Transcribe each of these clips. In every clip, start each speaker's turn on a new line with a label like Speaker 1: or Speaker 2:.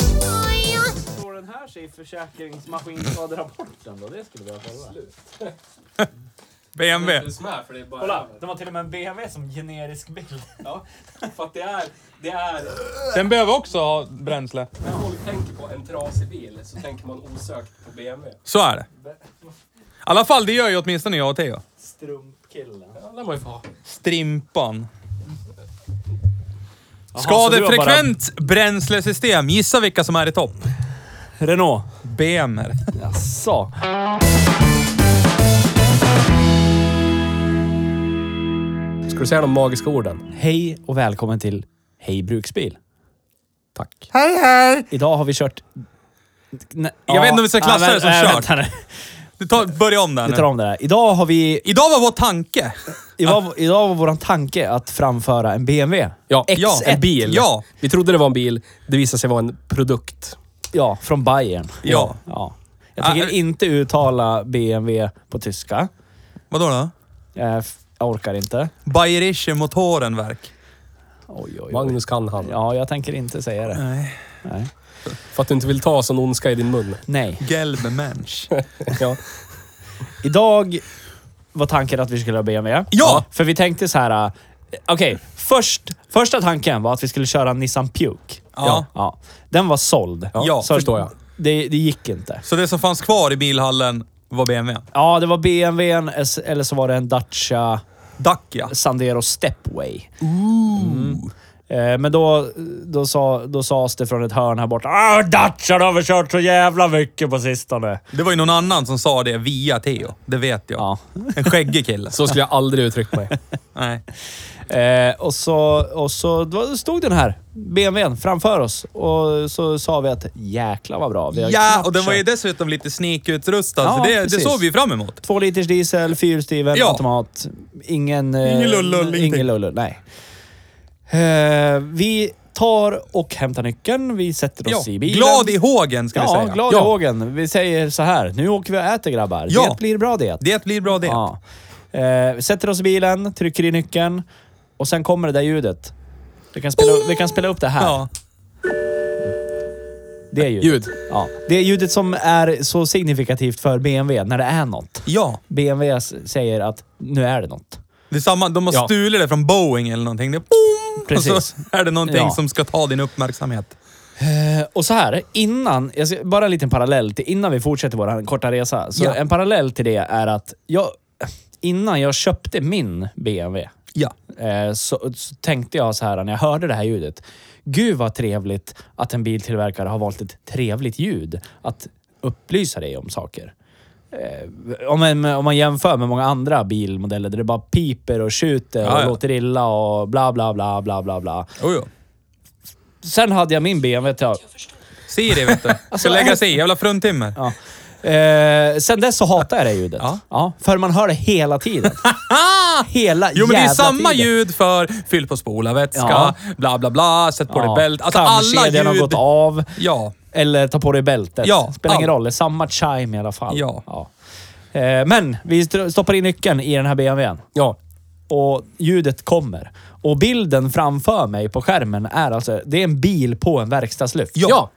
Speaker 1: står den här sig i försäkringsmaskinskaderapporten då? Det skulle vi ha kolla.
Speaker 2: BMW.
Speaker 3: Det som är, för det är bara...
Speaker 1: Kolla, de har till och med en BMW som generisk bild.
Speaker 3: Ja, för att det är... Det är...
Speaker 2: Den behöver också ha bränsle.
Speaker 3: När folk tänker på en trasig bil så tänker man osökt på BMW.
Speaker 2: Så är det. I alla fall, det gör ju åtminstone jag och Theo.
Speaker 1: Strumpkillen.
Speaker 3: Ja, den var ju få
Speaker 2: Strimpan. Skadefrekvent bränslesystem. Gissa vilka som är i topp.
Speaker 1: Renault.
Speaker 2: BMR.
Speaker 1: Jaså?
Speaker 3: Ska du säga de magiska orden?
Speaker 1: Hej och välkommen till Hej Bruksbil. Tack.
Speaker 2: Hej, hej!
Speaker 1: Idag har vi kört... Nej,
Speaker 2: Jag vet inte om vi ska klassa
Speaker 1: ja,
Speaker 2: det som
Speaker 1: nej,
Speaker 2: kört.
Speaker 1: vänta nu.
Speaker 2: Du tar, börja om där
Speaker 1: Vi tar
Speaker 2: nu.
Speaker 1: om det här. Idag har vi...
Speaker 2: Idag var vår tanke.
Speaker 1: Idag, idag var vår tanke att framföra en BMW.
Speaker 3: Ja.
Speaker 1: X1.
Speaker 2: Ja,
Speaker 3: En bil.
Speaker 2: Ja.
Speaker 3: Vi trodde det var en bil. Det visade sig vara en produkt. Äh,
Speaker 1: Ja, från Bayern.
Speaker 2: Ja.
Speaker 1: ja. Jag tänker
Speaker 2: Ah, eh.
Speaker 1: inte uttala BMW på tyska.
Speaker 2: Vadå då?
Speaker 1: Jag f- jag orkar inte.
Speaker 2: Bayerische Motorenwerk.
Speaker 1: Oj, oj, oj.
Speaker 3: Magnus kan han.
Speaker 1: Ja, jag tänker inte säga det.
Speaker 2: Nej.
Speaker 1: Nej.
Speaker 3: För att du inte vill ta sån ondska i din mun.
Speaker 1: Nej.
Speaker 2: Gelbe Mensch.
Speaker 3: Ja.
Speaker 1: Idag var tanken att vi skulle ha BMW.
Speaker 2: Ja!
Speaker 1: För vi tänkte så här... äh, Okej, först, första tanken var att vi skulle köra en Nissan Puke.
Speaker 2: Ja.
Speaker 1: ja. Den var såld.
Speaker 2: Ja,
Speaker 1: så
Speaker 3: förstår jag.
Speaker 1: Det, det gick inte.
Speaker 2: Så det som fanns kvar i bilhallen var BMW.
Speaker 1: Ja, det var BMWn s- eller så var det en Dacia
Speaker 2: Dacia.
Speaker 1: Sandero Stepway. Mm. Eh, Men då, då, sa, då sades det från ett hörn här borta. Ah, Dacia har vi kört så jävla mycket på sistone.
Speaker 2: Det var ju någon annan som sa det via Theo. Det vet jag.
Speaker 1: Ja.
Speaker 2: En skäggig kille.
Speaker 3: Så skulle jag aldrig uttryckt mig.
Speaker 2: Nej.
Speaker 1: Eh, och så, och så då stod den här BMWn framför oss och så sa vi att jäklar vad bra. Vi har
Speaker 2: Ja,
Speaker 1: knappt
Speaker 2: och den var ju
Speaker 1: kört."
Speaker 2: dessutom lite sneakutrustad,
Speaker 1: Ja,
Speaker 2: så det, det
Speaker 1: precis.
Speaker 2: såg vi ju fram emot.
Speaker 1: Två liters diesel, fyrhjulsdriven,
Speaker 2: Ja.
Speaker 1: automat. Ingen... eh,
Speaker 2: Ingen lullull, ingenting.
Speaker 1: Ingen lullull, nej. Eh, vi tar och hämtar nyckeln. Vi sätter oss
Speaker 2: Ja.
Speaker 1: i bilen.
Speaker 2: Glad i hågen, ska vi
Speaker 1: Ja,
Speaker 2: säga.
Speaker 1: glad
Speaker 2: Ja.
Speaker 1: i hågen. Vi säger så här. Nu åker vi och äter grabbar.
Speaker 2: Ja.
Speaker 1: Det blir bra det.
Speaker 2: Det blir bra det.
Speaker 1: Ja. Eh, vi sätter oss i bilen, trycker i nyckeln och sen kommer det där ljudet. Vi kan spela, vi kan spela upp det här.
Speaker 2: Ja.
Speaker 1: Det är ljudet.
Speaker 3: Ljud.
Speaker 1: Ja. Det är ljudet som är så signifikativt för BMW när det är något.
Speaker 2: ja.
Speaker 1: BMW s- säger att nu är det något.
Speaker 2: Det är samma, de har
Speaker 3: Ja.
Speaker 2: stulit det från Boeing eller någonting. Det är boom! Och
Speaker 1: Precis.
Speaker 2: så är det någonting
Speaker 1: Ja.
Speaker 2: som ska ta din uppmärksamhet.
Speaker 1: Eh, Och så här, innan, jag ska, bara en liten parallell till innan vi fortsätter vår korta resa. Så
Speaker 2: Ja.
Speaker 1: En parallell till det är att jag, innan jag köpte min BMW
Speaker 2: Ja.
Speaker 1: eh, så, så tänkte jag så här när jag hörde det här ljudet. Gud vad trevligt att en biltillverkare har valt ett trevligt ljud att upplysa dig om saker. Eh, om, man, om man jämför med många andra bilmodeller där det bara piper och tjuter och
Speaker 2: Ja, ja.
Speaker 1: låter illa och bla bla bla bla bla bla.
Speaker 2: Jo, jo.
Speaker 1: Sen hade jag min BMW till
Speaker 2: Siri vet du. Ska lägga sig i. Jävla fruntimmer.
Speaker 1: Alltså, Ja. Eh, sen dess så hatar jag det ljudet.
Speaker 2: Ja.
Speaker 1: för man hör det hela tiden. hela
Speaker 2: Jo men det är
Speaker 1: jävla
Speaker 2: samma
Speaker 1: tiden.
Speaker 2: ljud för fyll på spolarvätska,
Speaker 1: Ja.
Speaker 2: bla bla bla, sätt på dig bält. Alltså alla ljud.
Speaker 1: Kamkedjan har gått av.
Speaker 2: Ja.
Speaker 1: Eller ta på dig bältet.
Speaker 2: Ja,
Speaker 1: Spelar ingen
Speaker 2: allt.
Speaker 1: roll. Det är samma chime i alla fall.
Speaker 2: Ja.
Speaker 1: Eh, men vi st- stoppar in nyckeln i den här BMWn.
Speaker 3: Ja.
Speaker 1: Och ljudet kommer. Och bilden framför mig på skärmen är alltså... Det är en bil på en verkstadslyft.
Speaker 2: Ja.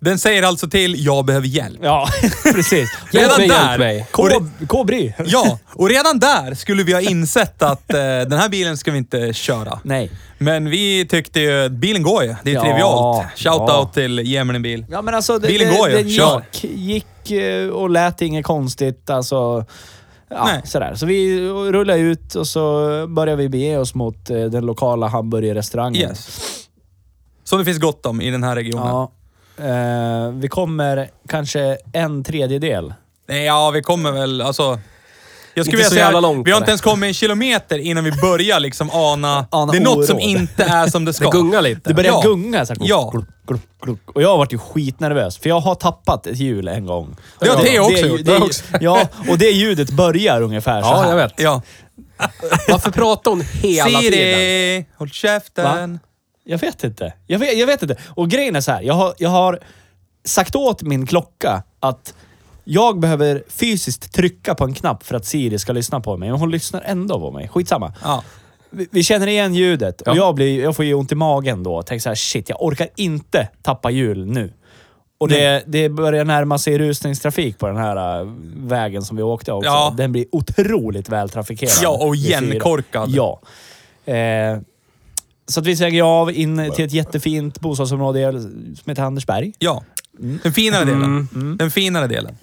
Speaker 2: Den säger alltså till, jag behöver hjälp.
Speaker 1: Ja, precis.
Speaker 2: Redan
Speaker 3: mig,
Speaker 2: där.
Speaker 3: hjälp mig.
Speaker 1: K- K-bry.
Speaker 2: Ja, och redan där skulle vi ha insett att eh, den här bilen ska vi inte köra.
Speaker 1: Nej.
Speaker 2: Men vi tyckte ju, bilen går ju. Det är ju
Speaker 1: Ja,
Speaker 2: trivialt. Shout
Speaker 1: ja.
Speaker 2: out till Gemini bil.
Speaker 1: Ja, men alltså, det,
Speaker 2: Bilen
Speaker 1: det,
Speaker 2: går ju.
Speaker 1: Den
Speaker 2: Kör.
Speaker 1: gick, gick eh, och lät inget konstigt. Alltså, Ja,
Speaker 2: Nej.
Speaker 1: Sådär. Så vi rullar ut och så börjar vi bege oss mot eh, den lokala hamburgerrestaurangen.
Speaker 2: Yes. Som det finns gott om i den här regionen. Ja,
Speaker 1: Ja. Eh, vi kommer kanske en tredjedel.
Speaker 2: Nej, ja vi kommer väl, alltså... Jag skulle
Speaker 3: Inte
Speaker 2: vilja
Speaker 3: så
Speaker 2: säga,
Speaker 3: jävla långt
Speaker 2: vi har
Speaker 3: på
Speaker 2: inte
Speaker 3: det.
Speaker 2: ens kommit en kilometer innan vi börjar liksom ana...
Speaker 1: Ana
Speaker 2: det är något som
Speaker 1: oråd.
Speaker 2: inte är som det ska.
Speaker 3: Det gungar lite.
Speaker 1: Det börjar
Speaker 2: Ja.
Speaker 1: gunga så här,
Speaker 2: Ja.
Speaker 1: gluck, gluck, gluck. Och jag har varit ju skitnervös, för jag har tappat ett hjul en gång.
Speaker 2: Det har
Speaker 1: Ja,
Speaker 2: Theo också
Speaker 1: ju-
Speaker 2: gjort.
Speaker 1: det
Speaker 2: Jag
Speaker 1: ju-
Speaker 2: också.
Speaker 1: Ja, och det ljudet börjar ungefär så
Speaker 3: Ja,
Speaker 1: här.
Speaker 3: jag vet.
Speaker 2: Ja.
Speaker 3: Varför pratar hon hela tiden?
Speaker 2: Siri, håll käften.
Speaker 1: Jag vet inte. Jag vet, jag vet inte. Och grejen är så här. Jag har, jag har sagt åt min klocka att jag behöver fysiskt trycka på en knapp för att Siri ska lyssna på mig. Men hon lyssnar ändå på mig. Skitsamma.
Speaker 2: Ja.
Speaker 1: Vi, vi känner igen ljudet och
Speaker 3: Ja.
Speaker 1: jag, blir, jag får ju ont i magen då. Tänk så här, shit, jag orkar inte tappa hjul nu. Och det, det börjar närma sig rusningstrafik på den här äh, vägen som vi åkte också.
Speaker 2: Ja.
Speaker 1: Den blir otroligt vältrafikerad.
Speaker 2: Ja, och
Speaker 1: vid fyra.
Speaker 2: igenkorkad.
Speaker 1: Ja. Eh, så att vi svänger av in till ett jättefint bostadsområde som heter Andersberg.
Speaker 2: Ja.
Speaker 1: Mm.
Speaker 2: Den finare delen. Den finare delen.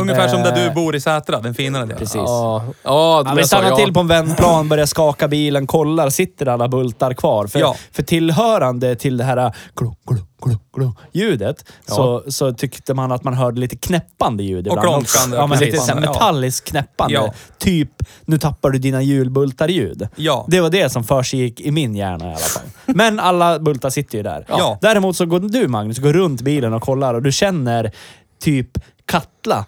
Speaker 2: Ungefär som där du bor i Sätra, den finare delen.
Speaker 1: Eh. Precis.
Speaker 3: Ja, ja,
Speaker 1: Ja,
Speaker 3: men
Speaker 1: vi
Speaker 3: jag sa
Speaker 1: stannar
Speaker 3: ja.
Speaker 1: till på en vändplan, börjar skaka bilen, kollar. Sitter alla bultar kvar? För,
Speaker 2: Ja.
Speaker 1: för tillhörande till det här äh, glu, glu, glu, glu, ljudet så, så tyckte man att man hörde lite knäppande ljud
Speaker 2: Och
Speaker 1: ibland.
Speaker 2: klonkande,
Speaker 1: Ja, men lite
Speaker 2: precis.
Speaker 1: så här
Speaker 2: Ja.
Speaker 1: metalliskt knäppande.
Speaker 2: Ja.
Speaker 1: Typ, nu tappar du dina hjulbultar-ljud.
Speaker 2: Ja.
Speaker 1: Det var det som försiggick i min hjärna i alla fall. Men alla bultar sitter ju där.
Speaker 2: Ja.
Speaker 1: Däremot så går du Magnus, går runt bilen och kollar och du känner typ Katla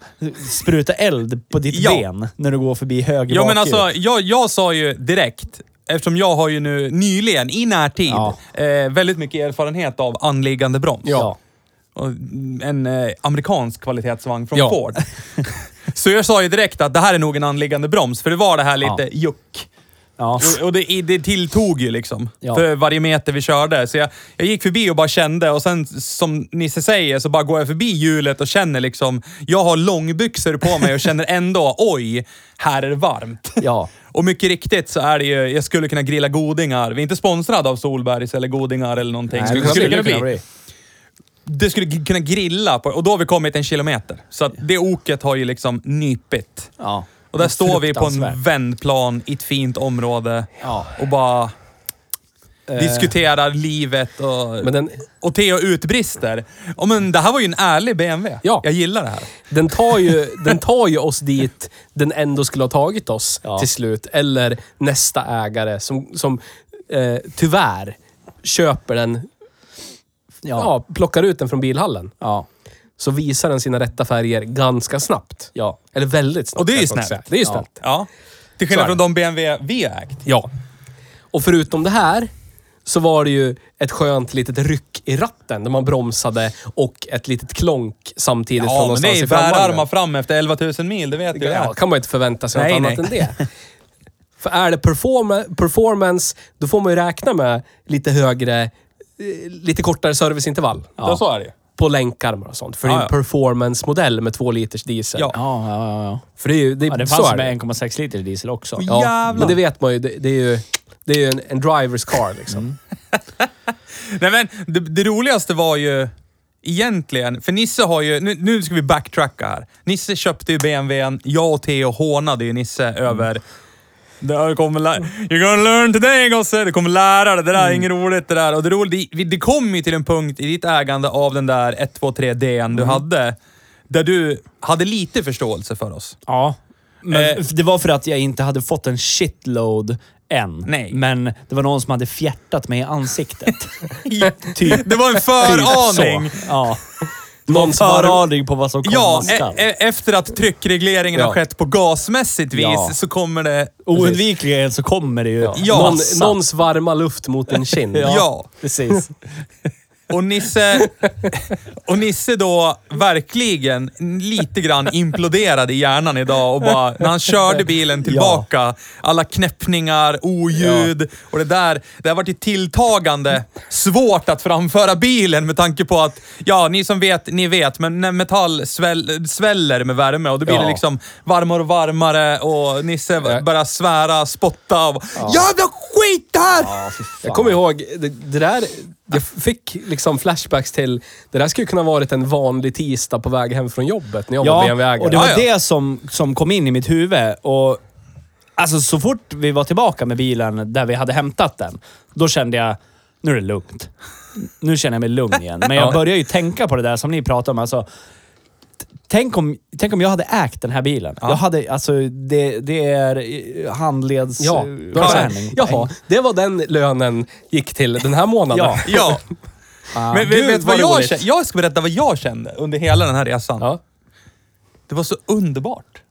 Speaker 1: spruta eld på ditt
Speaker 2: Ja.
Speaker 1: ben när du går förbi höger
Speaker 2: Ja, men
Speaker 1: bakljus.
Speaker 2: alltså, jag, jag sa ju direkt, eftersom jag har ju nu nyligen, i närtid,
Speaker 1: Ja.
Speaker 2: eh, väldigt mycket erfarenhet av anliggande broms.
Speaker 1: Ja.
Speaker 2: Och mm, en eh, amerikansk kvalitetsvagn från
Speaker 3: Ja.
Speaker 2: Ford. Så jag sa ju direkt att det här är nog en anliggande broms, för det var det här lite
Speaker 1: Ja.
Speaker 2: juck.
Speaker 1: Ja.
Speaker 2: Och, och det, det tilltog ju liksom.
Speaker 1: Alltså- Ja.
Speaker 2: För varje meter vi körde. Så jag, jag gick förbi och bara kände och sen som Nisse säger så bara går jag förbi hjulet och känner liksom, jag har långbyxor på mig och känner ändå, oj, här är det varmt.
Speaker 1: ja.
Speaker 2: Och mycket riktigt så är det ju, jag skulle kunna grilla godingar. Vi är inte sponsrade av Solbergs eller godingar eller någonting.
Speaker 1: Nej,
Speaker 2: Men
Speaker 1: det
Speaker 2: skulle kunna bli. Det skulle g- kunna grilla på, och då har vi kommit en kilometer. Så att det oket har ju liksom nypit.
Speaker 1: Ja.
Speaker 2: Och där står vi på en
Speaker 1: Fruktansvärt.
Speaker 2: vändplan i ett fint område
Speaker 1: Ja.
Speaker 2: och bara diskuterar livet och,
Speaker 3: eh, Men den,
Speaker 2: och Theo utbrister. Ja, men det här var ju en ärlig BMW.
Speaker 3: Ja.
Speaker 2: Jag gillar det här.
Speaker 3: den, tar ju, den tar ju oss dit den ändå skulle ha tagit oss
Speaker 1: Ja.
Speaker 3: till slut. Eller nästa ägare som, som eh, tyvärr köper den,
Speaker 1: Ja.
Speaker 3: ja, plockar ut den från bilhallen.
Speaker 1: Ja.
Speaker 3: Så visar den sina rätta färger ganska snabbt.
Speaker 1: Ja.
Speaker 3: Eller väldigt snabbt.
Speaker 2: Och det är ju
Speaker 3: kan jag säga.
Speaker 2: snällt.
Speaker 3: Det är ju
Speaker 1: Ja.
Speaker 3: snällt.
Speaker 2: Ja. Till
Speaker 3: Så
Speaker 2: skillnad
Speaker 3: är det.
Speaker 2: från de BMW vi har ägt.
Speaker 3: Ja. Och förutom det här så var det ju ett skönt litet ryck i ratten där man bromsade och ett litet klonk samtidigt från
Speaker 2: Ja, men det
Speaker 3: någonstans
Speaker 2: är ju
Speaker 3: i framvagnen.
Speaker 2: bärarmar fram efter 11 000 mil, det vet du
Speaker 3: Ja,
Speaker 2: ja.
Speaker 3: kan man ju inte förvänta sig
Speaker 2: Nej,
Speaker 3: något annat än det. För är det performa- performance, då får man ju räkna med lite högre, eh, lite kortare serviceintervall.
Speaker 2: Ja, så är det ju.
Speaker 3: På länkarmar och sånt. För det är
Speaker 2: Ja,
Speaker 3: en
Speaker 2: ja.
Speaker 3: performance-modell med två liters diesel.
Speaker 2: Ja.
Speaker 1: Ja, ja, ja, ja.
Speaker 3: För det är ju... Det, är-
Speaker 2: Typ
Speaker 1: ja den
Speaker 3: så
Speaker 1: fanns
Speaker 3: är det.
Speaker 1: med 1,6 liter diesel också.
Speaker 2: Oj.
Speaker 3: Ja,
Speaker 2: Jävlar.
Speaker 3: men det vet man ju. Det, det är ju, det är ju en, en driver's car liksom.
Speaker 2: Nej, men det, det roligaste var ju egentligen, för Nisse har ju, nu, nu ska vi backtracka här. Nisse köpte ju BMWn, jag och Theo hånade ju Nisse över det kommer lä- You're gonna learn today gosse! Du kommer lära dig, det där är inget roligt det där. Och det, roliga, det, det kom ju till en punkt i ditt ägande av den där 123Dn du hade, där du hade lite förståelse för oss.
Speaker 1: Ja. Men
Speaker 2: Eh.
Speaker 1: det var för att jag inte hade fått en shitload än.
Speaker 2: Nej.
Speaker 1: Men det var någon som hade fjärtat mig i ansiktet. typ.
Speaker 2: Det var en föraning!
Speaker 1: Så. Ja.
Speaker 3: Någon som har-
Speaker 1: Föraning på vad som
Speaker 2: Ja,
Speaker 1: komma skall.
Speaker 2: e e efter att tryckregleringen
Speaker 3: Ja.
Speaker 2: har skett på gasmässigt vis
Speaker 1: Ja.
Speaker 2: så kommer det...
Speaker 1: Oundvikligen så kommer det ju
Speaker 2: Ja.
Speaker 3: Någon,
Speaker 1: massa.
Speaker 3: någons varma luft mot en kind.
Speaker 2: Ja.
Speaker 1: Precis.
Speaker 2: Och Nisse, och Nisse då verkligen lite grann imploderade i hjärnan idag och bara, när han körde bilen tillbaka, alla knäppningar, oljud och det där. Det har varit ju tilltagande svårt att framföra bilen med tanke på att, ja, ni som vet, ni vet, men när metall sväll, sväller med värme och då blir
Speaker 3: Ja.
Speaker 2: det liksom varmare och varmare och Nisse
Speaker 3: Ja.
Speaker 2: börjar svära, spotta och ja. jävla skit här!
Speaker 1: Ja, fy fan.
Speaker 3: Jag kommer ihåg, det, det där Jag fick liksom flashbacks till, det där skulle ju kunna varit en vanlig tisdag på väg hem från jobbet när jag var
Speaker 1: Ja,
Speaker 3: BMW-ägare.
Speaker 1: och det var
Speaker 2: Ja, ja.
Speaker 1: det som, som kom in i mitt huvud. Och, alltså så fort vi var tillbaka med bilen där vi hade hämtat den, då kände jag nu är det lugnt. Nu känner jag mig lugn igen. Men jag
Speaker 3: Ja.
Speaker 1: börjar ju tänka på det där som ni pratade om. Alltså, t- tänk, om tänk om jag hade ägt den här bilen. Jag hade, alltså, det, det är eh, handleds...
Speaker 3: Ja,
Speaker 1: eh,
Speaker 3: då är det så här,
Speaker 1: försäljning.
Speaker 3: jaha, det var den lönen gick till den här månaden.
Speaker 1: Ja.
Speaker 2: Ja. Men
Speaker 3: Ah, gud,
Speaker 2: vet du vad
Speaker 3: vad
Speaker 2: jag
Speaker 3: roligt.
Speaker 2: kände? Jag ska berätta vad jag kände under hela den här resan.
Speaker 3: Ja.
Speaker 2: Det var så underbart.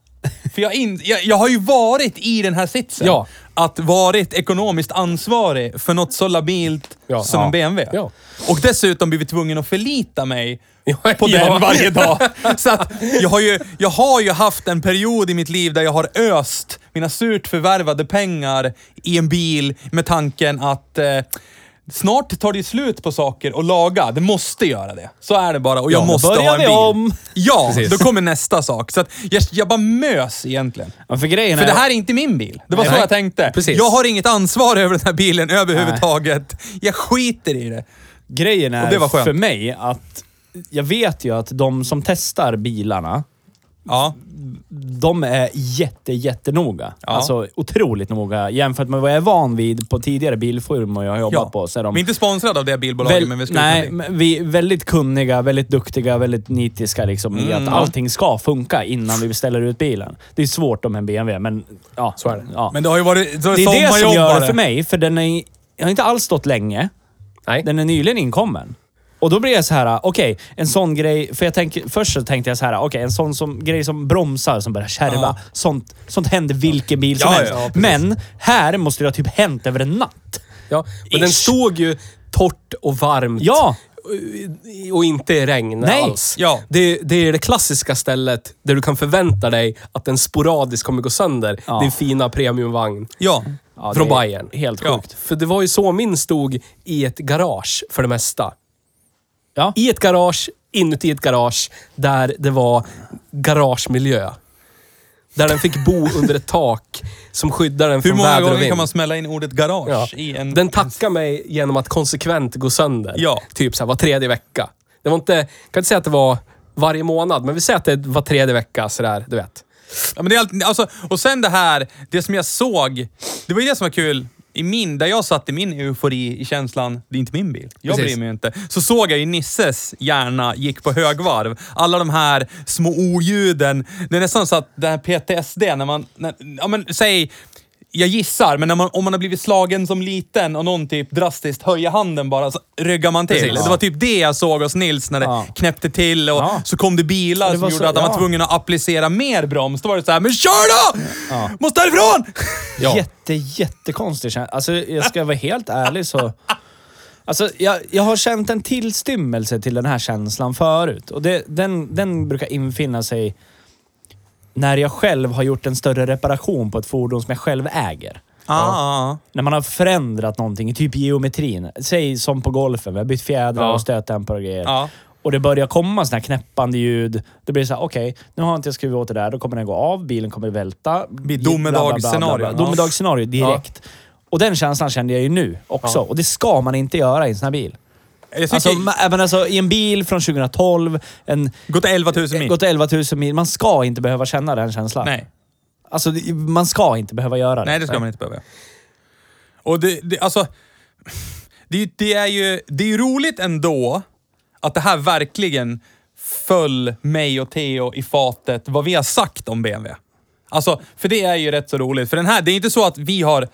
Speaker 2: För jag, in, jag, jag har ju varit i den här sitsen.
Speaker 3: Ja.
Speaker 2: Att varit ekonomiskt ansvarig för något så labilt
Speaker 3: Ja.
Speaker 2: som
Speaker 3: Ja.
Speaker 2: en BMW.
Speaker 3: Ja.
Speaker 2: Och dessutom blivit tvungen att förlita mig
Speaker 3: Ja,
Speaker 2: på
Speaker 3: ja.
Speaker 2: den varje dag. Så att jag har, ju, jag har ju haft en period i mitt liv där jag har öst mina surt förvärvade pengar i en bil med tanken att eh, snart tar det ju slut på saker och laga. Det måste göra det. Så är det bara och jag
Speaker 1: Ja, då
Speaker 2: måste
Speaker 1: börjar
Speaker 2: ha en
Speaker 1: vi
Speaker 2: bil.
Speaker 1: om.
Speaker 2: Ja, då
Speaker 3: Precis.
Speaker 2: kommer nästa sak. Så att jag, jag bara mös egentligen.
Speaker 1: Men för grejen
Speaker 2: För
Speaker 1: är...
Speaker 2: det här är inte min bil. Det var
Speaker 3: Nej.
Speaker 2: så jag tänkte.
Speaker 3: Precis.
Speaker 2: Jag har inget ansvar över den här bilen överhuvudtaget. Jag skiter i det.
Speaker 1: Grejen är
Speaker 2: Och det var skönt.
Speaker 1: för mig att jag vet ju att de som testar bilarna,
Speaker 2: Ja.
Speaker 1: de är jätte, jättenoga.
Speaker 2: Ja.
Speaker 1: Alltså otroligt noga jämfört med vad jag är van vid på tidigare bilfirmor jag har jobbat
Speaker 2: ja.
Speaker 1: på. Så är de
Speaker 2: Vi är inte sponsrade av det bilbolaget,
Speaker 1: väl-
Speaker 2: men vi skulle kunna
Speaker 1: nej,
Speaker 2: bli.
Speaker 1: men vi är väldigt kunniga, väldigt duktiga, väldigt nitiska liksom, i
Speaker 2: Mm.
Speaker 1: att allting ska funka innan vi beställer ut bilen. Det är svårt om en BMW, men ja.
Speaker 3: Så är det.
Speaker 1: Ja.
Speaker 2: Men det har ju varit så
Speaker 1: det är det som gör det
Speaker 2: sommarjobbare.
Speaker 1: för mig, för den är, jag har inte alls stått länge.
Speaker 3: Nej.
Speaker 1: Den är nyligen inkommen. Och då blir jag så här, okej, en sån grej. För jag tänker, först så tänkte jag så här, okej, en sån som, grej som bromsar, som börjar kärva.
Speaker 2: Ja.
Speaker 1: Sånt, sånt händer vilken bil som
Speaker 2: Ja, ja,
Speaker 1: helst.
Speaker 2: ja, precis.
Speaker 1: Men här måste det ha typ hänt över en natt.
Speaker 3: Ja, men den
Speaker 1: Ish.
Speaker 3: stod ju torrt och varmt.
Speaker 1: Ja,
Speaker 3: Och inte i regn
Speaker 1: Nej.
Speaker 3: alls.
Speaker 2: Ja.
Speaker 3: Det, det är det klassiska stället där du kan förvänta dig att den sporadiskt kommer gå sönder.
Speaker 1: Ja.
Speaker 3: Din fina premiumvagn.
Speaker 2: Ja.
Speaker 1: ja
Speaker 3: Från
Speaker 1: det är
Speaker 3: Bayern.
Speaker 1: Helt
Speaker 2: Ja.
Speaker 1: sjukt.
Speaker 3: För det var ju så min stod i ett garage för det mesta.
Speaker 1: Ja.
Speaker 3: I ett garage, inuti ett garage, där det var garagemiljö. Där den fick bo under ett tak som skyddar den
Speaker 2: Hur
Speaker 3: från
Speaker 2: många
Speaker 3: väder och
Speaker 2: gånger kan
Speaker 3: vind.
Speaker 2: man smälla in ordet garage
Speaker 3: Ja.
Speaker 2: i en...
Speaker 3: Den tackar mig genom att konsekvent gå sönder.
Speaker 2: Ja.
Speaker 3: Typ så här, var tredje vecka. Det var inte, jag kan inte säga att det var varje månad, men vi säger att det var tredje vecka sådär, du vet.
Speaker 2: Ja, men det är alltid, alltså, och sen det här, det som jag såg, det var ju det som var kul. I min, där jag satt i min eufori i känslan, det är inte min bil. Jag
Speaker 3: Precis.
Speaker 2: bryr mig inte. Så såg jag ju Nisses hjärna gick på högvarv. Alla de här små oljuden. Det är nästan så att den här PTSD, när man, när, ja men säg, jag gissar, men när man, om man har blivit slagen som liten och någon typ drastiskt höjer handen bara, så ryggar man till.
Speaker 3: Precis.
Speaker 2: Det var typ det jag såg hos Nils när det
Speaker 1: Ja.
Speaker 2: knäppte till och
Speaker 1: Ja.
Speaker 2: så kom det bilar
Speaker 1: Ja, det
Speaker 2: som
Speaker 1: var
Speaker 2: gjorde
Speaker 1: så-
Speaker 2: att han var
Speaker 1: ja.
Speaker 2: tvungen att applicera mer broms. Då var det så här, men kör då! Måste härifrån!
Speaker 3: Ja.
Speaker 1: Jätte, jättekonstig känsla. Alltså, jag ska vara helt ärlig så... Alltså, jag, jag har känt en tillstymmelse till den här känslan förut. Och det, den, den brukar infinna sig när jag själv har gjort en större reparation på ett fordon som jag själv äger.
Speaker 2: Ah.
Speaker 1: När man har förändrat någonting, typ geometrin. Säg som på golfen, vi har bytt fjädrar
Speaker 3: Ja.
Speaker 1: och stötdämpare och grejer.
Speaker 2: Ja.
Speaker 1: Och det börjar komma såna här knäppande ljud. Det blir så här, okej, nu har inte jag skruvat åt det där. Då kommer den gå av, bilen kommer välta.
Speaker 2: blir domedagsscenario,
Speaker 1: Bla, bla, bla,
Speaker 2: ja.
Speaker 1: bla. Domedagsscenario direkt. Och den känslan kände jag ju nu också. Och det ska man inte göra i en sån här bil.
Speaker 2: Jag tycker,
Speaker 1: Alltså, ma- även alltså, i en bil från 2012, en,
Speaker 2: gå till 11 000 mil.
Speaker 1: gått 11 000 mil. Man ska inte behöva känna den känslan.
Speaker 2: Nej.
Speaker 1: Alltså, det- man ska inte behöva göra det.
Speaker 2: Nej, det ska man inte behöva. Och det, det alltså... Det, är ju- det är ju det är ju roligt ändå att det här verkligen föll mig och Theo i fatet vad vi har sagt om BMW. Alltså, för det är ju rätt så roligt. För den här, det är inte så att vi har...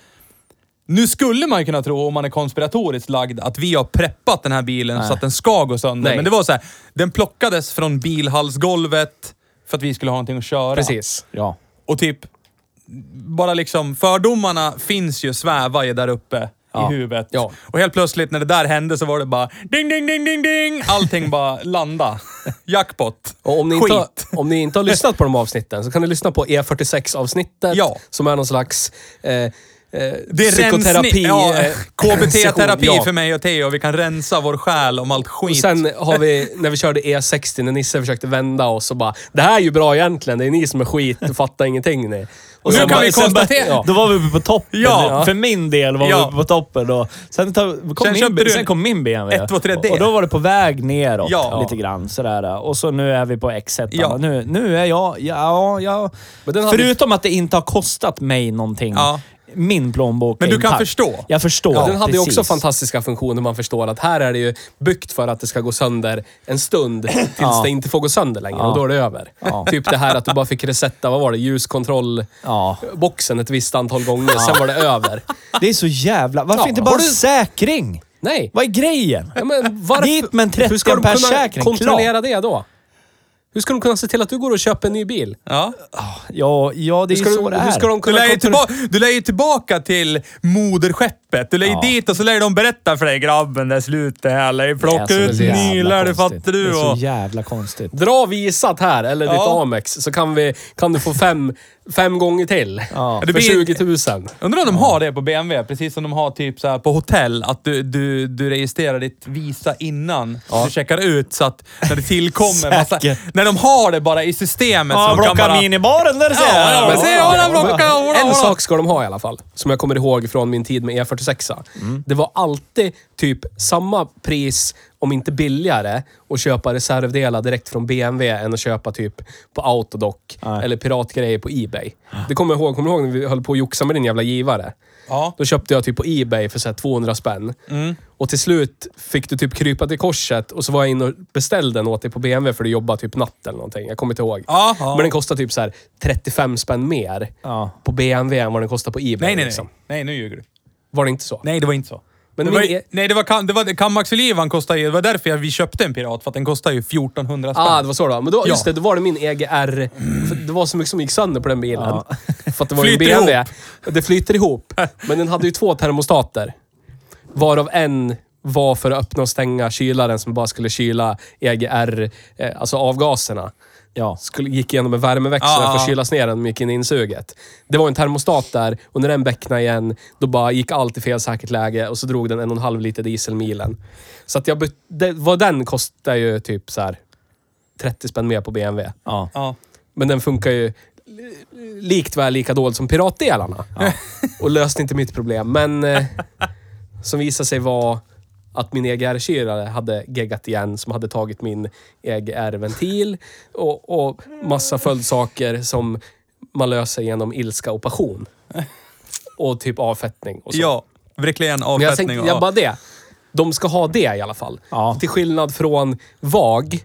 Speaker 2: Nu skulle man ju kunna tro, om man är konspiratoriskt lagd, att vi har preppat den här bilen så att den ska gå sönder.
Speaker 3: Nej.
Speaker 2: Men det var så här, den plockades från bilhalsgolvet för att vi skulle ha någonting att köra.
Speaker 3: Precis.
Speaker 1: Ja.
Speaker 2: Och typ, bara liksom fördomarna finns ju, svävar ju där uppe
Speaker 1: Ja.
Speaker 2: i huvudet.
Speaker 3: Ja.
Speaker 2: Och helt plötsligt när det där hände så var det bara ding, ding, ding, ding, ding. Allting bara landa. Jackpot.
Speaker 3: Och om ni,
Speaker 2: Skit.
Speaker 3: inte har, om ni inte har lyssnat på de avsnitten så kan ni lyssna på E46-avsnittet
Speaker 2: Ja.
Speaker 3: som är någon slags eh, eh,
Speaker 2: det är
Speaker 3: psykoterapi.
Speaker 2: psykoterapi. Ja,
Speaker 3: eh,
Speaker 2: KBT-terapi
Speaker 3: session. Ja.
Speaker 2: för mig och Theo. Vi kan rensa vår själ om allt skit.
Speaker 3: Och sen har vi, när vi körde E60, när Nisse försökte vända oss och bara “Det här är ju bra egentligen, det är ni som är skit, du fattar ingenting ni”.
Speaker 1: Och
Speaker 2: Nu
Speaker 1: sen
Speaker 2: kan
Speaker 1: bara-
Speaker 2: vi
Speaker 1: sen bara-
Speaker 2: konstatera-
Speaker 1: ja. Då var vi uppe på toppen.
Speaker 2: Ja.
Speaker 1: För min del var vi
Speaker 2: Ja.
Speaker 1: uppe på toppen. Och sen, ta, kom
Speaker 2: Sen köpte
Speaker 1: min,
Speaker 2: du
Speaker 1: sen
Speaker 2: en
Speaker 1: kom min BMW.
Speaker 2: 1, 2, 3D.
Speaker 1: Och då var det på väg neråt
Speaker 2: Ja.
Speaker 1: lite grann. Sådär. Och så nu är vi på X1.
Speaker 2: Ja.
Speaker 1: Nu, nu är jag... Ja, ja.
Speaker 3: Men den hade-
Speaker 1: Förutom att det inte har kostat mig någonting.
Speaker 2: Ja.
Speaker 1: Min plånbok
Speaker 2: Men
Speaker 1: är
Speaker 2: du kan
Speaker 1: intakt.
Speaker 2: förstå.
Speaker 1: Jag förstår.
Speaker 3: den hade ju också
Speaker 1: precis.
Speaker 3: fantastiska funktioner. Man förstår att här är det ju byggt för att det ska gå sönder en stund tills det inte får gå sönder längre och då är det över. Typ det här att du bara fick resetta, vad var det, ljuskontrollboxen
Speaker 1: Ja.
Speaker 3: ett visst antal gånger, sen var det över.
Speaker 1: Det är så jävla... Varför
Speaker 3: Ja.
Speaker 1: inte bara
Speaker 3: Har du-
Speaker 1: säkring?
Speaker 3: Nej.
Speaker 1: Vad är grejen?
Speaker 3: Ja, men varför?
Speaker 1: Dit med en 30
Speaker 3: Hur ska de
Speaker 1: per
Speaker 3: kunna
Speaker 1: säkring,
Speaker 3: kontrollera det då? Hur ska de kunna se till att du går och köper en ny bil?
Speaker 2: Ja.
Speaker 1: Ja, ja det är
Speaker 3: Hur ska,
Speaker 1: ju så
Speaker 3: de,
Speaker 1: det är.
Speaker 3: hur ska de
Speaker 2: Du
Speaker 3: kunna
Speaker 2: lär, ju
Speaker 3: kontrollera...
Speaker 2: tillba- du lär ju tillbaka till moderskeppet. Du lär ju
Speaker 1: Ja.
Speaker 2: dit och så lär de berätta för dig. Grabben, det är slut det här. Lär ju plocka
Speaker 1: alltså, Det är
Speaker 2: ut
Speaker 1: så jävla
Speaker 2: nylar, det
Speaker 1: konstigt.
Speaker 2: fattar du.
Speaker 1: Det är
Speaker 2: Och...
Speaker 1: så jävla konstigt.
Speaker 3: Dra visat här, eller ditt
Speaker 2: Ja.
Speaker 3: Amex, så kan, vi, kan du få fem, fem gånger till.
Speaker 1: Ja.
Speaker 3: För
Speaker 2: Det blir-
Speaker 3: 20 000.
Speaker 2: Undrar om de har det på BMW, precis som de har typ så här på hotell. Att du, du, du registrerar ditt Visa innan du checkar ut så att när det tillkommer massa...
Speaker 1: Säkert.
Speaker 2: När de har det bara i systemet så de kan bara...
Speaker 1: minibaren där ser
Speaker 2: Ja, ja, men se, ja, den blockar, ja, ja,
Speaker 3: En
Speaker 2: ja.
Speaker 3: sak ska de ha i alla fall, som jag kommer ihåg från min tid med E46.
Speaker 2: Mm.
Speaker 3: Det var alltid typ samma pris, om inte billigare, att köpa reservdelar direkt från BMW än att köpa typ på Autodoc
Speaker 1: Nej.
Speaker 3: eller piratgrejer på Ebay. Det kommer jag ihåg. Kommer du ihåg när vi höll på att joxa med din jävla givare?
Speaker 2: Ja. Mm.
Speaker 3: Då köpte jag typ på Ebay för så här 200 spänn. Och till slut fick du typ krypa till korset och så var jag inne och beställde den åt dig på BMW för du jobbade typ natt eller någonting. Jag kommer inte ihåg.
Speaker 2: Ja, ja.
Speaker 3: Men den kostar typ så här 35 spänn mer
Speaker 1: Ja.
Speaker 3: på BMW än vad den kostar på Ebay.
Speaker 2: Nej, nej, nej.
Speaker 3: liksom.
Speaker 2: Nej, nu ljuger du.
Speaker 3: Var det inte så?
Speaker 2: Nej, det var inte så.
Speaker 3: Men
Speaker 2: det var,
Speaker 3: min-
Speaker 2: nej, det var, kam- det var Kammaxolivan kostade ju... Det var därför jag- vi köpte en Pirat, för att den kostade ju 1400 spänn.
Speaker 3: Ah, det var så då. Men då,
Speaker 2: Ja.
Speaker 3: just det, då var det min EGR. För det var så mycket som gick sönder på den bilen. För att det var ju en
Speaker 2: Flyter
Speaker 3: BMW.
Speaker 2: ihop.
Speaker 3: Det flyter ihop. Men den hade ju två termostater. Varav en var för att öppna och stänga kylaren som bara skulle kyla EGR, eh, alltså avgaserna.
Speaker 1: Ja.
Speaker 3: Skulle, gick igenom en värmeväxlare
Speaker 2: Ah,
Speaker 3: för
Speaker 2: ah.
Speaker 3: att kylas ner den och gick in i insuget. Det var en termostat där och när den becknade igen, då bara gick allt i fel säkert läge och så drog den en och en halv liter dieselmilen. Så att jag byt, det, vad den kostar ju typ så här 30 spänn mer på BMW.
Speaker 1: Ja.
Speaker 2: Ja.
Speaker 3: Men den funkar ju li- likt väl lika dåligt som piratdelarna. Och löste inte mitt problem. Men eh, som visade sig vara att min EGR-kylare hade geggat igen som hade tagit min EGR-ventil och, och massa följdsaker som man löser genom ilska och passion. Och typ avfettning och så.
Speaker 2: Ja, verkligen
Speaker 3: Men jag
Speaker 2: avfettning.
Speaker 3: tänkte,
Speaker 2: och-
Speaker 3: jag bara det. De ska ha det i alla fall.
Speaker 1: Ja.
Speaker 3: Till skillnad från VAG,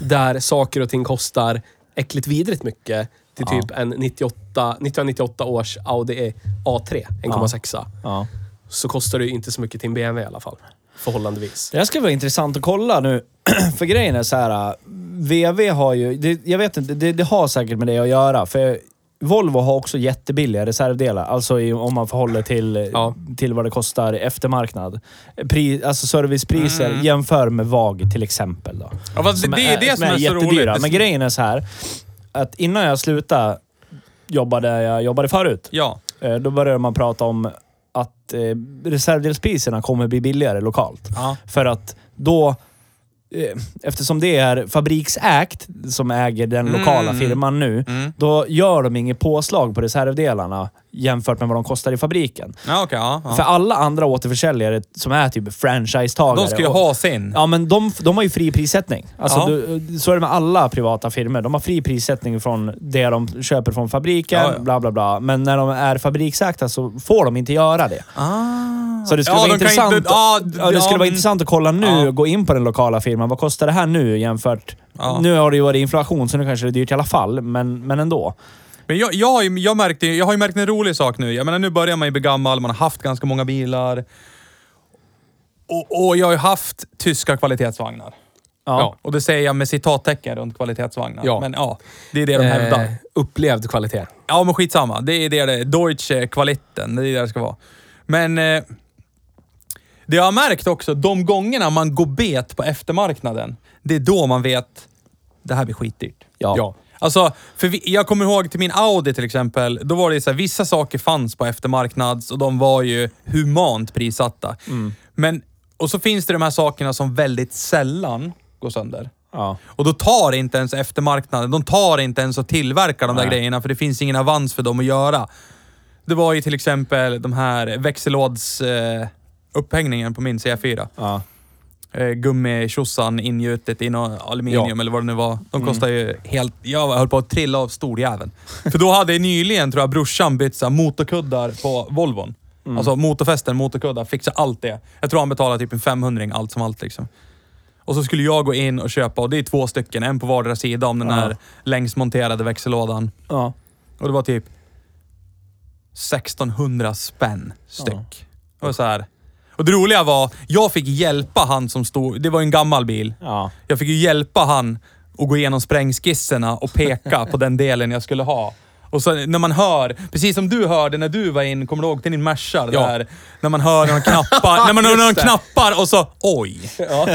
Speaker 3: där saker och ting kostar äckligt vidrigt mycket till typ en 98, 1998 års Audi E- A3, 1,6.
Speaker 1: ja.
Speaker 3: Så kostar det ju inte så mycket till en BMW i alla fall. Förhållandevis.
Speaker 1: Det här ska vara intressant att kolla nu. för grejen är så här. VW har ju... Det, jag vet inte, det, det har säkert med det att göra. För Volvo har också jättebilliga reservdelar. Alltså i, om man förhåller till, äh,
Speaker 3: Ja.
Speaker 1: till vad det kostar i eftermarknad. Pri, alltså servicepriser jämför med VAG till exempel. Då.
Speaker 2: Ja, fast Mm. det, det är det som är, så roligt.
Speaker 1: jättedyra.
Speaker 2: Det-
Speaker 1: Men grejen är så här. Att innan jag slutade jobba där jag jobbade förut.
Speaker 2: Ja.
Speaker 1: Eh, Då började man prata om att eh, reservdelspriserna kommer bli billigare lokalt.
Speaker 2: Ja.
Speaker 1: För att då, eh, eftersom det är Fabriksägt som äger den lokala
Speaker 2: Mm.
Speaker 1: firman nu, då gör de inget påslag på reservdelarna jämfört med vad de kostar i fabriken.
Speaker 2: Ja, okej. ja, ja.
Speaker 1: För alla andra återförsäljare som är typ franchisetagare.
Speaker 2: De ska ju
Speaker 1: och-
Speaker 2: ha sin.
Speaker 1: Ja, men de, de har ju fri prissättning. Alltså,
Speaker 2: Ja.
Speaker 1: du, så är det med alla privata firmor. De har fri prissättning från det de köper från fabriken,
Speaker 2: Ja, ja.
Speaker 1: bla bla bla. Men när de är fabriksägda så får de inte göra det.
Speaker 2: Ah.
Speaker 1: Så det skulle,
Speaker 2: Ja,
Speaker 1: vara,
Speaker 2: de kan
Speaker 1: intressant,
Speaker 2: inte- ja, d-
Speaker 1: ja, det skulle
Speaker 2: ja,
Speaker 1: vara
Speaker 2: mm.
Speaker 1: intressant att kolla nu
Speaker 2: Ja.
Speaker 1: och gå in på den lokala firman. Vad kostar det här nu jämfört...
Speaker 2: Ja.
Speaker 1: Nu har det ju varit inflation, så nu kanske det är dyrt i alla fall, men, men ändå.
Speaker 2: Men jag, jag, har ju, jag, märkte, jag har ju märkt en rolig sak nu. Jag menar, nu börjar man ju bli gammal, man har haft ganska många bilar. Och, och jag har ju haft tyska kvalitetsvagnar.
Speaker 1: Ja.
Speaker 2: Och det säger jag med citattecken runt kvalitetsvagnar.
Speaker 3: Ja.
Speaker 2: Men ja, det är det de hävdar.
Speaker 3: Eh, upplevd kvalitet.
Speaker 2: Ja, men skitsamma. Det är det det är. Deutsche Qualiten. Det är det det ska vara. Men eh, det jag har märkt också, de gångerna man går bet på eftermarknaden, det är då man vet det här blir skitdyrt.
Speaker 1: Ja.
Speaker 3: Ja.
Speaker 2: Alltså, för vi, jag kommer ihåg till min Audi till exempel. Då var det så här, vissa saker fanns på eftermarknads och de var ju humant prissatta. Men, och så finns det de här sakerna som väldigt sällan går sönder.
Speaker 1: Ja.
Speaker 2: Och då tar inte ens eftermarknaden, de tar inte ens och tillverkar de där
Speaker 1: Nej.
Speaker 2: grejerna för det finns ingen avans för dem att göra. Det var ju till exempel de här växellåds... Eh, upphängningen på min C4.
Speaker 1: Ja.
Speaker 2: Eh, gummitjosan ingjutet i något aluminium
Speaker 3: Ja.
Speaker 2: eller vad det nu var. De kostar ju helt... Jag höll på att trilla av storjäveln. För då hade nyligen, tror jag, brorsan bytt så här motorkuddar på Volvon. Alltså motorfästen, motorkuddar, fixa allt det. Jag tror han betalade typ en 500 allt som allt liksom. Och så skulle jag gå in och köpa, och det är två stycken, en på vardera sida om den
Speaker 1: Ja.
Speaker 2: här längsmonterade växellådan.
Speaker 1: Ja.
Speaker 2: Och det var typ 1600 spänn styck. Det var så här. Och det roliga var, jag fick hjälpa han som stod... Det var ju en gammal bil.
Speaker 1: Ja.
Speaker 2: Jag fick ju hjälpa han att gå igenom sprängskisserna och peka på den delen jag skulle ha. Och så när man hör, precis som du hörde när du var in, kommer du ihåg till din Merca? det
Speaker 3: Ja.
Speaker 2: Där, när man hör när de knappar, när man hör när de
Speaker 3: Just det.
Speaker 2: knappar och så oj.
Speaker 3: Ja.
Speaker 2: Och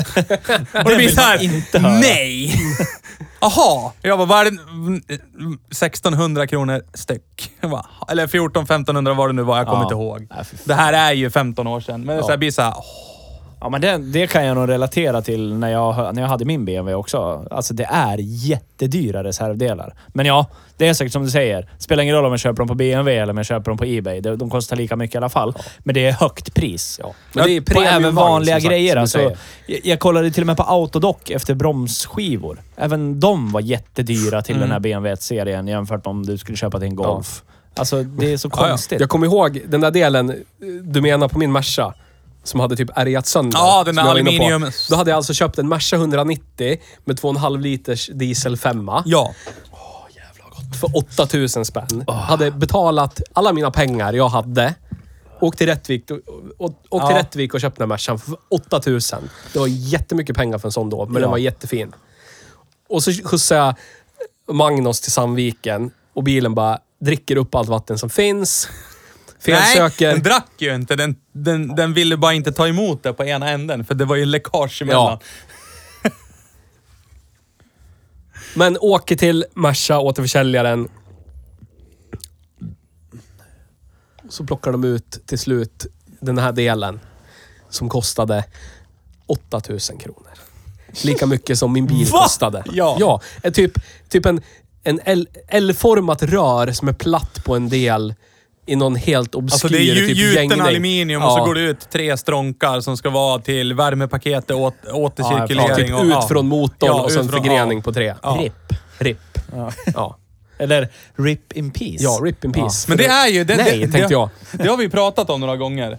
Speaker 2: det blir
Speaker 1: vill man
Speaker 2: såhär,
Speaker 1: inte höra.
Speaker 2: nej! Jaha! Jag bara, vad är det? 1600 kronor styck. Jag bara, Eller 14 1500 vad det nu var, jag kommer
Speaker 1: Ja.
Speaker 2: inte ihåg.
Speaker 1: Nej, fy fan.
Speaker 2: Det här är ju 15 år sedan, men det
Speaker 1: Ja.
Speaker 2: så här blir såhär, åh,
Speaker 1: Ja, men det, det kan jag nog relatera till när jag, hö- när jag hade min BMW också. Alltså det är jättedyra reservdelar. Men ja, det är säkert som du säger. Spelar ingen roll om jag köper dem på BMW eller om jag köper dem på Ebay. De, de kostar lika mycket i alla fall. Men det är högt pris.
Speaker 3: Ja. Men det är
Speaker 1: på även
Speaker 3: premiumvagn,
Speaker 1: vanliga
Speaker 3: som sagt,
Speaker 1: grejer.
Speaker 3: som du
Speaker 1: Alltså,
Speaker 3: säger.
Speaker 1: jag, jag kollade till och med på Autodoc efter bromsskivor. Även de var jättedyra
Speaker 3: Mm.
Speaker 1: till den här BMW-serien jämfört med om du skulle köpa till en Golf. Alltså det är så
Speaker 2: ja.
Speaker 1: konstigt.
Speaker 3: Jag kommer ihåg den där delen eh, du menar på min Merca. Som hade typ ärgat sönder.
Speaker 2: Ja, den där
Speaker 3: som jag var inne på.
Speaker 2: aluminium-
Speaker 3: Då hade jag alltså köpt en Merca 190 med 2,5 liters diesel 5
Speaker 2: ja.
Speaker 3: för 8000 spänn. Hade betalat alla mina pengar jag hade. Åkt till Rättvik och, och, och, till
Speaker 2: Ja.
Speaker 3: Rättvik och köpt den här Mercan för 8000. Det var jättemycket pengar för en sån då, men den
Speaker 1: Ja.
Speaker 3: var jättefin. Och så skjutsade jag Magnus till Sandviken och bilen bara dricker upp allt vatten som finns.
Speaker 2: Nej,
Speaker 3: Felsöker.
Speaker 2: den drack ju inte. Den, den, den ville bara inte ta emot det på ena änden, för det var ju läckage emellan.
Speaker 3: Men åker till Merca, återförsäljaren. Så plockar de ut till slut den här delen som kostade 8000 kronor. Lika mycket som min bil
Speaker 2: Va?
Speaker 3: kostade.
Speaker 2: Ja.
Speaker 3: ja eh, typ, typ en, en L- L-format rör som är platt på en del i någon helt obskyr
Speaker 2: Alltså det är ju
Speaker 3: typ
Speaker 2: gjuten
Speaker 3: gängning.
Speaker 2: aluminium och
Speaker 3: Ja.
Speaker 2: så går det ut tre strånkar som ska vara till värmepaketet, åt, återcirkulering
Speaker 3: Ja, typ ut
Speaker 2: och... ja.
Speaker 3: från motorn
Speaker 2: Ja,
Speaker 3: och sen
Speaker 2: ut från-
Speaker 3: förgrening på tre.
Speaker 2: Ja.
Speaker 1: RIP.
Speaker 3: RIP.
Speaker 1: Ja.
Speaker 3: Ja.
Speaker 1: Eller RIP in peace.
Speaker 3: ja, RIP in peace.
Speaker 2: Men det är ju... Det,
Speaker 3: Nej,
Speaker 2: det,
Speaker 3: tänkte
Speaker 2: det,
Speaker 3: jag.
Speaker 2: Det har vi pratat om några gånger.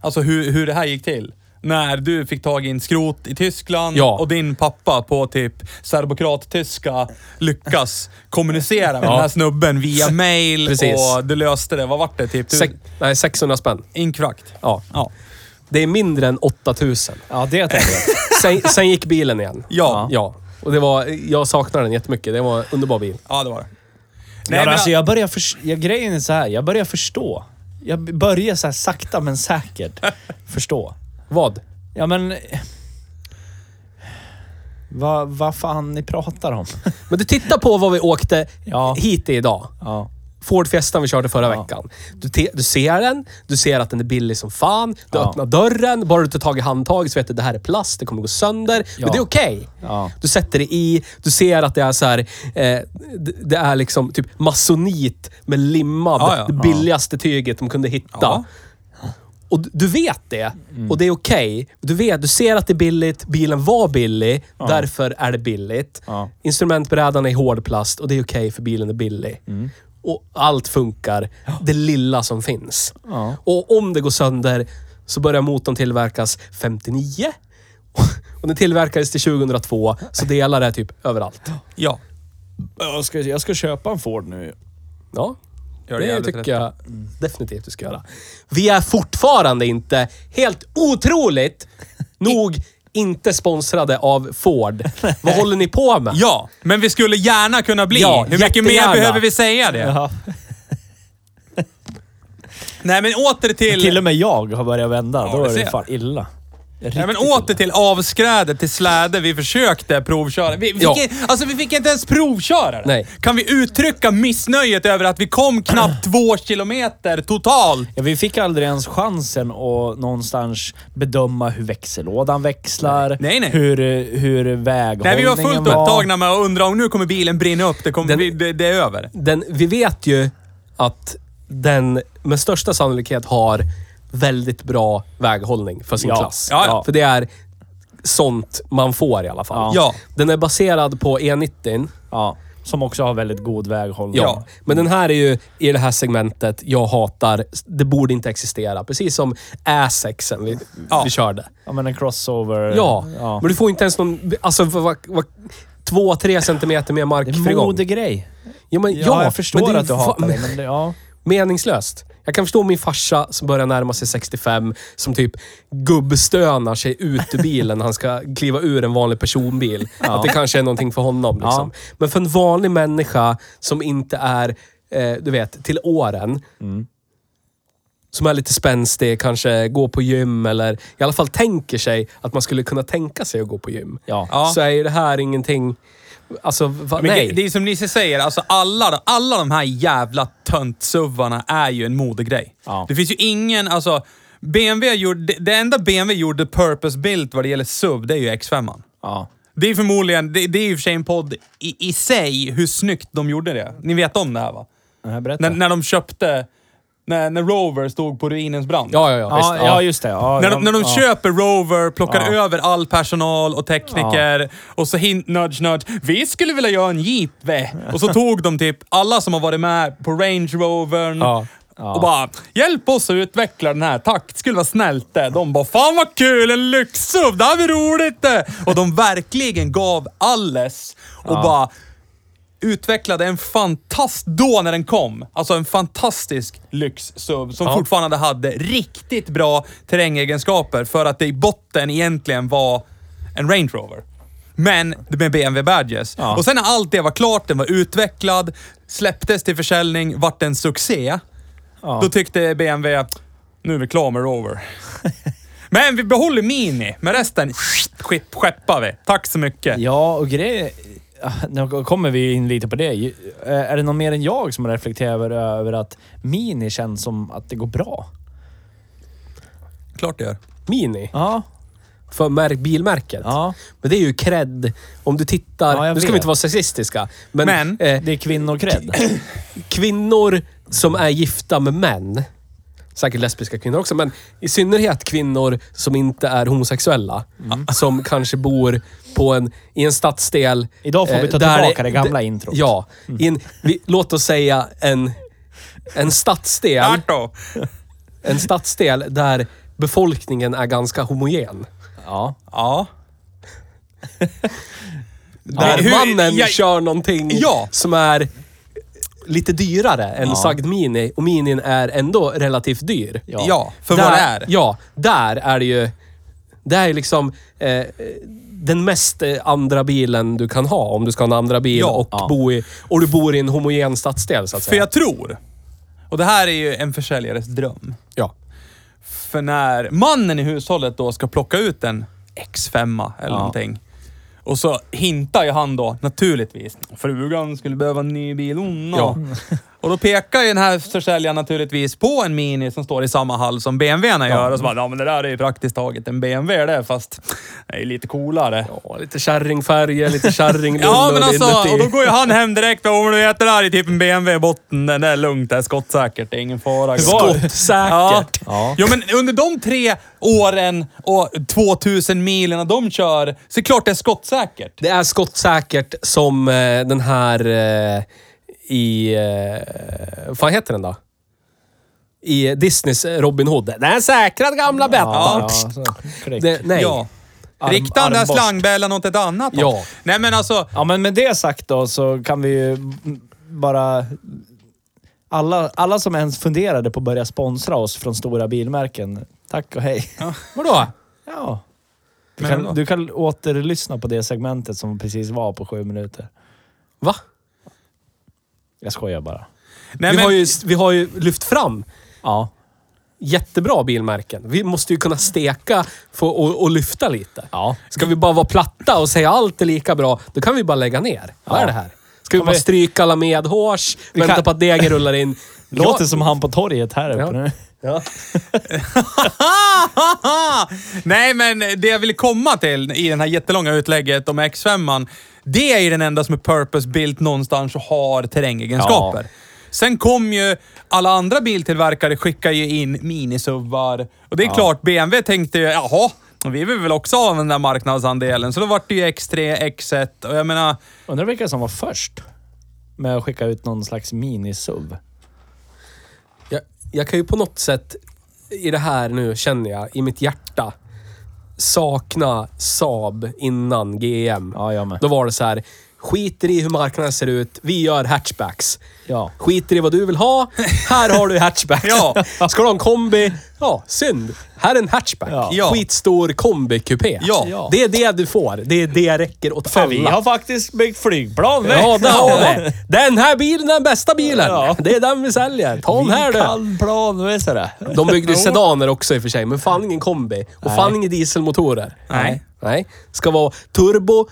Speaker 2: Alltså hur, hur det här gick till. När du fick tag i en skrot i Tyskland
Speaker 3: Ja.
Speaker 2: och din pappa på typ serbokrat-tyska lyckas kommunicera med
Speaker 3: Ja.
Speaker 2: den här snubben via mail
Speaker 3: Precis.
Speaker 2: och du löste det. Vad vart det? Typ?
Speaker 3: Sek-
Speaker 2: Du,
Speaker 3: nej, 600 spänn.
Speaker 2: inkvakt.
Speaker 3: Ja.
Speaker 2: Ja.
Speaker 3: Det är mindre än 8000.
Speaker 1: Ja, det tänker jag.
Speaker 3: Sen, sen gick bilen igen.
Speaker 2: Ja.
Speaker 3: Ja. Och det var, jag saknar den jättemycket. Det var en underbar bil.
Speaker 2: Ja, det var det.
Speaker 1: Nej,
Speaker 2: Nej,
Speaker 1: ja,
Speaker 2: men-
Speaker 1: alltså jag börjar förs- jag, grejen är så här, jag börjar förstå. Jag b- börjar så här sakta men säkert förstå.
Speaker 3: Vad?
Speaker 1: Ja men... eh, Vad vad fan ni pratar om?
Speaker 3: Men du tittar på vad vi åkte
Speaker 1: Ja.
Speaker 3: hit i idag.
Speaker 1: Ja.
Speaker 3: Ford Fiestan vi körde förra
Speaker 1: Ja.
Speaker 3: veckan. Du, te- du ser den, du ser att den är billig som fan. Du
Speaker 1: Ja.
Speaker 3: öppnar dörren, bara du tar tag i handtaget så vet du att det här är plast, det kommer gå sönder.
Speaker 1: Ja.
Speaker 3: Men det är okej.
Speaker 1: Ja.
Speaker 3: Du sätter det i, du ser att det är så här, eh, d- det är liksom typ masonit med limmad,
Speaker 2: Ja, ja.
Speaker 3: det billigaste tyget de kunde hitta.
Speaker 2: Ja.
Speaker 3: Och du- du vet det.
Speaker 1: Mm.
Speaker 3: Och det är okej. Du vet, du ser att det är billigt. Bilen var billig. Därför är det billigt.
Speaker 1: Ja.
Speaker 3: Instrumentbrädan är i hårdplast och det är okej för bilen är billig.
Speaker 1: Mm.
Speaker 3: Och allt funkar. Det lilla som finns.
Speaker 1: Ja.
Speaker 3: Och om det går sönder så börjar motorn tillverkas 59. Och den tillverkades till 2002, så delar är typ överallt.
Speaker 2: Ja.
Speaker 1: Jag ska, jag ska köpa en Ford nu.
Speaker 3: Ja,
Speaker 2: Gör det
Speaker 3: det,
Speaker 2: jävligt
Speaker 3: tycker
Speaker 2: rätt.
Speaker 3: jag definitivt du ska göra. Vi är fortfarande inte, helt otroligt nog, inte sponsrade av Ford. Vad håller ni på med?
Speaker 2: Ja, men vi skulle gärna kunna bli.
Speaker 3: Ja,
Speaker 2: Hur mycket mer
Speaker 3: jättegärna.
Speaker 2: behöver vi säga det?
Speaker 1: Ja.
Speaker 2: Nej, men åter till...
Speaker 1: Till och med jag har börjat vända.
Speaker 2: Ja,
Speaker 1: Då
Speaker 2: det
Speaker 1: är
Speaker 2: ser
Speaker 1: det
Speaker 2: jag.
Speaker 1: fan illa.
Speaker 2: Nej, men
Speaker 1: Riktigt
Speaker 2: åter till avskrädet, till släde. Vi försökte provköra. Vi, vi,
Speaker 3: Ja.
Speaker 2: fick, alltså, vi fick inte ens provköra det.
Speaker 3: Nej.
Speaker 2: Kan vi uttrycka missnöjet över att vi kom knappt två kilometer totalt?
Speaker 1: Ja, vi fick aldrig ens chansen att någonstans bedöma hur växellådan växlar,
Speaker 2: Nej, nej.
Speaker 1: Hur, hur väghållningen
Speaker 2: Nej, vi var fullt upptagna med att undra om nu kommer bilen brinna upp. Det, kommer
Speaker 3: Den-
Speaker 2: bli, det, det är över.
Speaker 3: Den, vi vet ju att den med största sannolikhet har väldigt bra väghållning för sin
Speaker 1: Ja.
Speaker 3: klass.
Speaker 2: Ja, ja.
Speaker 3: För det är sånt man får i alla fall.
Speaker 1: Ja.
Speaker 2: Ja.
Speaker 3: Den är baserad på E E90.
Speaker 1: Ja, som också har väldigt god väghållning.
Speaker 3: Ja. Men den här är ju i det här segmentet, jag hatar, det borde inte existera. Precis som A6 vi,
Speaker 2: Ja.
Speaker 3: vi körde.
Speaker 1: ja men en crossover.
Speaker 3: Ja.
Speaker 1: ja.
Speaker 3: men du får inte ens någon... Alltså, vad, vad, vad, två, tre centimeter mer mark
Speaker 1: Det
Speaker 3: för
Speaker 1: är en
Speaker 3: igång.
Speaker 1: modegrej.
Speaker 3: Ja, men,
Speaker 1: Ja, jag förstår
Speaker 3: men det är
Speaker 1: att du
Speaker 3: ju
Speaker 1: hatar
Speaker 3: fan-
Speaker 1: det, men det, ja.
Speaker 3: meningslöst. Jag kan förstå min farsa som börjar närma sig 65, som typ gubbstönar sig ut ur bilen när han ska kliva ur en vanlig personbil. Att det kanske är någonting för honom. Liksom. Men för en vanlig människa som inte är, eh, du vet, till åren. Som är lite spänstig, kanske går på gym eller i alla fall tänker sig att man skulle kunna tänka sig att gå på gym.
Speaker 1: Ja.
Speaker 2: Ja.
Speaker 3: Så är ju det här ingenting... Alltså, va,
Speaker 2: Men
Speaker 3: nej.
Speaker 2: det, det är som Nisse säger, alltså alla, alla de här jävla töntsuvarna är ju en modegrej.
Speaker 1: Ja.
Speaker 2: Det finns ju ingen, alltså BMW gjorde, det, det enda BMW gjorde purpose built vad det gäller SUV, det är ju X5. an
Speaker 1: ja.
Speaker 2: Det är förmodligen, det, det är ju i och för sig en podd i, i sig hur snyggt de gjorde det. Ni vet om det här va?
Speaker 1: Nej, berätta.
Speaker 2: När, när de köpte, när, när Rover stod på ruinens brant.
Speaker 3: Ja, ja, ja.
Speaker 1: ja,
Speaker 3: visst,
Speaker 1: ja. just det. Ja,
Speaker 2: När de, när de
Speaker 1: ja.
Speaker 2: köper Rover, plockar
Speaker 1: Ja.
Speaker 2: över all personal och tekniker och så hint, nudge, nudge. Vi skulle vilja göra en Jeep, ve. Och så tog de typ alla som har varit med på Range Rovern
Speaker 3: Ja.
Speaker 2: och bara “Hjälp oss att utveckla den här, tack, det skulle vara snällt det. De bara “Fan vad kul, en lyxsub, det här blir roligt det!” Och de verkligen gav alles och bara utvecklade en fantast, då när den kom, alltså en fantastisk lyx-SUV som fortfarande hade riktigt bra terrängegenskaper för att det i botten egentligen var en Range Rover. Men med BMW Badges. Och sen när allt det var klart, den var utvecklad, släpptes till försäljning, vart en succé. Då tyckte BMW, nu är vi klara med Rover. Men vi behåller Mini, men resten skit, skeppar vi. Tack så mycket.
Speaker 1: Ja, och grejen... ja, Nu kommer vi in lite på det. Ju- eh, Är det någon mer än jag som reflekterar över, över att Mini känns som att det går bra?
Speaker 2: Klart det gör.
Speaker 3: Mini.
Speaker 1: Ja.
Speaker 3: för mär- bilmärket.
Speaker 1: Ja.
Speaker 3: Men det är ju cred. Om du
Speaker 1: Ja,
Speaker 3: tittar...
Speaker 1: jag
Speaker 3: nu ska vi
Speaker 1: vet.
Speaker 3: inte vara sexistiska, men,
Speaker 2: Men-
Speaker 3: eh,
Speaker 1: Det är kvinnokred.
Speaker 3: kvinnor som är gifta med män, säkert lesbiska kvinnor också, men i synnerhet kvinnor som inte är homosexuella,
Speaker 1: Mm.
Speaker 3: som kanske bor på en, i en stadsdel... eh,
Speaker 1: Idag får vi ta
Speaker 3: där
Speaker 1: tillbaka det gamla introt. Mm.
Speaker 3: Ja. I en, vi, låt oss säga en, en stadsdel,
Speaker 2: Arto!
Speaker 3: en stadsdel där befolkningen är ganska homogen.
Speaker 1: Ja.
Speaker 2: Ja.
Speaker 3: Där
Speaker 2: Nej, hur-
Speaker 3: mannen
Speaker 2: jag-
Speaker 3: kör någonting
Speaker 2: Ja.
Speaker 3: som är lite dyrare än sagd Mini. Och Minin är ändå relativt dyr.
Speaker 1: Ja.
Speaker 2: Ja, för
Speaker 3: där,
Speaker 2: vad det är.
Speaker 3: Ja, där är det ju... Det här är liksom eh, den mest eh, andra bilen du kan ha om du ska ha en andra bil
Speaker 2: Ja.
Speaker 3: och,
Speaker 1: Ja.
Speaker 3: Bo i, och du bor i en homogen stadsdel så att
Speaker 2: För
Speaker 3: säga.
Speaker 2: jag tror, och det här är ju en försäljares dröm,
Speaker 3: Ja.
Speaker 2: för när mannen i hushållet då ska plocka ut en X5 eller
Speaker 1: Ja.
Speaker 2: någonting. Och så hintar ju han då, naturligtvis. Frugan skulle behöva en ny bil, hon och-"
Speaker 3: Ja.
Speaker 2: Och då pekar ju den här försäljaren naturligtvis på en Mini som står i samma hall som BMWn gör. Och så bara, ja men det där är ju praktiskt taget en BMW det, fast det är ju lite coolare.
Speaker 3: Ja, lite kärringfärger, lite kärringlullor
Speaker 2: Ja, men alltså,
Speaker 3: inuti.
Speaker 2: och då går ju han hem direkt. Om du vet det där är typ en BMW i botten. Den är lugnt, det är skottsäkert. Det är ingen fara. Ja.
Speaker 3: Skottsäkert.
Speaker 1: Ja.
Speaker 2: Jo, men under de tre åren och 2000 milen de kör, så är det klart det är skottsäkert.
Speaker 3: Det är skottsäkert som eh, den här eh, i... Eh, vad fan heter den då? I Disneys Robin Hood. Den är säkrad gamla Bettan.
Speaker 1: Ja, så, klick.
Speaker 3: Det, nej.
Speaker 2: Ja.
Speaker 3: Ja.
Speaker 1: Arm-
Speaker 2: Rikta den där
Speaker 1: armborst.
Speaker 2: slangbällan åt ett annat håll.
Speaker 3: Ja.
Speaker 2: Nej, men alltså.
Speaker 1: Ja, men med det sagt då så kan vi ju m- bara... Alla, alla som ens funderade på att börja sponsra oss från stora bilmärken, tack och hej.
Speaker 3: Vadå?
Speaker 1: Ja. Du
Speaker 2: Men
Speaker 1: kan,
Speaker 2: ändå.
Speaker 1: du kan återlyssna på det segmentet som precis var på sju minuter.
Speaker 3: Va?
Speaker 1: Jag skojar bara.
Speaker 2: Nej,
Speaker 3: vi,
Speaker 2: men,
Speaker 3: Har ju, vi har ju lyft fram
Speaker 1: Ja.
Speaker 3: jättebra bilmärken. Vi måste ju kunna steka få, och, och lyfta lite.
Speaker 1: Ja.
Speaker 3: Ska vi bara vara platta och säga allt är lika bra, då kan vi bara lägga ner. Vad är det här? Ska vi bara
Speaker 1: vi-
Speaker 3: stryka alla medhårs,
Speaker 1: Vi
Speaker 3: vänta
Speaker 1: kan-
Speaker 3: på att degen rullar in?
Speaker 1: Låter som han på torget här uppe
Speaker 3: Ja.
Speaker 1: nu.
Speaker 3: Ja.
Speaker 2: Nej, men det jag ville komma till i den här jättelånga utlägget om X5, det är ju den enda som är purpose-built någonstans och har terrängegenskaper. Sen kom ju alla andra biltillverkare skickar ju in minisuvar och det är klart BMW tänkte ju, jaha, vi vill väl också ha den där marknadsandelen. Så då vart det ju X3, X1 och jag menar,
Speaker 1: Undrar vilka som var först med att skicka ut någon slags mini-SUV.
Speaker 3: Jag, jag kan ju på något sätt i det här nu, känner jag, i mitt hjärta sakna Saab innan GM.
Speaker 1: Ja, jag med.
Speaker 3: Då var det så här, skiter i hur marknaden ser ut, vi gör hatchbacks.
Speaker 1: Ja.
Speaker 3: Skiter i vad du vill ha, här har du hatchbacks.
Speaker 2: Ja.
Speaker 3: Ska du ha en kombi? Ja, synd. Här är en hatchback.
Speaker 1: Ja.
Speaker 2: Ja.
Speaker 3: Skitstor kombikupé.
Speaker 2: Ja.
Speaker 1: Ja.
Speaker 3: Det är det du får. Det är det räcker åt
Speaker 1: För
Speaker 3: alla.
Speaker 1: vi har faktiskt byggt flygplan. vi.
Speaker 3: Ja, det har vi. Den här bilen är den bästa bilen.
Speaker 1: Ja.
Speaker 3: Det är den vi säljer. Ta den
Speaker 1: Vi
Speaker 3: här du.
Speaker 1: kan plan, visst är det.
Speaker 3: De byggde ju sedaner också i och för sig, men fan ingen kombi. Och fan inga dieselmotorer.
Speaker 2: Nej.
Speaker 3: Nej. Ska vara turbo,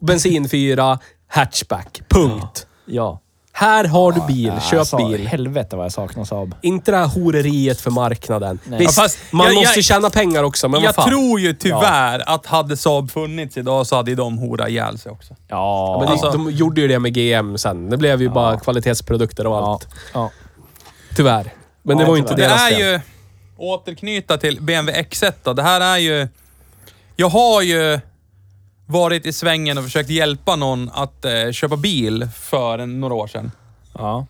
Speaker 3: bensin 4, hatchback. Punkt.
Speaker 1: Ja.
Speaker 3: Här har du bil. Köp
Speaker 1: alltså,
Speaker 3: bil.
Speaker 1: Helvete vad jag saknar Saab.
Speaker 3: Inte det här horeriet för marknaden.
Speaker 1: Nej.
Speaker 3: Visst,
Speaker 2: Ja, fast
Speaker 3: man
Speaker 2: jag- jag-
Speaker 3: måste tjäna pengar också, men vad
Speaker 2: jag
Speaker 3: fan.
Speaker 2: tror ju tyvärr att hade Saab funnits idag så hade ju de horat ihjäl sig också.
Speaker 1: Ja.
Speaker 3: Men det,
Speaker 2: Alltså-
Speaker 3: de gjorde ju det med GM sen. Det blev ju bara kvalitetsprodukter och
Speaker 1: ja.
Speaker 3: allt.
Speaker 1: ja.
Speaker 3: Tyvärr. Men
Speaker 1: Ja,
Speaker 3: det var ju
Speaker 1: tyvärr.
Speaker 3: inte
Speaker 2: Det
Speaker 3: deras
Speaker 2: är
Speaker 3: fel.
Speaker 2: ju, återknyta till BMW X1 då. Det här är ju, jag har ju varit i svängen och försökt hjälpa någon att eh, köpa bil för en, några år sedan.
Speaker 1: ja.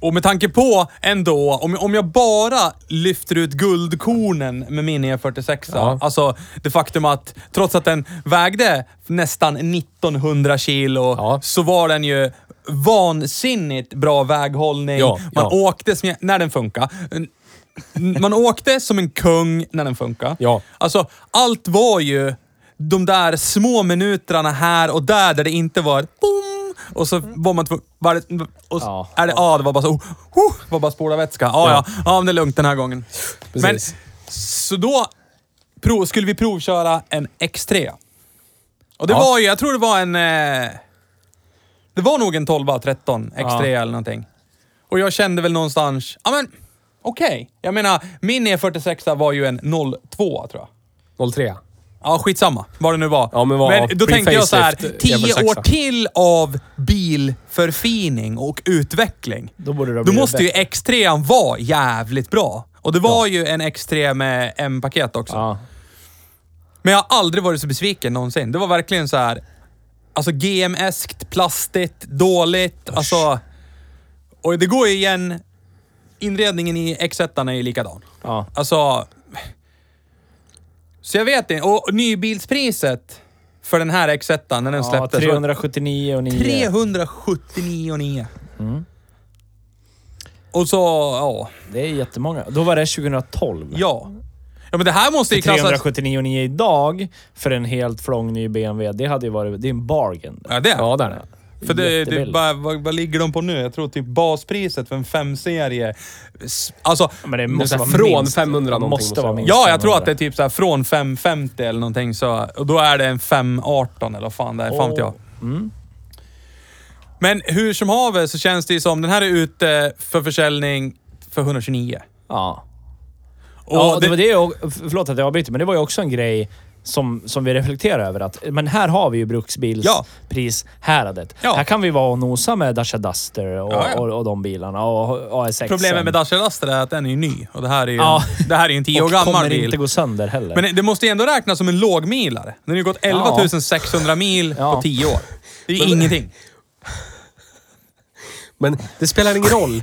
Speaker 2: Och med tanke på ändå, om, om jag bara lyfter ut guldkornen med min E46,
Speaker 3: Ja.
Speaker 2: alltså det faktum att trots att den vägde nästan 1900 kilo
Speaker 3: Ja.
Speaker 2: så var den ju vansinnigt bra väghållning.
Speaker 3: Ja,
Speaker 2: Man
Speaker 3: ja.
Speaker 2: åkte som, jag- när den funkar. Man åkte som en kung när den funkar.
Speaker 3: Ja.
Speaker 2: Alltså, allt var ju de där små minuterna här och där, där det inte var boom, och så var man tvungen... var det- Och så,
Speaker 1: Ja.
Speaker 2: är det, ja, det var bara så... Oh, oh, var bara spolarvätska. Ja, ja. Ja, men det är lugnt den här gången. Men,
Speaker 3: Precis.
Speaker 2: så då prov, skulle vi provköra en X3. Och det
Speaker 1: Ja.
Speaker 2: var ju, jag tror det var en... Eh, det var nog en 12 13 X3
Speaker 1: Ja.
Speaker 2: eller någonting. Och jag kände väl någonstans, ja men okej. Jag menar, min E46 var ju en 02 tror jag.
Speaker 3: 03.
Speaker 2: Ja, skitsamma. Vad det nu var.
Speaker 3: Ja, men vad-
Speaker 2: då
Speaker 3: pre-facelift,
Speaker 2: tänkte jag så här,
Speaker 3: jävla
Speaker 2: tio
Speaker 3: sexa.
Speaker 2: år till av bilförfining och utveckling.
Speaker 1: Då borde det
Speaker 2: Då
Speaker 1: ha blivit
Speaker 2: måste ju X3 vara jävligt bra. Och det var ju en X3 med M-paket också.
Speaker 1: Ja.
Speaker 2: Men jag har aldrig varit så besviken någonsin. Det var verkligen så här, alltså GM-eskt, plastigt, dåligt. Alltså, och det går ju igen. Inredningen i X1 är ju likadan.
Speaker 1: Ja.
Speaker 2: Alltså... Så jag vet inte. Och nybilspriset för den här X1, när den
Speaker 1: ja.
Speaker 2: släpptes.
Speaker 1: 379 och 9.
Speaker 2: 379 9. Och så, ja.
Speaker 1: Det är jättemånga. Då var det 2012.
Speaker 2: Ja. Ja men det här måste ju klassas...
Speaker 1: 379 och 9 idag för en helt flång ny BMW. Det hade ju varit... Det är en bargain.
Speaker 2: Ja det.
Speaker 3: Ja, där är det.
Speaker 2: för det, det
Speaker 1: jättebilligt.
Speaker 2: vad, vad, vad ligger de på nu? Jag tror typ baspriset för en 5-serie. s- Alltså...
Speaker 1: Men det måste
Speaker 3: så här
Speaker 1: vara
Speaker 3: från
Speaker 1: minst-
Speaker 3: 500 någonting måste
Speaker 1: Måste vara
Speaker 3: det
Speaker 1: minst.
Speaker 2: Ja, jag tror
Speaker 1: 500.
Speaker 2: att det är typ så här från 550 eller någonting så... Och då är det en 518 eller vad fan det är. Fan vet jag.
Speaker 1: mm.
Speaker 2: Men hur som haver så känns det ju som den här är ute för försäljning för 129.
Speaker 1: Ja.
Speaker 2: Och
Speaker 1: ja, det,
Speaker 2: det-
Speaker 1: var det och, Förlåt att jag avbryter, men det var ju också en grej som, som vi reflekterar över. Att, men här har vi ju
Speaker 2: Ja.
Speaker 1: bruksbilsprishäradet.
Speaker 2: Ja.
Speaker 1: Här kan vi vara och nosa med Dacia Duster och,
Speaker 2: Ja, ja.
Speaker 1: och, och de bilarna och AS6.
Speaker 2: Problemet med Dacia Duster är att den är ju ny och det här är ju,
Speaker 1: Ja.
Speaker 2: det här är ju en 10 år
Speaker 1: och
Speaker 2: gammal
Speaker 1: kommer
Speaker 2: bil.
Speaker 1: inte gå sönder heller.
Speaker 2: Men det måste ju ändå räknas som en lågmilare. Den har ju gått 11 600 mil på
Speaker 1: Ja.
Speaker 2: 10 år. Det är ju ingenting.
Speaker 3: Men det spelar ingen roll,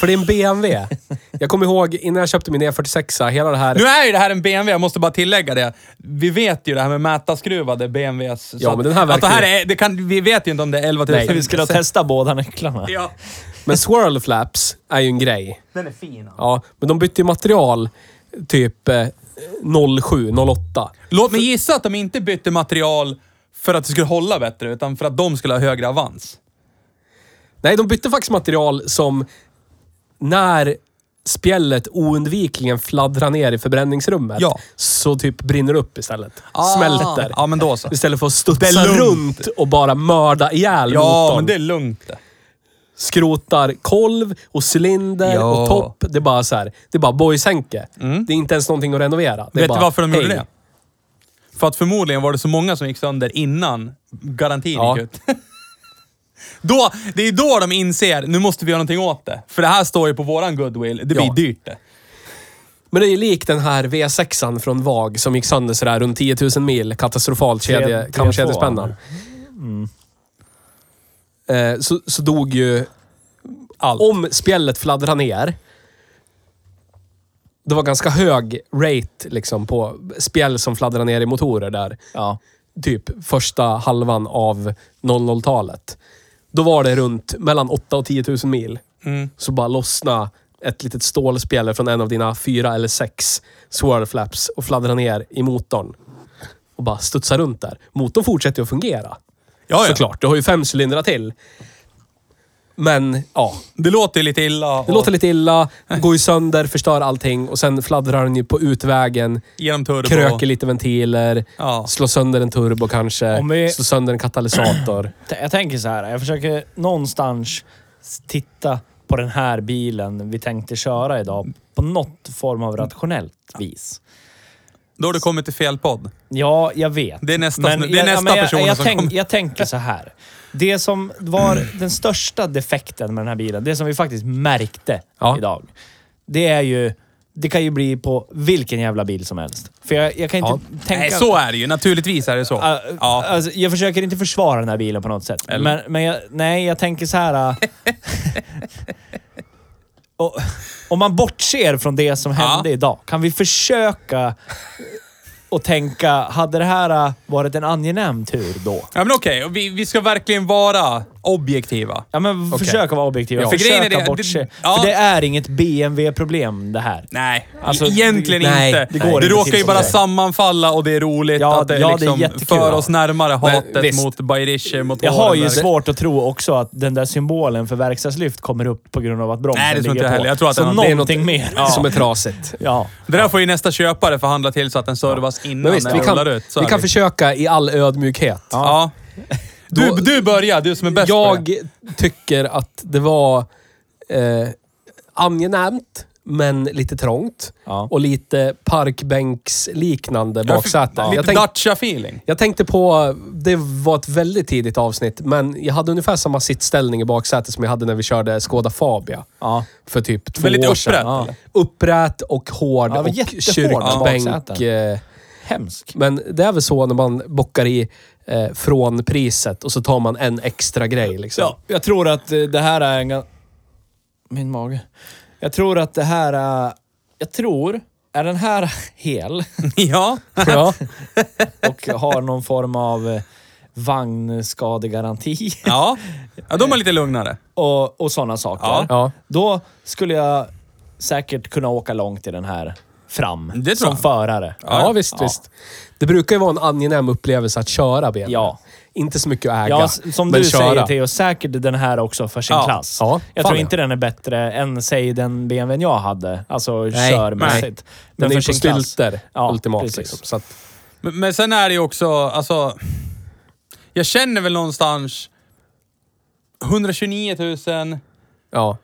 Speaker 3: för det är en BMW. Jag kommer ihåg innan jag köpte min E46, hela det här...
Speaker 2: Nu är ju det här en BMW, jag måste bara tillägga det. Vi vet ju det här med mätarskruvade BMWs. Så
Speaker 3: Ja, men
Speaker 2: att-
Speaker 3: den här verkar
Speaker 2: att det här
Speaker 3: ju-
Speaker 2: är, det kan, Vi vet ju inte om det är 11 000.
Speaker 3: Nej,
Speaker 1: vi skulle testa båda nycklarna.
Speaker 2: Ja.
Speaker 3: Men swirl flaps är ju en grej.
Speaker 2: Den är fin. alltså.
Speaker 3: Ja, men de bytte ju material typ eh, 07, 08.
Speaker 2: Låt mig gissa att de inte bytte material för att det skulle hålla bättre, utan för att de skulle ha högre avans.
Speaker 3: Nej, de bytte faktiskt material som när spjället oundvikligen fladdrar ner i förbränningsrummet.
Speaker 2: Ja. Ah,
Speaker 3: Så typ brinner upp istället. Smälter.
Speaker 2: Ja, men då så.
Speaker 3: Istället för att
Speaker 2: Det
Speaker 3: studsa
Speaker 2: är lugnt.
Speaker 3: runt och bara mörda ihjäl
Speaker 2: Ja,
Speaker 3: motorn.
Speaker 2: men det är lugnt det.
Speaker 3: Skrotar kolv och cylinder
Speaker 2: Ja. Mm.
Speaker 3: och topp. Det är bara så här. Det är bara boyshänke. Det är inte ens någonting att renovera. Det är
Speaker 2: Vet
Speaker 3: bara,
Speaker 2: du varför de gjorde
Speaker 3: hej.
Speaker 2: det? För att förmodligen var det så många som gick sönder innan garantin
Speaker 3: Ja.
Speaker 2: gick ut. då, det är då de inser, nu måste vi göra någonting åt det. För det här står ju på våran goodwill. Det blir
Speaker 3: Ja.
Speaker 2: dyrt det.
Speaker 3: Men det är ju likt den här V6an från VAG som gick sönder sådär runt 10 000 mil. Katastrofalt kedje,
Speaker 1: Tre- Mm.
Speaker 3: kamkedjespännan. Eh, så, så dog ju... Allt. Om spjället fladdrade ner. Det var ganska hög rate liksom på spjäll som fladdrar ner i motorer där.
Speaker 1: Ja.
Speaker 3: Typ första halvan av 00-talet. Då var det runt mellan 8 och 10 000 mil
Speaker 2: Mm.
Speaker 3: så bara lossna ett litet stålspjälle från en av dina fyra eller sex swirl flaps och fladdra ner i motorn. Och bara studsa runt där. Motorn fortsätter ju att fungera.
Speaker 2: Ja, ja.
Speaker 3: Såklart, du har ju fem cylindrar till. Men ja,
Speaker 2: Det låter ju lite illa.
Speaker 3: det låter lite illa, går ju sönder, förstör allting och sen fladdrar den ju på utvägen,
Speaker 2: Genom turbo.
Speaker 3: kröker lite ventiler,
Speaker 2: Ja.
Speaker 3: slår sönder en turbo kanske,
Speaker 1: Om vi-
Speaker 3: slår sönder en katalysator.
Speaker 1: T- Jag tänker så här, jag försöker någonstans s- titta på den här bilen vi tänkte köra idag på något form av rationellt vis.
Speaker 2: Då har du kommit till fel podd.
Speaker 1: Ja, jag vet.
Speaker 2: Det är nästa,
Speaker 1: Men
Speaker 2: snu- det är
Speaker 1: jag- ja,
Speaker 2: nästa
Speaker 1: men jag,
Speaker 2: person
Speaker 1: jag
Speaker 2: som
Speaker 1: tänk,
Speaker 2: kommer. Mm.
Speaker 1: Jag tänker så här. Det som var den största defekten med den här bilen, det som vi faktiskt märkte
Speaker 3: Ja.
Speaker 1: idag, det är ju... Det kan ju bli på vilken jävla bil som helst. För jag, jag kan inte tänka...
Speaker 2: Nej, så är det ju. Naturligtvis är det så.
Speaker 3: Äh,
Speaker 1: Ah,
Speaker 2: ja.
Speaker 1: Alltså, jag försöker inte försvara den här bilen på något sätt.
Speaker 2: Eller?
Speaker 1: Men, men jag, nej, jag tänker så här... ah. och, om man bortser från det som hände
Speaker 2: Ja.
Speaker 1: idag, kan vi försöka och tänka, hade det här ah, varit en angenäm tur då?
Speaker 2: ja, men okej. Och Vi, vi ska verkligen vara objektiva.
Speaker 1: Ja, men försöka vara objektiva.
Speaker 2: Ja. För grejen är
Speaker 1: Försöka
Speaker 2: det-
Speaker 1: bortse.
Speaker 2: det- ja.
Speaker 1: För det är inget BMW-problem det här.
Speaker 2: Nej,
Speaker 1: Alltså,
Speaker 2: egentligen
Speaker 3: nej,
Speaker 2: inte.
Speaker 1: det
Speaker 2: Det,
Speaker 1: går inte till
Speaker 2: råkar ju
Speaker 1: så
Speaker 2: bara
Speaker 1: där.
Speaker 2: sammanfalla och det är roligt
Speaker 1: Ja,
Speaker 2: att det,
Speaker 1: ja, det är
Speaker 2: liksom
Speaker 1: jättekul,
Speaker 2: för
Speaker 1: ja.
Speaker 2: oss närmare hatet
Speaker 3: visst.
Speaker 2: mot Bayerisch, mot
Speaker 1: Jag har ju
Speaker 2: Hårenberg.
Speaker 1: svårt att tro också att den där symbolen för verkstadslyft kommer upp på grund av att bromsen
Speaker 2: Nej, det tror inte
Speaker 1: ligger
Speaker 2: jag
Speaker 1: på.
Speaker 2: heller. Jag tror att
Speaker 1: Så
Speaker 2: den-
Speaker 3: Det är
Speaker 1: någonting mer.
Speaker 3: något som är trasigt.
Speaker 1: Ja.
Speaker 2: Det där får ju nästa köpare förhandla till så att den servas innan
Speaker 3: Men visst,
Speaker 2: den
Speaker 3: vi
Speaker 2: rullar
Speaker 3: kan,
Speaker 2: ut. Så
Speaker 3: vi
Speaker 2: är
Speaker 3: kan
Speaker 2: det.
Speaker 3: försöka i all ödmjukhet.
Speaker 2: Ja. Du,
Speaker 3: Då-
Speaker 2: du börjar, du som är bäst på det.
Speaker 3: Jag tycker att det var eh, angenämt, men lite trångt.
Speaker 1: Ja.
Speaker 3: Och lite parkbänksliknande baksäte.
Speaker 2: Lite
Speaker 3: Jag, tänk,
Speaker 2: Dacia-feeling.
Speaker 3: jag tänkte på, det var ett väldigt tidigt avsnitt, men jag hade ungefär samma sittställning i baksätet som jag hade när vi körde Skoda Fabia.
Speaker 1: Ja.
Speaker 3: För typ två
Speaker 2: Men lite
Speaker 3: år sedan.
Speaker 2: upprätt,
Speaker 3: Ja.
Speaker 2: eller?
Speaker 3: Upprätt och hård
Speaker 1: Ja, det var
Speaker 3: och
Speaker 1: jättehård
Speaker 3: kyrkbänk.
Speaker 1: baksäten.
Speaker 3: eh,
Speaker 1: Hemsk.
Speaker 3: Men det är väl så när man bockar i eh, från priset och så tar man en extra grej. Liksom.
Speaker 1: Ja, jag tror att eh, det här är en... gan- Min mage. Jag tror att det här är... Jag tror... Är den här hel
Speaker 2: Ja.
Speaker 3: Ja.
Speaker 1: och har någon form av eh, vagnskadegaranti
Speaker 2: Ja. ja, de är lite lugnare.
Speaker 1: och, och sådana saker.
Speaker 2: Ja.
Speaker 3: Ja.
Speaker 1: Då skulle jag säkert kunna åka långt i den här fram.
Speaker 2: Det tror
Speaker 1: som
Speaker 2: jag.
Speaker 1: förare.
Speaker 3: Ja, visst, visst. Det brukar ju vara en angenäm upplevelse att köra BMW.
Speaker 1: Ja.
Speaker 3: Inte så mycket att äga,
Speaker 1: Ja, s- som
Speaker 3: men
Speaker 1: du
Speaker 3: köra.
Speaker 1: säger Theo, säkert den här också för sin
Speaker 2: Ja.
Speaker 1: klass.
Speaker 3: Ja,
Speaker 1: jag
Speaker 3: fan
Speaker 1: tror
Speaker 3: ja.
Speaker 1: inte den är bättre än, säg, den BMWn jag hade. Alltså
Speaker 3: Nej,
Speaker 1: körmässigt.
Speaker 3: Den, är
Speaker 1: för
Speaker 3: ju på
Speaker 1: sin klass.
Speaker 3: stylter,
Speaker 1: Ja,
Speaker 3: ultimat.
Speaker 1: precis.
Speaker 3: Liksom. Så att,
Speaker 2: Men, men sen är det ju också, alltså... Jag känner väl någonstans 129 000.
Speaker 3: ja.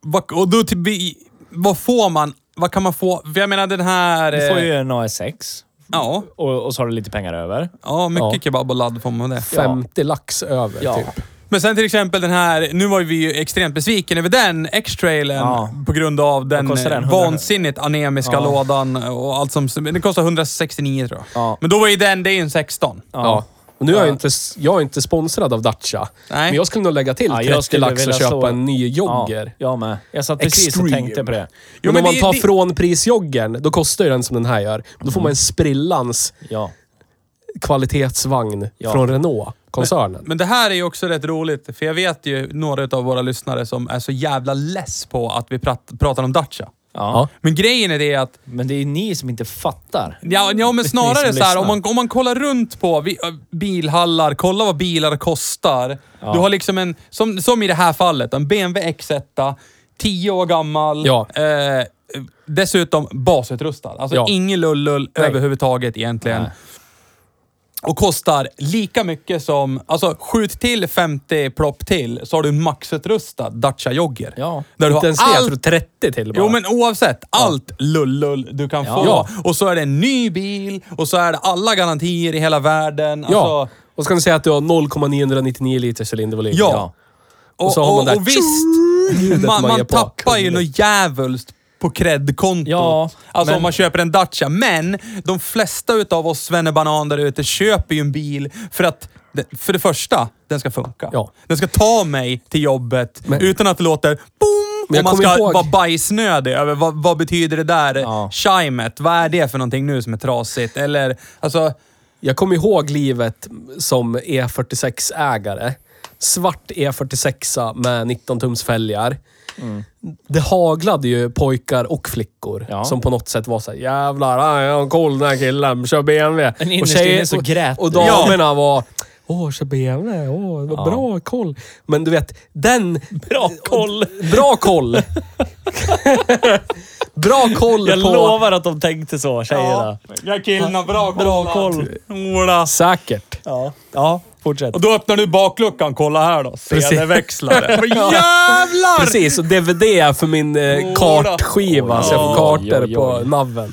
Speaker 2: Vad, och då typ, vi- vad får man? Vad kan man få? För jag menar den här...
Speaker 1: Du får ju
Speaker 2: eh,
Speaker 1: en AS6
Speaker 2: ja,
Speaker 1: och, och så har du lite pengar över.
Speaker 2: ja, mycket
Speaker 3: Ja.
Speaker 2: kebab och ladd får man med det.
Speaker 3: 50 lax över,
Speaker 1: Ja.
Speaker 3: typ.
Speaker 2: Men sen till exempel den här, nu var ju vi ju extremt besviken över den X-trailen
Speaker 1: Ja.
Speaker 2: på grund av den,
Speaker 1: kostar den?
Speaker 2: eh, vansinnigt anemiska
Speaker 1: Ja.
Speaker 2: lådan och allt som... Den kostar 169 tror jag.
Speaker 1: Ja.
Speaker 2: Men då var ju den, det är ju en 16.
Speaker 3: Ja. Och nu är jag, inte, jag är inte sponsrad av Dacia,
Speaker 2: Nej.
Speaker 3: men jag skulle nog lägga till
Speaker 1: Ja, jag
Speaker 3: 30
Speaker 1: skulle
Speaker 3: lax och
Speaker 1: vilja
Speaker 3: köpa
Speaker 1: slå-
Speaker 3: en ny
Speaker 1: Ja,
Speaker 3: jogger.
Speaker 1: jag med. Jag satt precis och
Speaker 3: Extreme.
Speaker 1: tänkte på det.
Speaker 2: Jo,
Speaker 3: men,
Speaker 2: men
Speaker 3: om man
Speaker 2: det- Mm.
Speaker 3: tar
Speaker 2: det-
Speaker 3: från prisjoggen, då kostar ju den som den här gör. Då får man en sprillans
Speaker 1: Ja.
Speaker 3: kvalitetsvagn
Speaker 1: Ja.
Speaker 3: från Renault-koncernen.
Speaker 2: Men det här är ju också rätt roligt, för jag vet ju några av våra lyssnare som är så jävla less på att vi prat, pratar om Dacia.
Speaker 1: Ja.
Speaker 2: Men grejen är det att
Speaker 1: Men det är ju ni som inte fattar.
Speaker 2: Ja, ja men
Speaker 1: Ni
Speaker 2: snarare
Speaker 1: som
Speaker 2: så här,
Speaker 1: lyssnar.
Speaker 2: om man, om man kollar runt på vi, äh, bilhallar, kolla vad bilar kostar. Du har liksom en, som, som i det här fallet, en BMW X1, tio år gammal.
Speaker 3: Ja.
Speaker 2: Eh, dessutom basutrustad. Alltså
Speaker 3: Ja.
Speaker 2: ingen lullull
Speaker 3: Nej.
Speaker 2: överhuvudtaget egentligen. Och kostar lika mycket som... Alltså skjut till 50 plopp till så har du en maxutrustad Dacia Jogger.
Speaker 1: Ja.
Speaker 2: Där du
Speaker 3: Inte
Speaker 2: har
Speaker 3: ens det, jag
Speaker 2: allt
Speaker 3: tror 30 till bara.
Speaker 2: Jo, men oavsett. Allt lullull du kan få.
Speaker 1: Ja.
Speaker 2: Och så är det en ny bil och så är det alla garantier i hela världen.
Speaker 3: Ja.
Speaker 2: Alltså,
Speaker 3: Och så kan du säga att du har 0,999 liters cylindervolym.
Speaker 2: ja. Och,
Speaker 3: så har man
Speaker 2: och,
Speaker 3: det här
Speaker 2: och visst,
Speaker 3: ljudet
Speaker 2: man,
Speaker 3: man
Speaker 2: man,
Speaker 3: ger på
Speaker 2: tappar ju
Speaker 3: kunden.
Speaker 2: något djävulskt på credkontot.
Speaker 1: Ja,
Speaker 2: alltså
Speaker 1: men-
Speaker 2: om man köper en Dacia. Men de flesta utav oss svennebanan där ute köper ju en bil för att, för det första, den ska funka.
Speaker 3: Ja.
Speaker 2: Den ska ta mig till jobbet
Speaker 3: Men-
Speaker 2: utan att det låter boom!
Speaker 3: Men jag
Speaker 2: och man
Speaker 3: kommer
Speaker 2: ska
Speaker 3: ihåg-
Speaker 2: vara bajsnödig över vad, vad betyder det där
Speaker 1: Ja.
Speaker 2: chimet? Vad är det för någonting nu som är trasigt? Eller, alltså,
Speaker 3: Jag kommer ihåg livet som E46-ägare. Svart E46 med 19 tums fälgar. Det haglade ju pojkar och flickor
Speaker 1: Mm. Ja.
Speaker 3: som på något sätt var såhär “Jävlar, han är cool den här killen, kör BMW”.
Speaker 1: Men innerst inne så
Speaker 3: och,
Speaker 1: grät
Speaker 3: Och
Speaker 1: du.
Speaker 3: damerna var “Åh, kör BMW, åh, vad bra koll”. Men du vet, den...
Speaker 1: Bra koll!
Speaker 3: Bra koll! bra koll
Speaker 1: Jag
Speaker 3: på...
Speaker 1: lovar att de tänkte så, tjejerna.
Speaker 2: jag killarna, bra
Speaker 1: Bra koll.
Speaker 2: Ola.
Speaker 3: Säkert.
Speaker 1: Ja, ja fortsätt.
Speaker 2: Mm. Och då öppnar du bakluckan. Kolla här då.
Speaker 3: Precis.
Speaker 2: CD-växlare. Men Jävlar!
Speaker 3: Precis, och DVD är för min eh, kartskiva, så jag får
Speaker 1: Oj,
Speaker 3: kartor
Speaker 1: oj,
Speaker 3: på
Speaker 1: oj.
Speaker 3: naveln.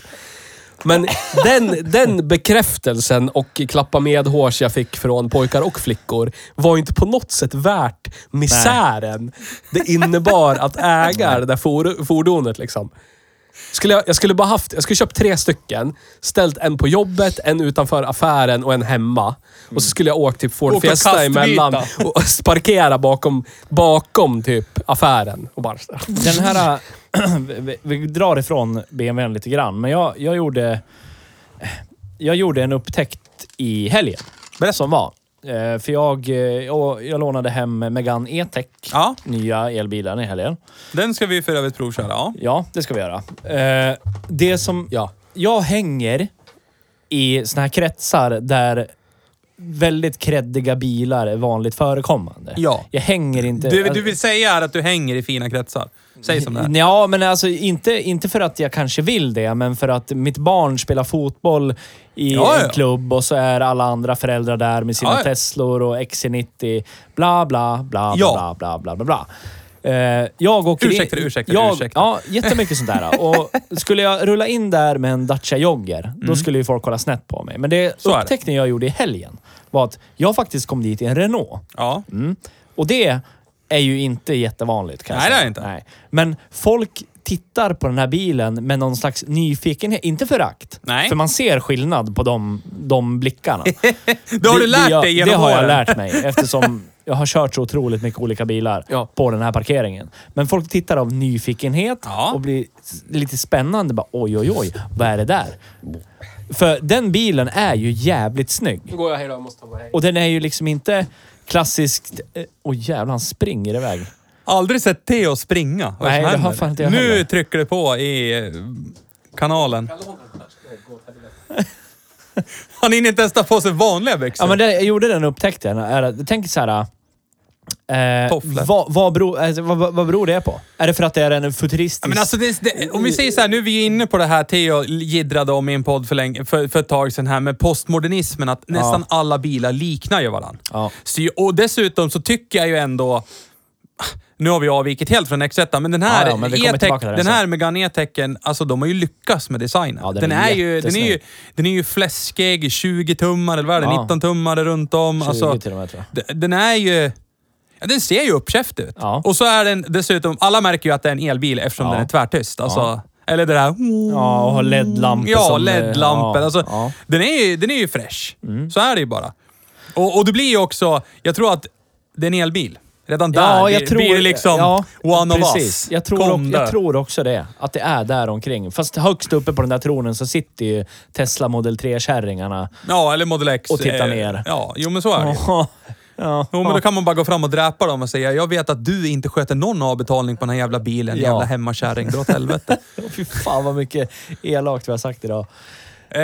Speaker 3: Men den, den bekräftelsen och klappa med hårs jag fick från pojkar och flickor var inte på något sätt värt misären det innebar att äga det där for, fordonet. Liksom. Skulle jag, jag skulle bara haft, jag skulle köpt tre stycken, ställt en på jobbet, en utanför affären och en hemma. Och så skulle jag åkt till Ford
Speaker 2: Åka
Speaker 3: Fiesta
Speaker 2: kastbyta.
Speaker 3: emellan och parkera bakom, bakom typ affären. Och bara...
Speaker 1: Den här... vi, vi drar ifrån BMWn lite grann, men jag, jag gjorde... Jag gjorde en upptäckt i helgen. Berätta. Som var. Eh, För jag, eh, jag, jag lånade hem Megane E-Tech.
Speaker 2: Ja,
Speaker 1: Nya elbilen i helgen.
Speaker 2: den ska vi för övrigt provköra. Ja.
Speaker 1: Ja, det ska vi göra. Eh, Det som...
Speaker 3: Ja.
Speaker 1: Jag hänger i såna här kretsar där väldigt kreddiga bilar är vanligt förekommande.
Speaker 2: Ja.
Speaker 1: Jag hänger inte...
Speaker 2: Du, du vill säga här att du hänger i fina kretsar. Säg som det är.
Speaker 1: Ja, men alltså inte, inte för att jag kanske vill det, men för att mitt barn spelar fotboll i
Speaker 2: Ja, ja.
Speaker 1: en klubb och så är alla andra föräldrar där med sina
Speaker 2: Ja, ja.
Speaker 1: Teslor och XC90. Bla, bla, bla,
Speaker 2: Ja.
Speaker 1: bla, bla, bla, bla, bla. Eh, jag åker
Speaker 2: Ursäkta,
Speaker 1: in,
Speaker 2: ursäkta,
Speaker 1: jag,
Speaker 2: ursäkta.
Speaker 1: Ja, jättemycket sånt där. Och skulle jag rulla in där med en Dacia Jogger, då skulle ju folk kolla snett på mig. Men det
Speaker 2: Mm. Så är det.
Speaker 1: upptäckten jag gjorde i helgen var att jag faktiskt kom dit i en Renault.
Speaker 2: Ja.
Speaker 1: Mm. Och det är ju inte jättevanligt. Kan jag
Speaker 2: Nej, det är
Speaker 1: säga.
Speaker 2: det inte.
Speaker 1: Nej. Men folk tittar på den här bilen med någon slags nyfikenhet. Inte förakt.
Speaker 2: Nej.
Speaker 1: För man ser skillnad på de, de blickarna.
Speaker 2: Det har du lärt
Speaker 1: jag,
Speaker 2: dig genom
Speaker 1: Det har jag
Speaker 2: åren.
Speaker 1: lärt mig eftersom jag har kört så otroligt mycket olika bilar
Speaker 3: Ja.
Speaker 1: på den här parkeringen. Men folk tittar av nyfikenhet
Speaker 2: Ja.
Speaker 1: och blir s- lite spännande. Bara, oj, oj, oj. Vad är det där? För den bilen är ju jävligt snygg.
Speaker 3: Nu går jag, hejdå. Jag måste ta mig
Speaker 1: Och den är ju liksom inte klassiskt... eh, Oj jävlar, han springer iväg.
Speaker 2: Aldrig sett Theo springa. Vad är
Speaker 1: Nej,
Speaker 2: som
Speaker 1: det har
Speaker 2: händer?
Speaker 1: fan inte jag
Speaker 2: Nu
Speaker 1: heller.
Speaker 2: trycker du på i eh, kanalen. Han hinner inte ens ta på sig vanliga byxor.
Speaker 1: Ja, men det, jag gjorde den upptäckten. Är att, tänk så här... Eh,
Speaker 2: Tofflor.
Speaker 1: vad, vad, beror, alltså, vad, vad- vad beror det på? Är det för att det är en futuristisk...
Speaker 2: Ja, men alltså, det, det, om vi säger så här, nu är vi inne på det här Theo jiddrade om i en podd för, länge, för, för ett tag sedan här med postmodernismen, att nästan alla bilar liknar ju varandra.
Speaker 1: Ja.
Speaker 2: Så, och dessutom så tycker jag ju ändå, nu har vi avvikit helt från x men den här, E
Speaker 1: Ja, ja, men vi kommer
Speaker 2: E-Tech-
Speaker 1: tillbaka till den
Speaker 2: den här
Speaker 1: sen.
Speaker 2: Megane E-Techen, alltså de har ju lyckats med designen.
Speaker 1: Ja, den
Speaker 2: den,
Speaker 1: är
Speaker 2: är ju, den, är ju,
Speaker 1: jättesnygg.
Speaker 2: den är ju fläskig, 20 tummar eller vad är det,
Speaker 1: Ja.
Speaker 2: 19 tummar runt om.
Speaker 1: 20
Speaker 2: alltså,
Speaker 1: till och med, tror
Speaker 2: d- den är ju... Ja, den ser ju uppkäftig ut.
Speaker 1: Ja.
Speaker 2: Och så är den dessutom, alla märker ju att det är en elbil eftersom
Speaker 1: Ja.
Speaker 2: den är tvärtyst. Alltså, Eller det där...
Speaker 1: Ja, och har LED-lampor
Speaker 2: Ja,
Speaker 1: som, eh,
Speaker 2: LED-lampor.
Speaker 1: ja,
Speaker 2: alltså,
Speaker 1: ja. Mm.
Speaker 2: Den, är ju, den är ju fräsch. Så är det ju bara. Och, och det blir ju också, jag tror att det är en elbil. Redan där
Speaker 1: Ja,
Speaker 2: blir-
Speaker 1: jag tror...
Speaker 2: blir det liksom
Speaker 1: ja,
Speaker 2: one of
Speaker 1: precis.
Speaker 2: us.
Speaker 1: Jag tror,
Speaker 2: Kom
Speaker 1: och, jag
Speaker 2: där.
Speaker 1: tror också det. Att det är där omkring. Fast högst uppe på den där tronen så sitter ju Tesla Model 3-kärringarna.
Speaker 2: Ja, eller Model X.
Speaker 1: Och titta
Speaker 2: eh,
Speaker 1: ner.
Speaker 2: Ja, jo men så är det ju.
Speaker 1: Ja. Ja.
Speaker 2: Jo, men då kan man bara gå fram och dräpa dem och säga jag vet att du inte sköter någon avbetalning på den här jävla bilen,
Speaker 1: Ja.
Speaker 2: jävla hemmakärring. Dra åt helvete.
Speaker 1: Fy fan vad mycket elakt vi har sagt idag.
Speaker 2: Eh,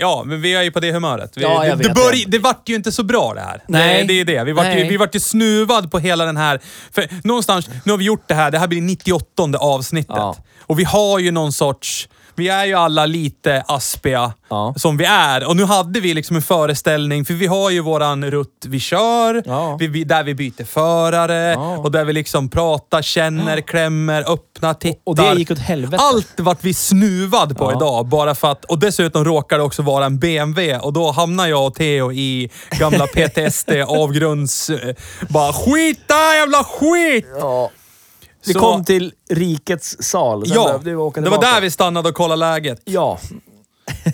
Speaker 2: ja, men vi är ju på det humöret. Vi,
Speaker 1: Ja, jag
Speaker 2: det,
Speaker 1: vet
Speaker 2: det, börj-
Speaker 1: det.
Speaker 2: det vart ju inte så bra det här.
Speaker 1: Nej.
Speaker 2: Det, det är det. Vi vart, ju,
Speaker 1: Nej.
Speaker 2: vi vart ju snuvad på hela den här... För någonstans, nu har vi gjort det här. Det här blir 98 avsnittet.
Speaker 1: Ja.
Speaker 2: Och vi har ju någon sorts... Vi är ju alla lite aspiga
Speaker 1: Ja.
Speaker 2: som vi är. Och nu hade vi liksom en föreställning, för vi har ju våran rutt vi kör,
Speaker 1: Ja.
Speaker 2: vi, vi, där vi byter förare
Speaker 1: Ja.
Speaker 2: och där vi liksom pratar, känner, klämmer, öppnar, tittar.
Speaker 1: Och det gick åt helvete.
Speaker 2: Allt vart vi snuvad på
Speaker 1: Ja.
Speaker 2: idag. Bara för att, och dessutom råkar det också vara en BMW och då hamnar jag och Theo i gamla PTSD-avgrunds... eh, Bara skit där, jävla skit!
Speaker 1: Vi
Speaker 2: Så-
Speaker 1: kom till rikets sal. Sen
Speaker 2: Ja,
Speaker 1: behövde vi åka
Speaker 2: det var
Speaker 1: tillbaka.
Speaker 2: där vi stannade och kollade läget.
Speaker 1: Ja.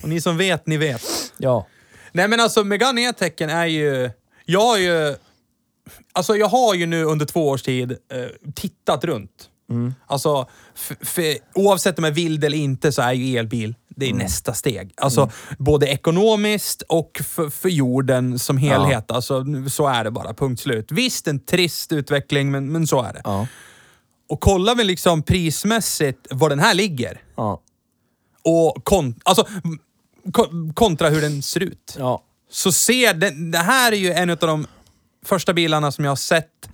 Speaker 2: Och ni som vet, ni vet.
Speaker 1: Ja.
Speaker 2: Nej men alltså Megane E-tecken är ju... Jag har ju... Alltså jag har ju nu under två års tid eh, tittat runt.
Speaker 1: Mm.
Speaker 2: Alltså, f- f- oavsett om jag vill det eller inte så är ju elbil det
Speaker 1: Mm.
Speaker 2: är nästa steg. Alltså både ekonomiskt och för, för jorden som helhet. Alltså, nu- så är det bara, punkt slut. Visst, en trist utveckling, men, men så är det.
Speaker 1: Ja.
Speaker 2: Och kollar vi liksom prismässigt var den här ligger
Speaker 1: Ja.
Speaker 2: och kon- alltså, m- ko- kontra hur den ser ut
Speaker 1: ja.
Speaker 2: så ser den, det här är ju en av de första bilarna som jag har sett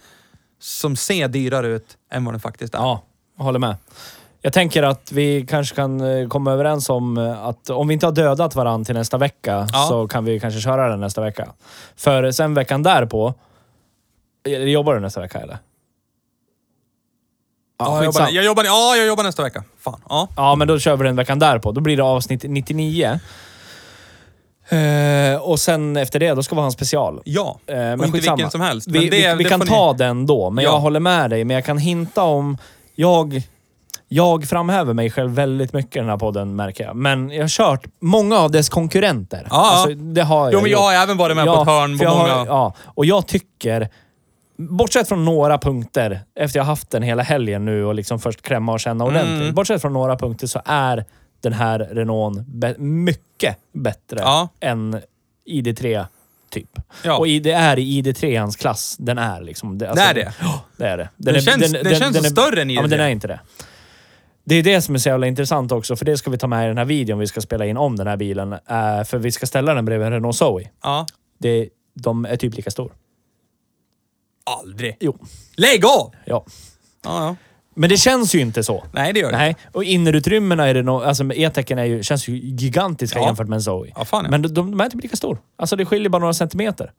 Speaker 2: som ser dyrare ut än vad den faktiskt är.
Speaker 1: Ja, jag håller med. Jag tänker att vi kanske kan eh, komma överens om eh, att om vi inte har dödat varandra till nästa vecka
Speaker 2: Ja.
Speaker 1: så kan vi kanske köra den nästa vecka. För sen veckan därpå... Eller Jobbar du nästa vecka eller?
Speaker 2: Ja, jag, jobbar,
Speaker 1: skitsamma.
Speaker 2: jag, jobbar, ja, jag jobbar nästa vecka. Fan. Ja.
Speaker 1: Ja, men då kör vi den veckan därpå. Då blir det avsnitt 99. Eh, och sen efter det, då ska vi ha en special.
Speaker 2: ja.
Speaker 1: Eh, men
Speaker 2: och inte
Speaker 1: skitsamma.
Speaker 2: vilken som helst.
Speaker 1: Vi,
Speaker 2: men det,
Speaker 1: vi, vi
Speaker 2: det
Speaker 1: kan
Speaker 2: får ni-
Speaker 1: ta den då, men
Speaker 2: Ja.
Speaker 1: jag håller med dig. Men jag kan hinta om... Jag, jag framhäver mig själv väldigt mycket i den här podden, märker jag. Men jag har kört många av dess konkurrenter. Alltså,
Speaker 2: Ja, ja.
Speaker 1: det har jag
Speaker 2: Jo, men jag
Speaker 1: gjort.
Speaker 2: har även varit med på ett hörn
Speaker 1: för
Speaker 2: på
Speaker 1: jag
Speaker 2: många...
Speaker 1: Har, ja, och jag tycker... Bortsett från några punkter, efter jag haft den hela helgen nu och liksom först klämma och känna
Speaker 2: Mm.
Speaker 1: ordentligt. Bortsett från några punkter så är den här Renault be- mycket bättre
Speaker 2: Ja.
Speaker 1: än ID3, typ.
Speaker 2: Ja.
Speaker 1: Och i- det är i ID3-ans klass den är. Liksom, det,
Speaker 2: Det är det?
Speaker 1: Ja, det är det.
Speaker 2: Den
Speaker 1: är,
Speaker 2: känns- den känns
Speaker 1: är,
Speaker 2: större än
Speaker 1: Ja, men
Speaker 2: ID3.
Speaker 1: den är inte det. Det är det som är så jävla intressant också, för det ska vi ta med i den här videon vi ska spela in om den här bilen. Eh, för vi ska ställa den bredvid en Renault Zoe.
Speaker 2: ja.
Speaker 1: Det, de är typ lika stor.
Speaker 2: Aldrig.
Speaker 1: Jo.
Speaker 2: Lägg av! Ja,
Speaker 1: Ja.
Speaker 2: ja.
Speaker 1: Men det känns ju inte så.
Speaker 2: Nej, det gör det.
Speaker 1: Nej, och innerutrymmena i Renault, alltså med E-techen är ju, känns ju gigantiska
Speaker 2: Ja.
Speaker 1: jämfört med en Zoe.
Speaker 2: Ja, fan, ja.
Speaker 1: Men de, de är typ lika stor. Alltså det skiljer bara några centimeter.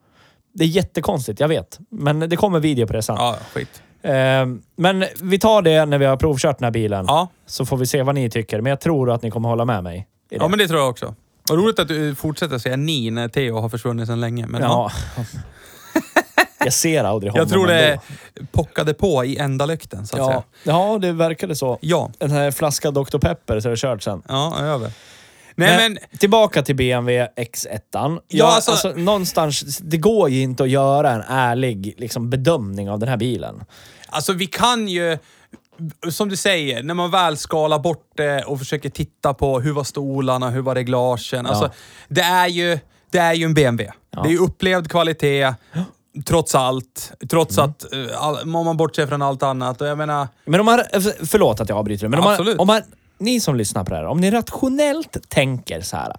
Speaker 1: Det är jättekonstigt, jag vet. Men det kommer video på det sen.
Speaker 2: Ja, ja, skit.
Speaker 1: Ehm, men vi tar det när vi har provkört den här bilen.
Speaker 2: Ja.
Speaker 1: Så får vi se vad ni tycker. Men jag tror att ni kommer hålla med mig. i det.
Speaker 2: ja, men det tror jag också. Vad roligt att du fortsätter säga ni när Theo har försvunnit sedan länge. Men, ja.
Speaker 1: Ja. jag ser aldrig honom
Speaker 2: Jag tror
Speaker 1: ändå.
Speaker 2: det pockade på i ändalykten, så att
Speaker 1: Ja.
Speaker 2: säga.
Speaker 1: ja, det verkade så.
Speaker 2: Ja.
Speaker 1: Den här flaskan Dr. Pepper så är det kört sen.
Speaker 2: Ja, över. Nej, men...
Speaker 1: Tillbaka till BMW X1. Ja,
Speaker 2: Ja,
Speaker 1: alltså,
Speaker 2: alltså-
Speaker 1: någonstans, det går ju inte att göra en ärlig liksom, bedömning av den här bilen.
Speaker 2: Alltså vi kan ju, som du säger, när man väl skalar bort det och försöker titta på hur var stolarna, hur var reglagen. Alltså,
Speaker 1: Ja.
Speaker 2: det, är ju, det är ju en BMW.
Speaker 1: Ja.
Speaker 2: Det är ju upplevd kvalitet, trots allt. Trots att, eh, all, om man bortser från allt annat. Och jag menar,
Speaker 1: Men om man, alltså, förlåt att jag avbryter det, men om man,
Speaker 2: Absolut.
Speaker 1: om man, ni som lyssnar på det här, om ni rationellt tänker så här.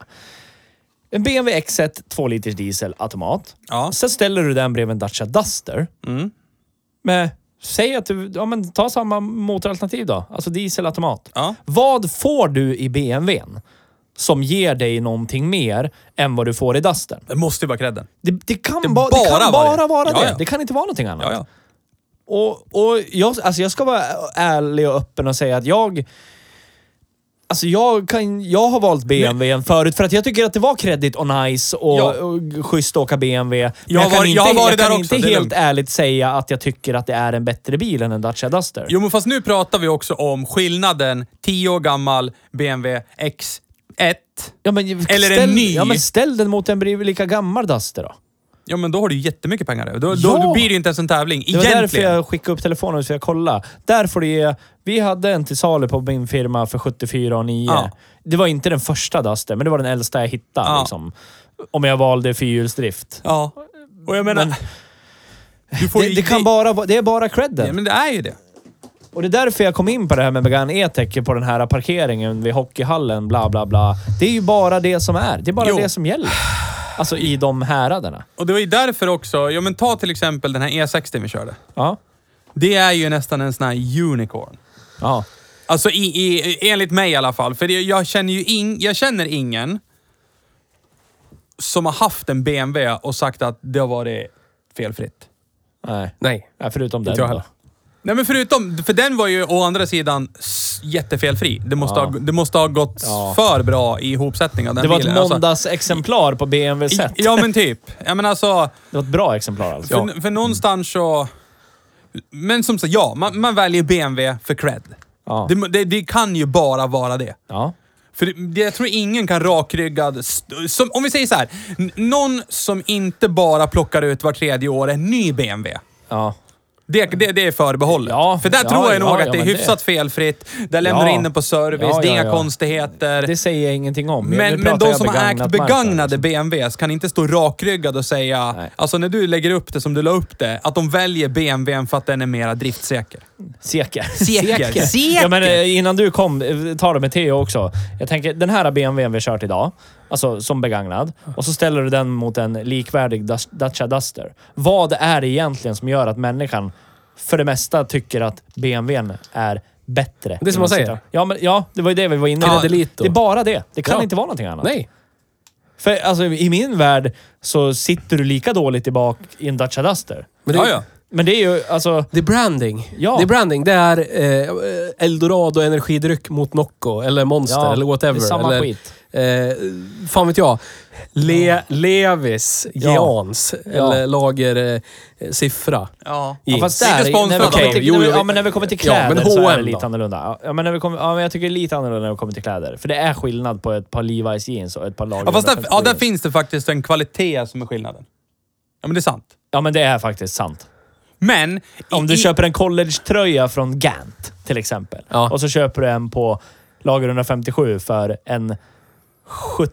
Speaker 1: En BMW X1 2 liters diesel automat.
Speaker 2: ja.
Speaker 1: Sen ställer du den bredvid en Dacia Duster.
Speaker 2: Mm.
Speaker 1: Med, säg att du, ja men ta samma motoralternativ då. Alltså diesel automat.
Speaker 2: Ja.
Speaker 1: Vad får du i BMWn som ger dig någonting mer än vad du får i Dustern?
Speaker 2: Det måste ju vara credden.
Speaker 1: Det, det kan,
Speaker 2: Det
Speaker 1: ba, det
Speaker 2: bara
Speaker 1: kan
Speaker 2: var det.
Speaker 1: bara vara
Speaker 2: Ja,
Speaker 1: det.
Speaker 2: ja.
Speaker 1: Det kan inte vara någonting annat.
Speaker 2: Ja, ja.
Speaker 1: Och, och jag, alltså jag ska vara ärlig och öppen och säga att jag... Alltså jag, kan, jag har valt BMWn förut för att jag tycker att det var kredit och nice och,
Speaker 2: Ja.
Speaker 1: och schysst att åka BMW. Men
Speaker 2: Jag har
Speaker 1: kan
Speaker 2: varit-
Speaker 1: inte,
Speaker 2: jag har varit
Speaker 1: jag kan
Speaker 2: där också,
Speaker 1: inte
Speaker 2: det är
Speaker 1: helt
Speaker 2: lugnt.
Speaker 1: ärligt säga att jag tycker att det är en bättre bil än en Dacia Duster.
Speaker 2: Jo, men fast nu pratar vi också om skillnaden 10 år gammal BMW X1.
Speaker 1: Ja, men,
Speaker 2: Eller en
Speaker 1: ställ,
Speaker 2: ny.
Speaker 1: Ja, men ställ den mot en bredvid lika gammal Duster då.
Speaker 2: Ja, men då har du ju jättemycket pengar över. Då,
Speaker 1: Ja.
Speaker 2: då, då blir det ju inte ens en tävling.
Speaker 1: Det var
Speaker 2: Egentligen.
Speaker 1: därför jag skickade upp telefonen så jag kollade. Där får du ge... Vi hade en till salu på min firma för 74 och 9.
Speaker 2: Ja.
Speaker 1: Det var inte den första Duster, men det var den äldsta jag hittade.
Speaker 2: Ja.
Speaker 1: Liksom. Om jag valde fyrhjulsdrift.
Speaker 2: Ja. Och jag menar...
Speaker 1: Men-
Speaker 2: du får
Speaker 1: Det,
Speaker 2: ju-
Speaker 1: det, kan bara, vara- det är bara credden.
Speaker 2: Ja, men det är ju det.
Speaker 1: Och det är därför jag kom in på det här med Megane E-Tech på den här parkeringen vid hockeyhallen, bla bla bla. Det är ju bara det som är. Det är bara
Speaker 2: Jo.
Speaker 1: det som gäller. Alltså i de häraderna.
Speaker 2: Och det var ju därför också, ja men ta till exempel den här E60 vi körde.
Speaker 1: Ja.
Speaker 2: Det är ju nästan en sån här unicorn.
Speaker 1: Ja.
Speaker 2: Alltså i, i, enligt mig i alla fall. För det, jag känner ju ing, jag känner ingen som har haft en BMW och sagt att det har varit felfritt.
Speaker 1: Nej.
Speaker 3: Nej.
Speaker 1: Nej, förutom den
Speaker 3: Inte jag
Speaker 1: då.
Speaker 3: heller.
Speaker 2: Nej men förutom, för den var ju å andra sidan s- jättefelfri. Det måste,
Speaker 1: Ja.
Speaker 2: ha, det måste ha gått
Speaker 1: Ja.
Speaker 2: för bra i ihopsättningen av den
Speaker 1: Det var
Speaker 2: bilen.
Speaker 1: ett måndagsexemplar på BMW-sätt.
Speaker 2: Alltså, ja men typ. Jag menar alltså,
Speaker 1: Det var ett bra exemplar alltså.
Speaker 2: för, för någonstans så... Men som sagt, ja, man, man väljer BMW för cred.
Speaker 1: Ja.
Speaker 2: Det, det, det kan ju bara vara det.
Speaker 1: Ja.
Speaker 2: För det, jag tror ingen kan rakryggad... st- Som, om vi säger så här. n- Någon som inte bara plockar ut var tredje år en ny BMW.
Speaker 1: Ja.
Speaker 2: Det, det, det är förbehållet.
Speaker 1: Ja,
Speaker 2: För där
Speaker 1: ja,
Speaker 2: tror jag
Speaker 1: ja,
Speaker 2: nog
Speaker 1: ja,
Speaker 2: att det är
Speaker 1: men
Speaker 2: hyfsat felfritt. Där lämnar du
Speaker 1: Ja.
Speaker 2: in den på service.
Speaker 1: Ja,
Speaker 2: det är
Speaker 1: ja,
Speaker 2: inga
Speaker 1: ja.
Speaker 2: konstigheter.
Speaker 1: Det säger jag ingenting om. Nu
Speaker 2: men, men
Speaker 1: pratar
Speaker 2: de
Speaker 1: jag
Speaker 2: som har ägt
Speaker 1: begagnat marknad.
Speaker 2: begagnade BMWs kan inte stå rakryggad och säga...
Speaker 1: Nej.
Speaker 2: Alltså när du lägger upp det som du la upp det, att de väljer BMWn för att den är mera driftsäker.
Speaker 1: Seker.
Speaker 2: Seker. Seker.
Speaker 1: Ja, men eh, innan du kom, eh, ta det med Theo också. Jag tänker, den här BMWn vi har kört idag, alltså som begagnad, och så ställer du den mot en likvärdig Dus- Dacia Duster. Vad är det egentligen som gör att människan för det mesta tycker att BMWn är bättre?
Speaker 3: Det är som man säger.
Speaker 1: Ja, men, ja, det var ju det vi var inne
Speaker 2: Ja,
Speaker 1: på.
Speaker 3: delete då.
Speaker 1: det är bara det. Det kan
Speaker 3: Ja.
Speaker 1: inte vara någonting annat.
Speaker 3: Nej.
Speaker 1: För alltså, i min värld så sitter du lika dåligt i bak i en Dacia Duster.
Speaker 3: Men det,
Speaker 2: ja, ja.
Speaker 1: Men det är ju alltså...
Speaker 3: det är branding.
Speaker 1: Ja.
Speaker 3: Det är branding. Det är eh, Eldorado energidryck mot Nocco eller Monster eller whatever.
Speaker 1: Det är samma
Speaker 3: eller,
Speaker 1: skit.
Speaker 3: Eh, fan vet jag. Le, Levis,
Speaker 1: Ja.
Speaker 3: Jeans eller lager eh, Siffra.
Speaker 2: Ja.
Speaker 3: Ja, fast
Speaker 2: Inte
Speaker 1: där, när
Speaker 2: sponsrad
Speaker 1: vi
Speaker 2: av
Speaker 1: kommer
Speaker 2: dem.
Speaker 1: till,
Speaker 3: Jo,
Speaker 1: när vi-
Speaker 3: jo,
Speaker 1: ja, men när vi kommer till
Speaker 3: ja,
Speaker 1: kläder
Speaker 3: men
Speaker 1: så är det
Speaker 3: H&M
Speaker 1: lite
Speaker 3: då?
Speaker 1: annorlunda. Ja, men när vi kommer, ja, men jag tycker det är lite annorlunda när vi kommer till kläder. För det är skillnad på ett par Levi's jeans och ett par lager.
Speaker 2: Ja, fast där,
Speaker 1: 150
Speaker 2: ja, där
Speaker 1: jeans.
Speaker 2: finns det faktiskt en kvalitet som är skillnaden. Ja, men det är sant.
Speaker 1: ja, men det är faktiskt sant.
Speaker 2: Men...
Speaker 1: Om du köper en college-tröja från Gant till exempel.
Speaker 3: Ja.
Speaker 1: Och så köper du en på lager 157 för en sjut,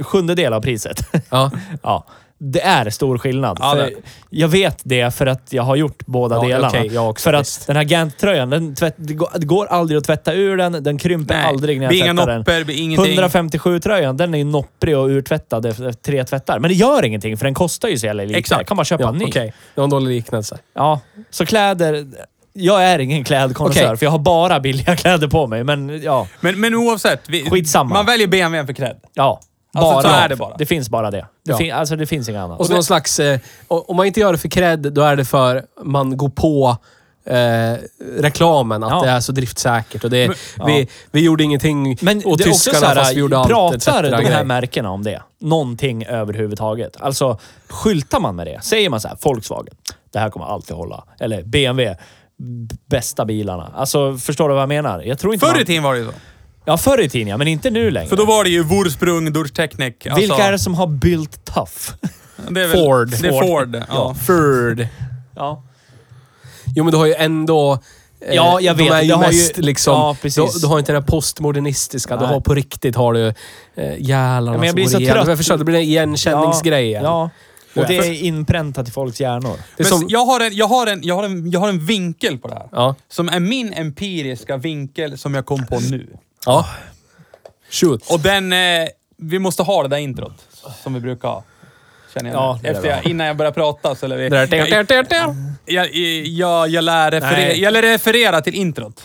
Speaker 1: sjundedel av priset.
Speaker 3: Ja.
Speaker 1: ja. Det är stor skillnad.
Speaker 2: Ja,
Speaker 1: för
Speaker 2: det-
Speaker 1: jag vet det för att jag har gjort båda
Speaker 3: Ja,
Speaker 1: delarna.
Speaker 3: okej, jag också,
Speaker 1: för att
Speaker 3: visst.
Speaker 1: den här Gant-tröjan, den tvätt, det, går, det går aldrig att tvätta ur den. Den krymper
Speaker 2: Nej,
Speaker 1: aldrig när
Speaker 2: det är
Speaker 1: jag
Speaker 2: inga
Speaker 1: tvättar den.
Speaker 2: nopper, det är ingenting.
Speaker 1: 157-tröjan, den är ju nopprig och urtvättad efter tre tvättar. Men det gör ingenting för den kostar ju så jävla lite.
Speaker 2: Exakt.
Speaker 1: Jag kan bara köpa
Speaker 3: Ja,
Speaker 1: en ny.
Speaker 3: Okej, det var en dålig liknelse.
Speaker 1: Ja, så kläder... Jag är ingen klädkonnässör,
Speaker 3: Okej.
Speaker 1: för jag har bara billiga kläder på mig. Men ja,
Speaker 2: Men, men oavsett. Vi,
Speaker 1: Skitsamma.
Speaker 2: Man väljer BMWn för cred.
Speaker 1: ja.
Speaker 2: Alltså, så är det
Speaker 1: det
Speaker 2: bara.
Speaker 1: finns bara det. Det,
Speaker 3: Ja.
Speaker 1: fin, alltså, det finns inget annat.
Speaker 3: Och så någon slags... Eh, o- om man inte gör det för cred, då är det för man går på eh, reklamen. Att
Speaker 1: Ja.
Speaker 3: det är så driftsäkert. Och det,
Speaker 1: Men-
Speaker 3: vi,
Speaker 1: ja.
Speaker 3: vi gjorde ingenting
Speaker 1: Men
Speaker 3: åt
Speaker 1: det är också så
Speaker 3: tyskarna fast vi gjorde
Speaker 1: här,
Speaker 3: allt.
Speaker 1: pratar
Speaker 3: etc.
Speaker 1: de här
Speaker 3: grej.
Speaker 1: märkena om det? Någonting överhuvudtaget? Alltså, skyltar man med det? Säger man så här, Volkswagen, det här kommer alltid hålla. Eller BMW, b- bästa bilarna. Alltså, förstår du vad jag menar? Jag tror inte
Speaker 2: Förr i
Speaker 1: man-
Speaker 2: tiden var det ju så.
Speaker 1: Ja, förr i tiden ja, men inte nu längre.
Speaker 2: För då var det ju Wursprung, Durch Technik. Alltså,
Speaker 1: Vilka är det som har built tough?
Speaker 2: det? Är väl,
Speaker 3: Ford.
Speaker 2: Det är Ford. Ja. Ja.
Speaker 3: Ford.
Speaker 1: ja.
Speaker 3: Jo, men du har ju ändå... eh,
Speaker 1: Ja, jag vet.
Speaker 3: De är
Speaker 1: Det
Speaker 3: ju
Speaker 1: har
Speaker 3: mest
Speaker 1: ju-
Speaker 3: liksom...
Speaker 1: Ja, precis.
Speaker 3: Du, du har inte den här postmodernistiska. Du
Speaker 1: Nej.
Speaker 3: har på riktigt har du eh, jävlarna
Speaker 1: men jag blir
Speaker 3: som
Speaker 1: så
Speaker 3: går igen.
Speaker 1: trött.
Speaker 3: Jag förstår, det blir den igenkänningsgrejen.
Speaker 1: Ja. Och det
Speaker 3: För-
Speaker 1: är inpräntat i folks hjärnor.
Speaker 3: Det är
Speaker 2: Men
Speaker 3: som,
Speaker 2: jag, har en, jag, har en, jag, har en, jag har en vinkel på det här.
Speaker 3: ja.
Speaker 2: Som är min empiriska vinkel som jag kom på nu.
Speaker 3: ja. Shoot.
Speaker 2: Och den... Eh, vi måste ha det där introt som vi brukar ha. Känner jag
Speaker 1: Ja,
Speaker 2: nu.
Speaker 1: det är
Speaker 2: Efter jag,
Speaker 1: bra.
Speaker 2: innan jag börjar prata så lär vi...
Speaker 3: Det där-
Speaker 2: Jag, jag, jag, jag, lär referera,
Speaker 1: Nej.
Speaker 2: jag lär referera till introt.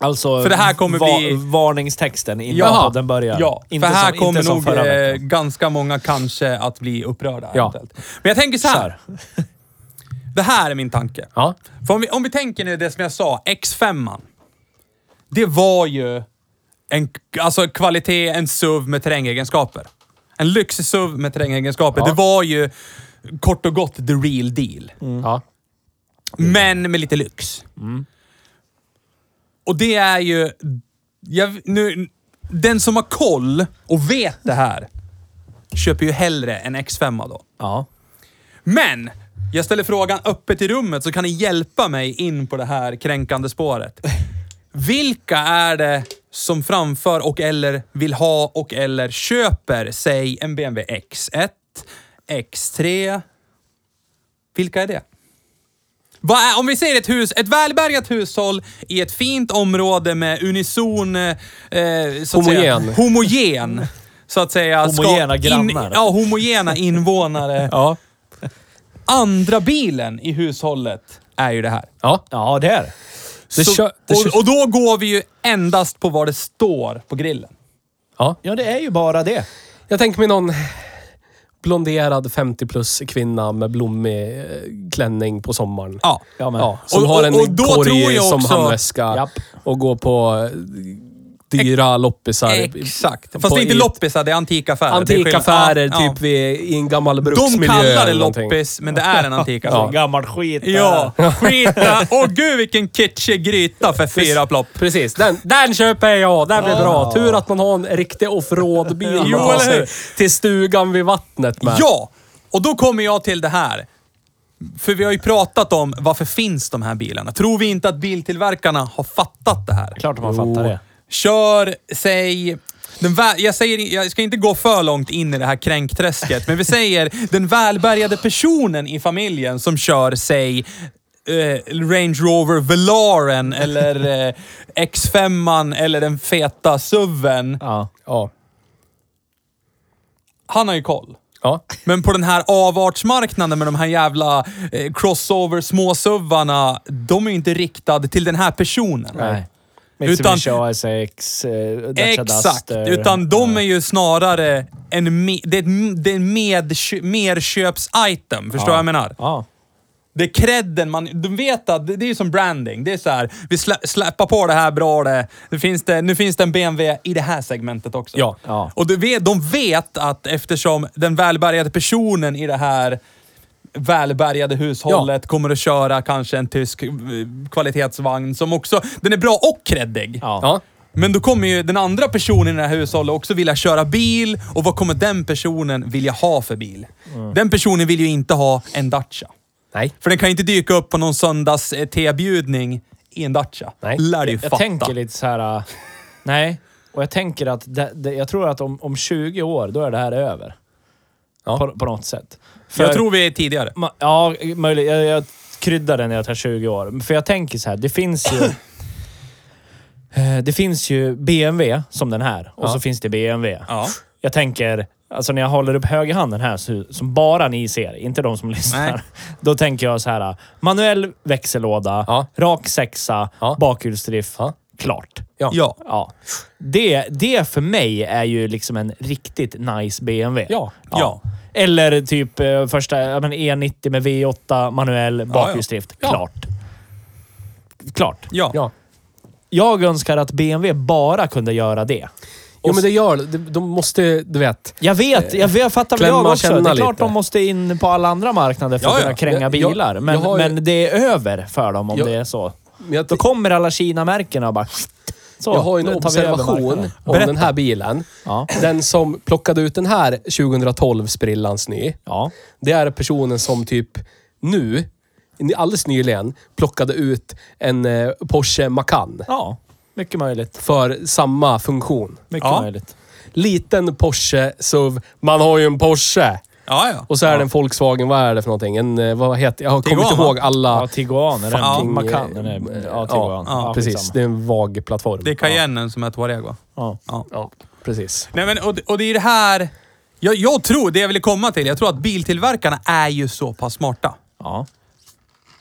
Speaker 1: Alltså,
Speaker 2: För det här kommer bli-
Speaker 1: varningstexten innan
Speaker 2: Jaha.
Speaker 1: podden börjar.
Speaker 2: Ja,
Speaker 1: inte
Speaker 2: för här
Speaker 1: som,
Speaker 2: kommer
Speaker 1: inte som
Speaker 2: nog
Speaker 1: förra
Speaker 2: eh,
Speaker 1: veckan.
Speaker 2: ganska många kanske att bli upprörda.
Speaker 3: Ja.
Speaker 2: eventuellt. Men jag tänker så här. Det här är min tanke.
Speaker 3: Ja.
Speaker 2: För om vi, om vi tänker nu det som jag sa, X5. an Det var ju en alltså, kvalitet, en SUV med terrängegenskaper. En lyxig SUV med terrängegenskaper. Det var ju kort och gott the real deal.
Speaker 1: Mm.
Speaker 3: Ja.
Speaker 2: Men med lite lyx. Och det är ju... Jag, nu, den som har koll och vet det här köper ju hellre en X5 då.
Speaker 1: Ja.
Speaker 2: Men! Jag ställer frågan öppet i rummet så kan ni hjälpa mig in på det här kränkande spåret. Vilka är det som framför och eller vill ha och eller köper, säg en BMW X1, X3? Vilka är det? Vad är, om vi säger ett hus, ett välbärgat hushåll i ett fint område med unison... Eh, så att Säga,
Speaker 3: Homogen.
Speaker 2: homogen. Så att säga. ska-
Speaker 1: Homogena grannar.
Speaker 2: ja, homogena invånare.
Speaker 3: Ja.
Speaker 2: Andra bilen i hushållet är ju det här.
Speaker 3: Ja.
Speaker 1: Ja, det är det.
Speaker 3: Det
Speaker 2: Så,
Speaker 3: kö- det kö-
Speaker 2: och, och då går vi ju endast på vad det står på grillen.
Speaker 3: ja.
Speaker 1: Ja, det är ju bara det.
Speaker 3: Jag tänker mig någon blonderad 50 plus kvinna med blommig eh, klänning på sommaren.
Speaker 2: Ja.
Speaker 1: Ja, men,
Speaker 3: Ja, som
Speaker 2: Och-
Speaker 3: har en
Speaker 2: och- och då tror
Speaker 3: korg
Speaker 2: jag
Speaker 3: som
Speaker 2: också-
Speaker 3: handväska
Speaker 1: Japp.
Speaker 3: och går på eh, dyra loppisar.
Speaker 2: Exakt.
Speaker 3: På
Speaker 2: Fast det är inte
Speaker 3: i-
Speaker 2: loppisar, det är antikaffärer. Det är skillnad.
Speaker 3: Antikaffärer,
Speaker 2: Ja, ja.
Speaker 3: typ vid, i en gammal
Speaker 2: De
Speaker 3: bruksmiljö.
Speaker 2: kallar det
Speaker 3: eller någonting.
Speaker 2: loppis, men det är en antikaffär.
Speaker 1: Ja. Gammal skit.
Speaker 2: Ja, skita. Åh gud vilken kitschig gryta för fyra plopp. Ah.
Speaker 3: Precis. Den, den köper jag. Den blir
Speaker 1: Ja.
Speaker 3: bra. Tur att man har en riktig offroad-bil man
Speaker 2: Jo,
Speaker 3: tar
Speaker 2: eller
Speaker 3: sig
Speaker 2: hur?
Speaker 3: till stugan vid vattnet med.
Speaker 2: Ja! Och då kommer jag till det här. För vi har ju pratat om varför finns de här bilarna? Tror vi inte att biltillverkarna har fattat det här?
Speaker 1: Klart att man fattar det.
Speaker 2: Kör, säg... Den vä- jag, säger, jag ska inte gå för långt in i det här kränkträsket, men vi säger den välbärgade personen i familjen som kör, säg, eh, Range Rover Velaren eller eh, X5 eller den feta SUVen.
Speaker 1: Ja.
Speaker 3: Ja.
Speaker 2: Han har ju koll.
Speaker 3: ja.
Speaker 2: Men på den här avartsmarknaden med de här jävla eh, crossover småsuvarna, de är ju inte riktade till den här personen.
Speaker 1: Nej.
Speaker 2: Utan-
Speaker 1: Mitsubishi ASX, eh, Dacia
Speaker 2: Exakt,
Speaker 1: Duster.
Speaker 2: utan de är ju snarare en, me- det är ett, det är en medkö- merköps-item. Förstår
Speaker 1: Ja.
Speaker 2: vad jag menar?
Speaker 1: Ja.
Speaker 2: Det är credden man... Du vet att det, det är ju som branding. Det är så här, vi slä, släpper på det här bra det. Nu finns det, nu finns det en BMW i det här segmentet också.
Speaker 3: Ja.
Speaker 1: Ja.
Speaker 2: Och du vet, de vet att eftersom den välbärgade personen i det här välbärgade hushållet kommer att köra kanske en tysk eh, kvalitetsvagn som också... Den är bra och creddig.
Speaker 1: Ja.
Speaker 3: ja.
Speaker 2: Men då kommer ju den andra personen i det här hushållet också vilja köra bil och vad kommer den personen vilja ha för bil? Den personen vill ju inte ha en Dacia.
Speaker 3: Nej.
Speaker 2: För den kan ju inte dyka upp på någon söndags eh, tebjudning i en Dacia.
Speaker 3: Nej.
Speaker 2: Lär dig ju
Speaker 1: Jag
Speaker 2: fatta.
Speaker 1: tänker lite så här... äh, Nej. Och jag tänker att det, det, jag tror att om, om 20 år, då är det här över.
Speaker 3: Ja.
Speaker 1: På, på något sätt.
Speaker 2: Jag tror vi är tidigare.
Speaker 1: Ma- Ja, möjligt. Jag, jag kryddar den när jag tar 20 år. För jag tänker så här, det finns ju... Eh, Det finns ju BMW som den här och
Speaker 3: Ja.
Speaker 1: så finns det BMW.
Speaker 2: Ja.
Speaker 1: Jag tänker, alltså när jag håller upp högerhanden här, så, som bara ni ser, inte de som lyssnar.
Speaker 2: Nej.
Speaker 1: Då tänker jag så här, manuell växellåda,
Speaker 3: Ja.
Speaker 1: rak sexa,
Speaker 3: Ja.
Speaker 1: bakhjulsdrift, klart.
Speaker 3: Ja.
Speaker 2: Ja.
Speaker 1: Ja. Det, det för mig är ju liksom en riktigt nice BMW.
Speaker 3: Ja.
Speaker 2: Ja.
Speaker 1: Eller typ eh, första ja, men E90 med V8 manuell bakhjulsdrift.
Speaker 3: Ja.
Speaker 1: Klart. Klart.
Speaker 2: Ja.
Speaker 3: ja.
Speaker 1: Jag önskar att BMW bara kunde göra det.
Speaker 3: Jo, men det gör det. De måste, du vet.
Speaker 1: Jag vet, jag, jag fattar väl
Speaker 3: klämma
Speaker 1: jag
Speaker 3: och
Speaker 1: också.
Speaker 3: känna
Speaker 1: Det är klart
Speaker 3: lite.
Speaker 1: de måste in på alla andra marknader för
Speaker 2: Ja,
Speaker 1: att
Speaker 2: ja.
Speaker 1: kunna kränga
Speaker 3: Jag- jag-
Speaker 1: bilar. Men,
Speaker 3: jag har ju-
Speaker 1: men det är över för dem om
Speaker 3: Jag-
Speaker 1: det är så.
Speaker 3: Men jag,
Speaker 1: Då kommer alla Kina-märkena och bara... Så,
Speaker 3: jag har ju en
Speaker 1: nu tar vi över
Speaker 3: observation
Speaker 1: marknaden.
Speaker 3: om
Speaker 2: Berätta.
Speaker 3: den här bilen.
Speaker 1: Ja.
Speaker 3: Den som plockade ut den här 2012 sprillans ny.
Speaker 1: Ja.
Speaker 3: Det är personen som typ nu, alldeles nyligen, plockade ut en eh, Porsche Macan.
Speaker 1: ja, mycket möjligt.
Speaker 3: För samma funktion.
Speaker 1: Mycket
Speaker 2: Ja.
Speaker 1: möjligt.
Speaker 3: Liten Porsche SUV. Man har ju en Porsche!
Speaker 2: Ja, ja.
Speaker 3: Och så är det en Volkswagen, vad är det för någonting? En, eh, vad heter Jag kommer
Speaker 2: Tiguan,
Speaker 3: inte
Speaker 2: va?
Speaker 3: ihåg alla...
Speaker 1: Ja, Tiguan. Är
Speaker 2: Fucking,
Speaker 1: den Macan? den är- Ja, Tiguan.
Speaker 2: ja,
Speaker 3: precis.
Speaker 1: skitsamma.
Speaker 3: Det är en vag plattform.
Speaker 2: Det är Cayennen som är Touareg, va?
Speaker 1: Ja.
Speaker 2: Ja.
Speaker 3: Ja, precis.
Speaker 2: Nej, men, och, det- och det är det här... Jag, jag tror, det jag ville komma till, jag tror att biltillverkarna är ju så pass smarta.
Speaker 1: Ja.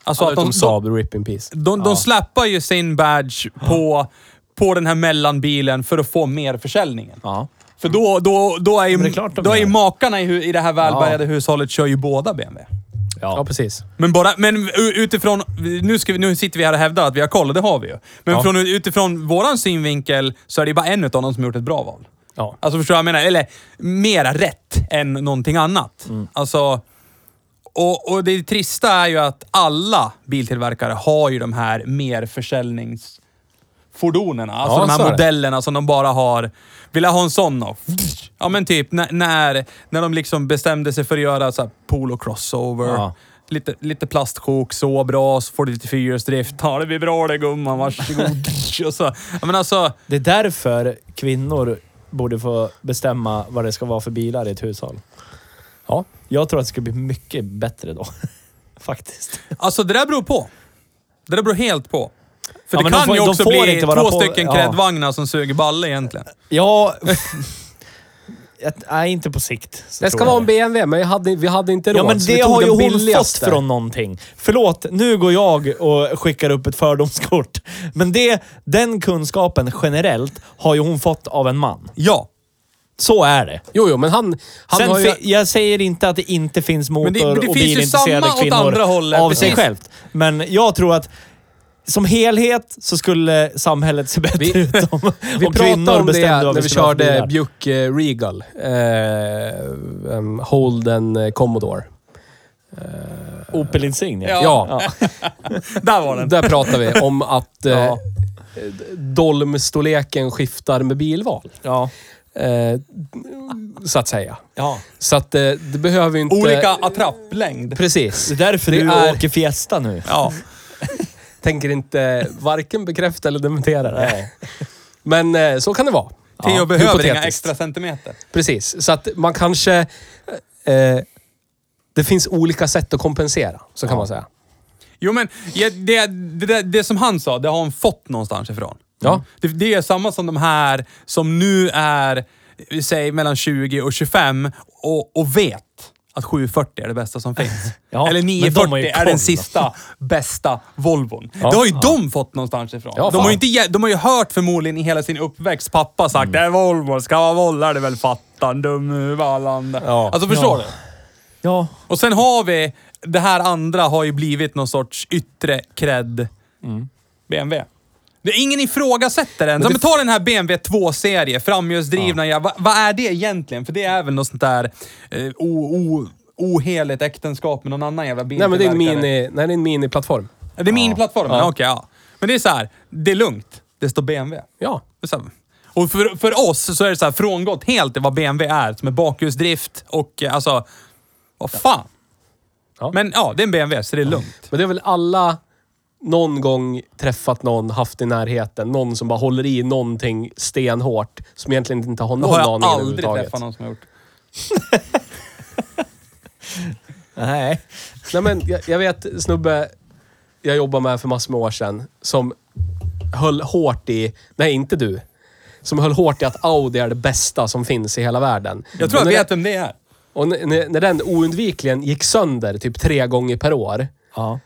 Speaker 2: Alltså
Speaker 3: Så
Speaker 2: att de, de,
Speaker 3: Saab, RIP in peace.
Speaker 2: de, de släpper ju sin badge på, på den här mellanbilen för att få mer försäljningen.
Speaker 1: ja.
Speaker 2: För då, då, då är ju,
Speaker 1: Men det är klart de
Speaker 2: då är ju
Speaker 1: gör.
Speaker 2: makarna i, hu- i det här välbärgade hushållet kör ju båda BMW.
Speaker 3: Ja, precis.
Speaker 2: Men bara, men u- utifrån, nu, ska vi, nu sitter vi här och hävdar att vi har koll, och det har vi ju. Men
Speaker 3: Ja.
Speaker 2: från, utifrån våran synvinkel så är det ju bara en av dem som har gjort ett bra val.
Speaker 3: Ja.
Speaker 2: Alltså förstår du vad jag menar? Eller mera rätt än någonting annat.
Speaker 3: Mm.
Speaker 2: Alltså, och, och det trista är ju att alla biltillverkare har ju de här merförsäljningsfordonen. Alltså
Speaker 3: Ja,
Speaker 2: de
Speaker 3: så är
Speaker 2: här
Speaker 3: det.
Speaker 2: modellerna som de bara har. Vill jag ha en sån då? Ja men typ när, när, när de liksom bestämde sig för att göra så här polo crossover.
Speaker 1: Ja.
Speaker 2: Lite, lite plastsjok, så bra, så får du lite fyrhjulsdrift. Ja, det blir bra det gumman, varsågod. och så. Ja, men alltså,
Speaker 1: Det är därför kvinnor borde få bestämma vad det ska vara för bilar i ett hushåll.
Speaker 3: Ja.
Speaker 1: Jag tror att det skulle bli mycket bättre då. Faktiskt.
Speaker 2: Alltså det där beror på. Det där beror helt på. För
Speaker 1: Ja,
Speaker 2: det
Speaker 1: men de
Speaker 2: kan
Speaker 1: får-
Speaker 2: ju
Speaker 1: de
Speaker 2: också
Speaker 1: får
Speaker 2: bli
Speaker 1: inte vara
Speaker 2: två
Speaker 1: på-
Speaker 2: stycken
Speaker 1: ja.
Speaker 2: kräddvagnar som suger balle egentligen.
Speaker 1: Ja... jag, nej, inte på sikt. så
Speaker 3: Det ska
Speaker 1: tror jag
Speaker 3: vara en BMW, men jag hade, vi hade inte råd.
Speaker 1: Ja, men
Speaker 3: så vi
Speaker 1: det
Speaker 3: tog
Speaker 1: har ju
Speaker 3: den
Speaker 1: hon fått
Speaker 3: billigaste.
Speaker 1: från någonting. Förlåt, nu går jag och skickar upp ett fördomskort. Men det, den kunskapen generellt har ju hon fått av en man.
Speaker 2: Ja.
Speaker 1: Så är det.
Speaker 3: Jo, jo, men han, han
Speaker 1: Sen
Speaker 3: har ju...
Speaker 1: fi- Jag säger inte att det inte finns motor
Speaker 2: Men det- men det
Speaker 1: och
Speaker 2: finns ju
Speaker 1: bilintresserade
Speaker 2: samma åt
Speaker 1: kvinnor
Speaker 2: andra hållet,
Speaker 1: av sig
Speaker 2: precis.
Speaker 1: självt. Men jag tror att som helhet så skulle samhället se bättre
Speaker 3: Vi-
Speaker 1: ut om,
Speaker 3: Vi
Speaker 1: om
Speaker 3: pratade
Speaker 1: kvinnor
Speaker 3: om det
Speaker 1: bestämde vad
Speaker 3: när vi
Speaker 1: skulle ha för
Speaker 3: körde
Speaker 1: bilar.
Speaker 3: Buick eh, Regal. Eh, em, Holden eh, Commodore.
Speaker 1: Opel Insignia.
Speaker 2: Ja.
Speaker 3: Ja,
Speaker 2: Där var den.
Speaker 3: där pratade vi om att eh,
Speaker 1: Ja.
Speaker 3: dolmstorleken skiftar med bilval.
Speaker 1: ja.
Speaker 3: Eh, så att säga.
Speaker 1: ja.
Speaker 3: Så att eh, det behöver ju inte...
Speaker 2: Olika attrapplängd.
Speaker 3: Precis.
Speaker 1: Det är därför
Speaker 3: Det
Speaker 1: du
Speaker 3: är-
Speaker 1: åker Fiesta nu.
Speaker 2: Ja.
Speaker 3: Tänker inte varken bekräfta eller dementera det.
Speaker 1: Nej.
Speaker 3: Men eh, så kan det vara.
Speaker 2: Theo behöver inga
Speaker 3: hypotetiskt.
Speaker 2: extra centimeter.
Speaker 3: Precis, så att man kanske... Eh, det finns olika sätt att kompensera, så kan man säga.
Speaker 2: Jo, men ja, det, det, det, det som han sa, det har han fått någonstans ifrån.
Speaker 3: Ja.
Speaker 2: Det, det är samma som de här som nu är, vi säger mellan 20 och 25 och, och vet att 740 är det bästa som finns.
Speaker 1: Ja,
Speaker 2: Eller
Speaker 1: men de har ju
Speaker 2: 940 är
Speaker 1: koll. alltså.
Speaker 2: den sista bästa Volvon.
Speaker 3: Ja.
Speaker 2: det har ju de fått någonstans ifrån.
Speaker 3: Ja,
Speaker 2: de, har
Speaker 3: fan.
Speaker 2: ju inte, ge- de har ju hört förmodligen i hela sin uppväxt pappa
Speaker 1: Mm.
Speaker 2: sagt det är Volvo, ska vara Volvo är det väl fattan, dum huvudallande.
Speaker 3: Ja.
Speaker 2: Alltså förstår
Speaker 1: Ja.
Speaker 2: du?
Speaker 1: Ja.
Speaker 2: Och sen har vi, det här andra har ju blivit någon sorts yttre cred BMW. Det är ingen ifrågasätter den. Men
Speaker 3: Mm. det-
Speaker 2: ta den här BMW 2-serie, framhjulsdrivna. Ja. Vad vad är det egentligen? För det är väl något sånt där eh, o, o, oheligt äktenskap med någon annan jävla bil.
Speaker 3: Nej, men det är en mini, nej, det är en miniplattform.
Speaker 2: Det är miniplattformen?
Speaker 3: Ja.
Speaker 2: Okej, ja. Men det är så här, det är lugnt. Det står BMW.
Speaker 3: Ja.
Speaker 2: Det är så här. Och för, för oss så är det så här frångått helt vad BMW är, som är bakhjulsdrift och eh, alltså... Vad fan?
Speaker 3: Ja.
Speaker 2: Men ja, det är en BMW, så det är lugnt.
Speaker 3: Men det är väl alla någon gång träffat någon, haft i närheten, någon som bara håller i någonting stenhårt som egentligen inte
Speaker 2: Då
Speaker 3: har någon
Speaker 2: har jag
Speaker 3: aning
Speaker 2: aldrig
Speaker 3: överhuvudtaget. Mm.
Speaker 2: träffat någon som har gjort.
Speaker 1: Nej.
Speaker 3: Nej, men jag, jag vet snubbe jag jobbade med för massor med år sedan som höll hårt i, nej inte du, som höll hårt i att Audi är det bästa som finns i hela världen.
Speaker 2: Jag tror
Speaker 3: och
Speaker 2: jag
Speaker 3: när,
Speaker 2: vet vem det är.
Speaker 3: Och när, när, när den oundvikligen gick sönder typ tre gånger per år
Speaker 1: Ja.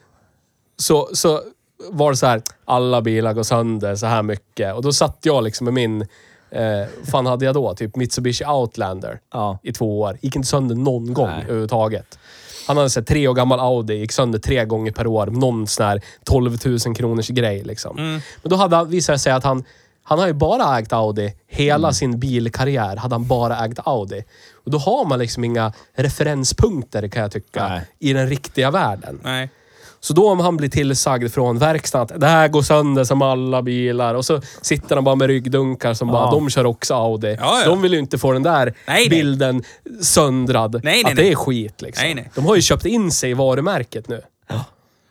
Speaker 3: så, så var det så här, alla bilar går sönder så här mycket. Och då satt jag liksom med min, eh, fan hade jag då? Typ Mitsubishi Outlander
Speaker 1: Ja.
Speaker 3: i två år. Gick inte sönder någon gång
Speaker 1: Nej.
Speaker 3: överhuvudtaget. Han hade sett tre år gammal Audi, gick sönder tre gånger per år. Någon sån här 12 000 kronors grej liksom.
Speaker 1: Mm.
Speaker 3: Men då hade, han- visade det sig att han, han har ju bara ägt Audi. Hela
Speaker 1: Mm.
Speaker 3: sin bilkarriär hade han bara ägt Audi. Och då har man liksom inga referenspunkter kan jag tycka,
Speaker 1: Nej.
Speaker 3: i den riktiga världen.
Speaker 2: Nej.
Speaker 3: Så då om han blir tillsagd från verkstaden att det här går sönder som alla bilar och så sitter han bara med ryggdunkar som bara,
Speaker 1: Ja.
Speaker 3: de kör också Audi.
Speaker 2: Ja, ja.
Speaker 3: De vill ju inte få den där
Speaker 2: nej.
Speaker 3: bilden söndrad.
Speaker 2: nej,
Speaker 3: att
Speaker 2: nej.
Speaker 3: det är skit liksom.
Speaker 2: Nej, nej.
Speaker 3: De har ju köpt in sig i varumärket nu.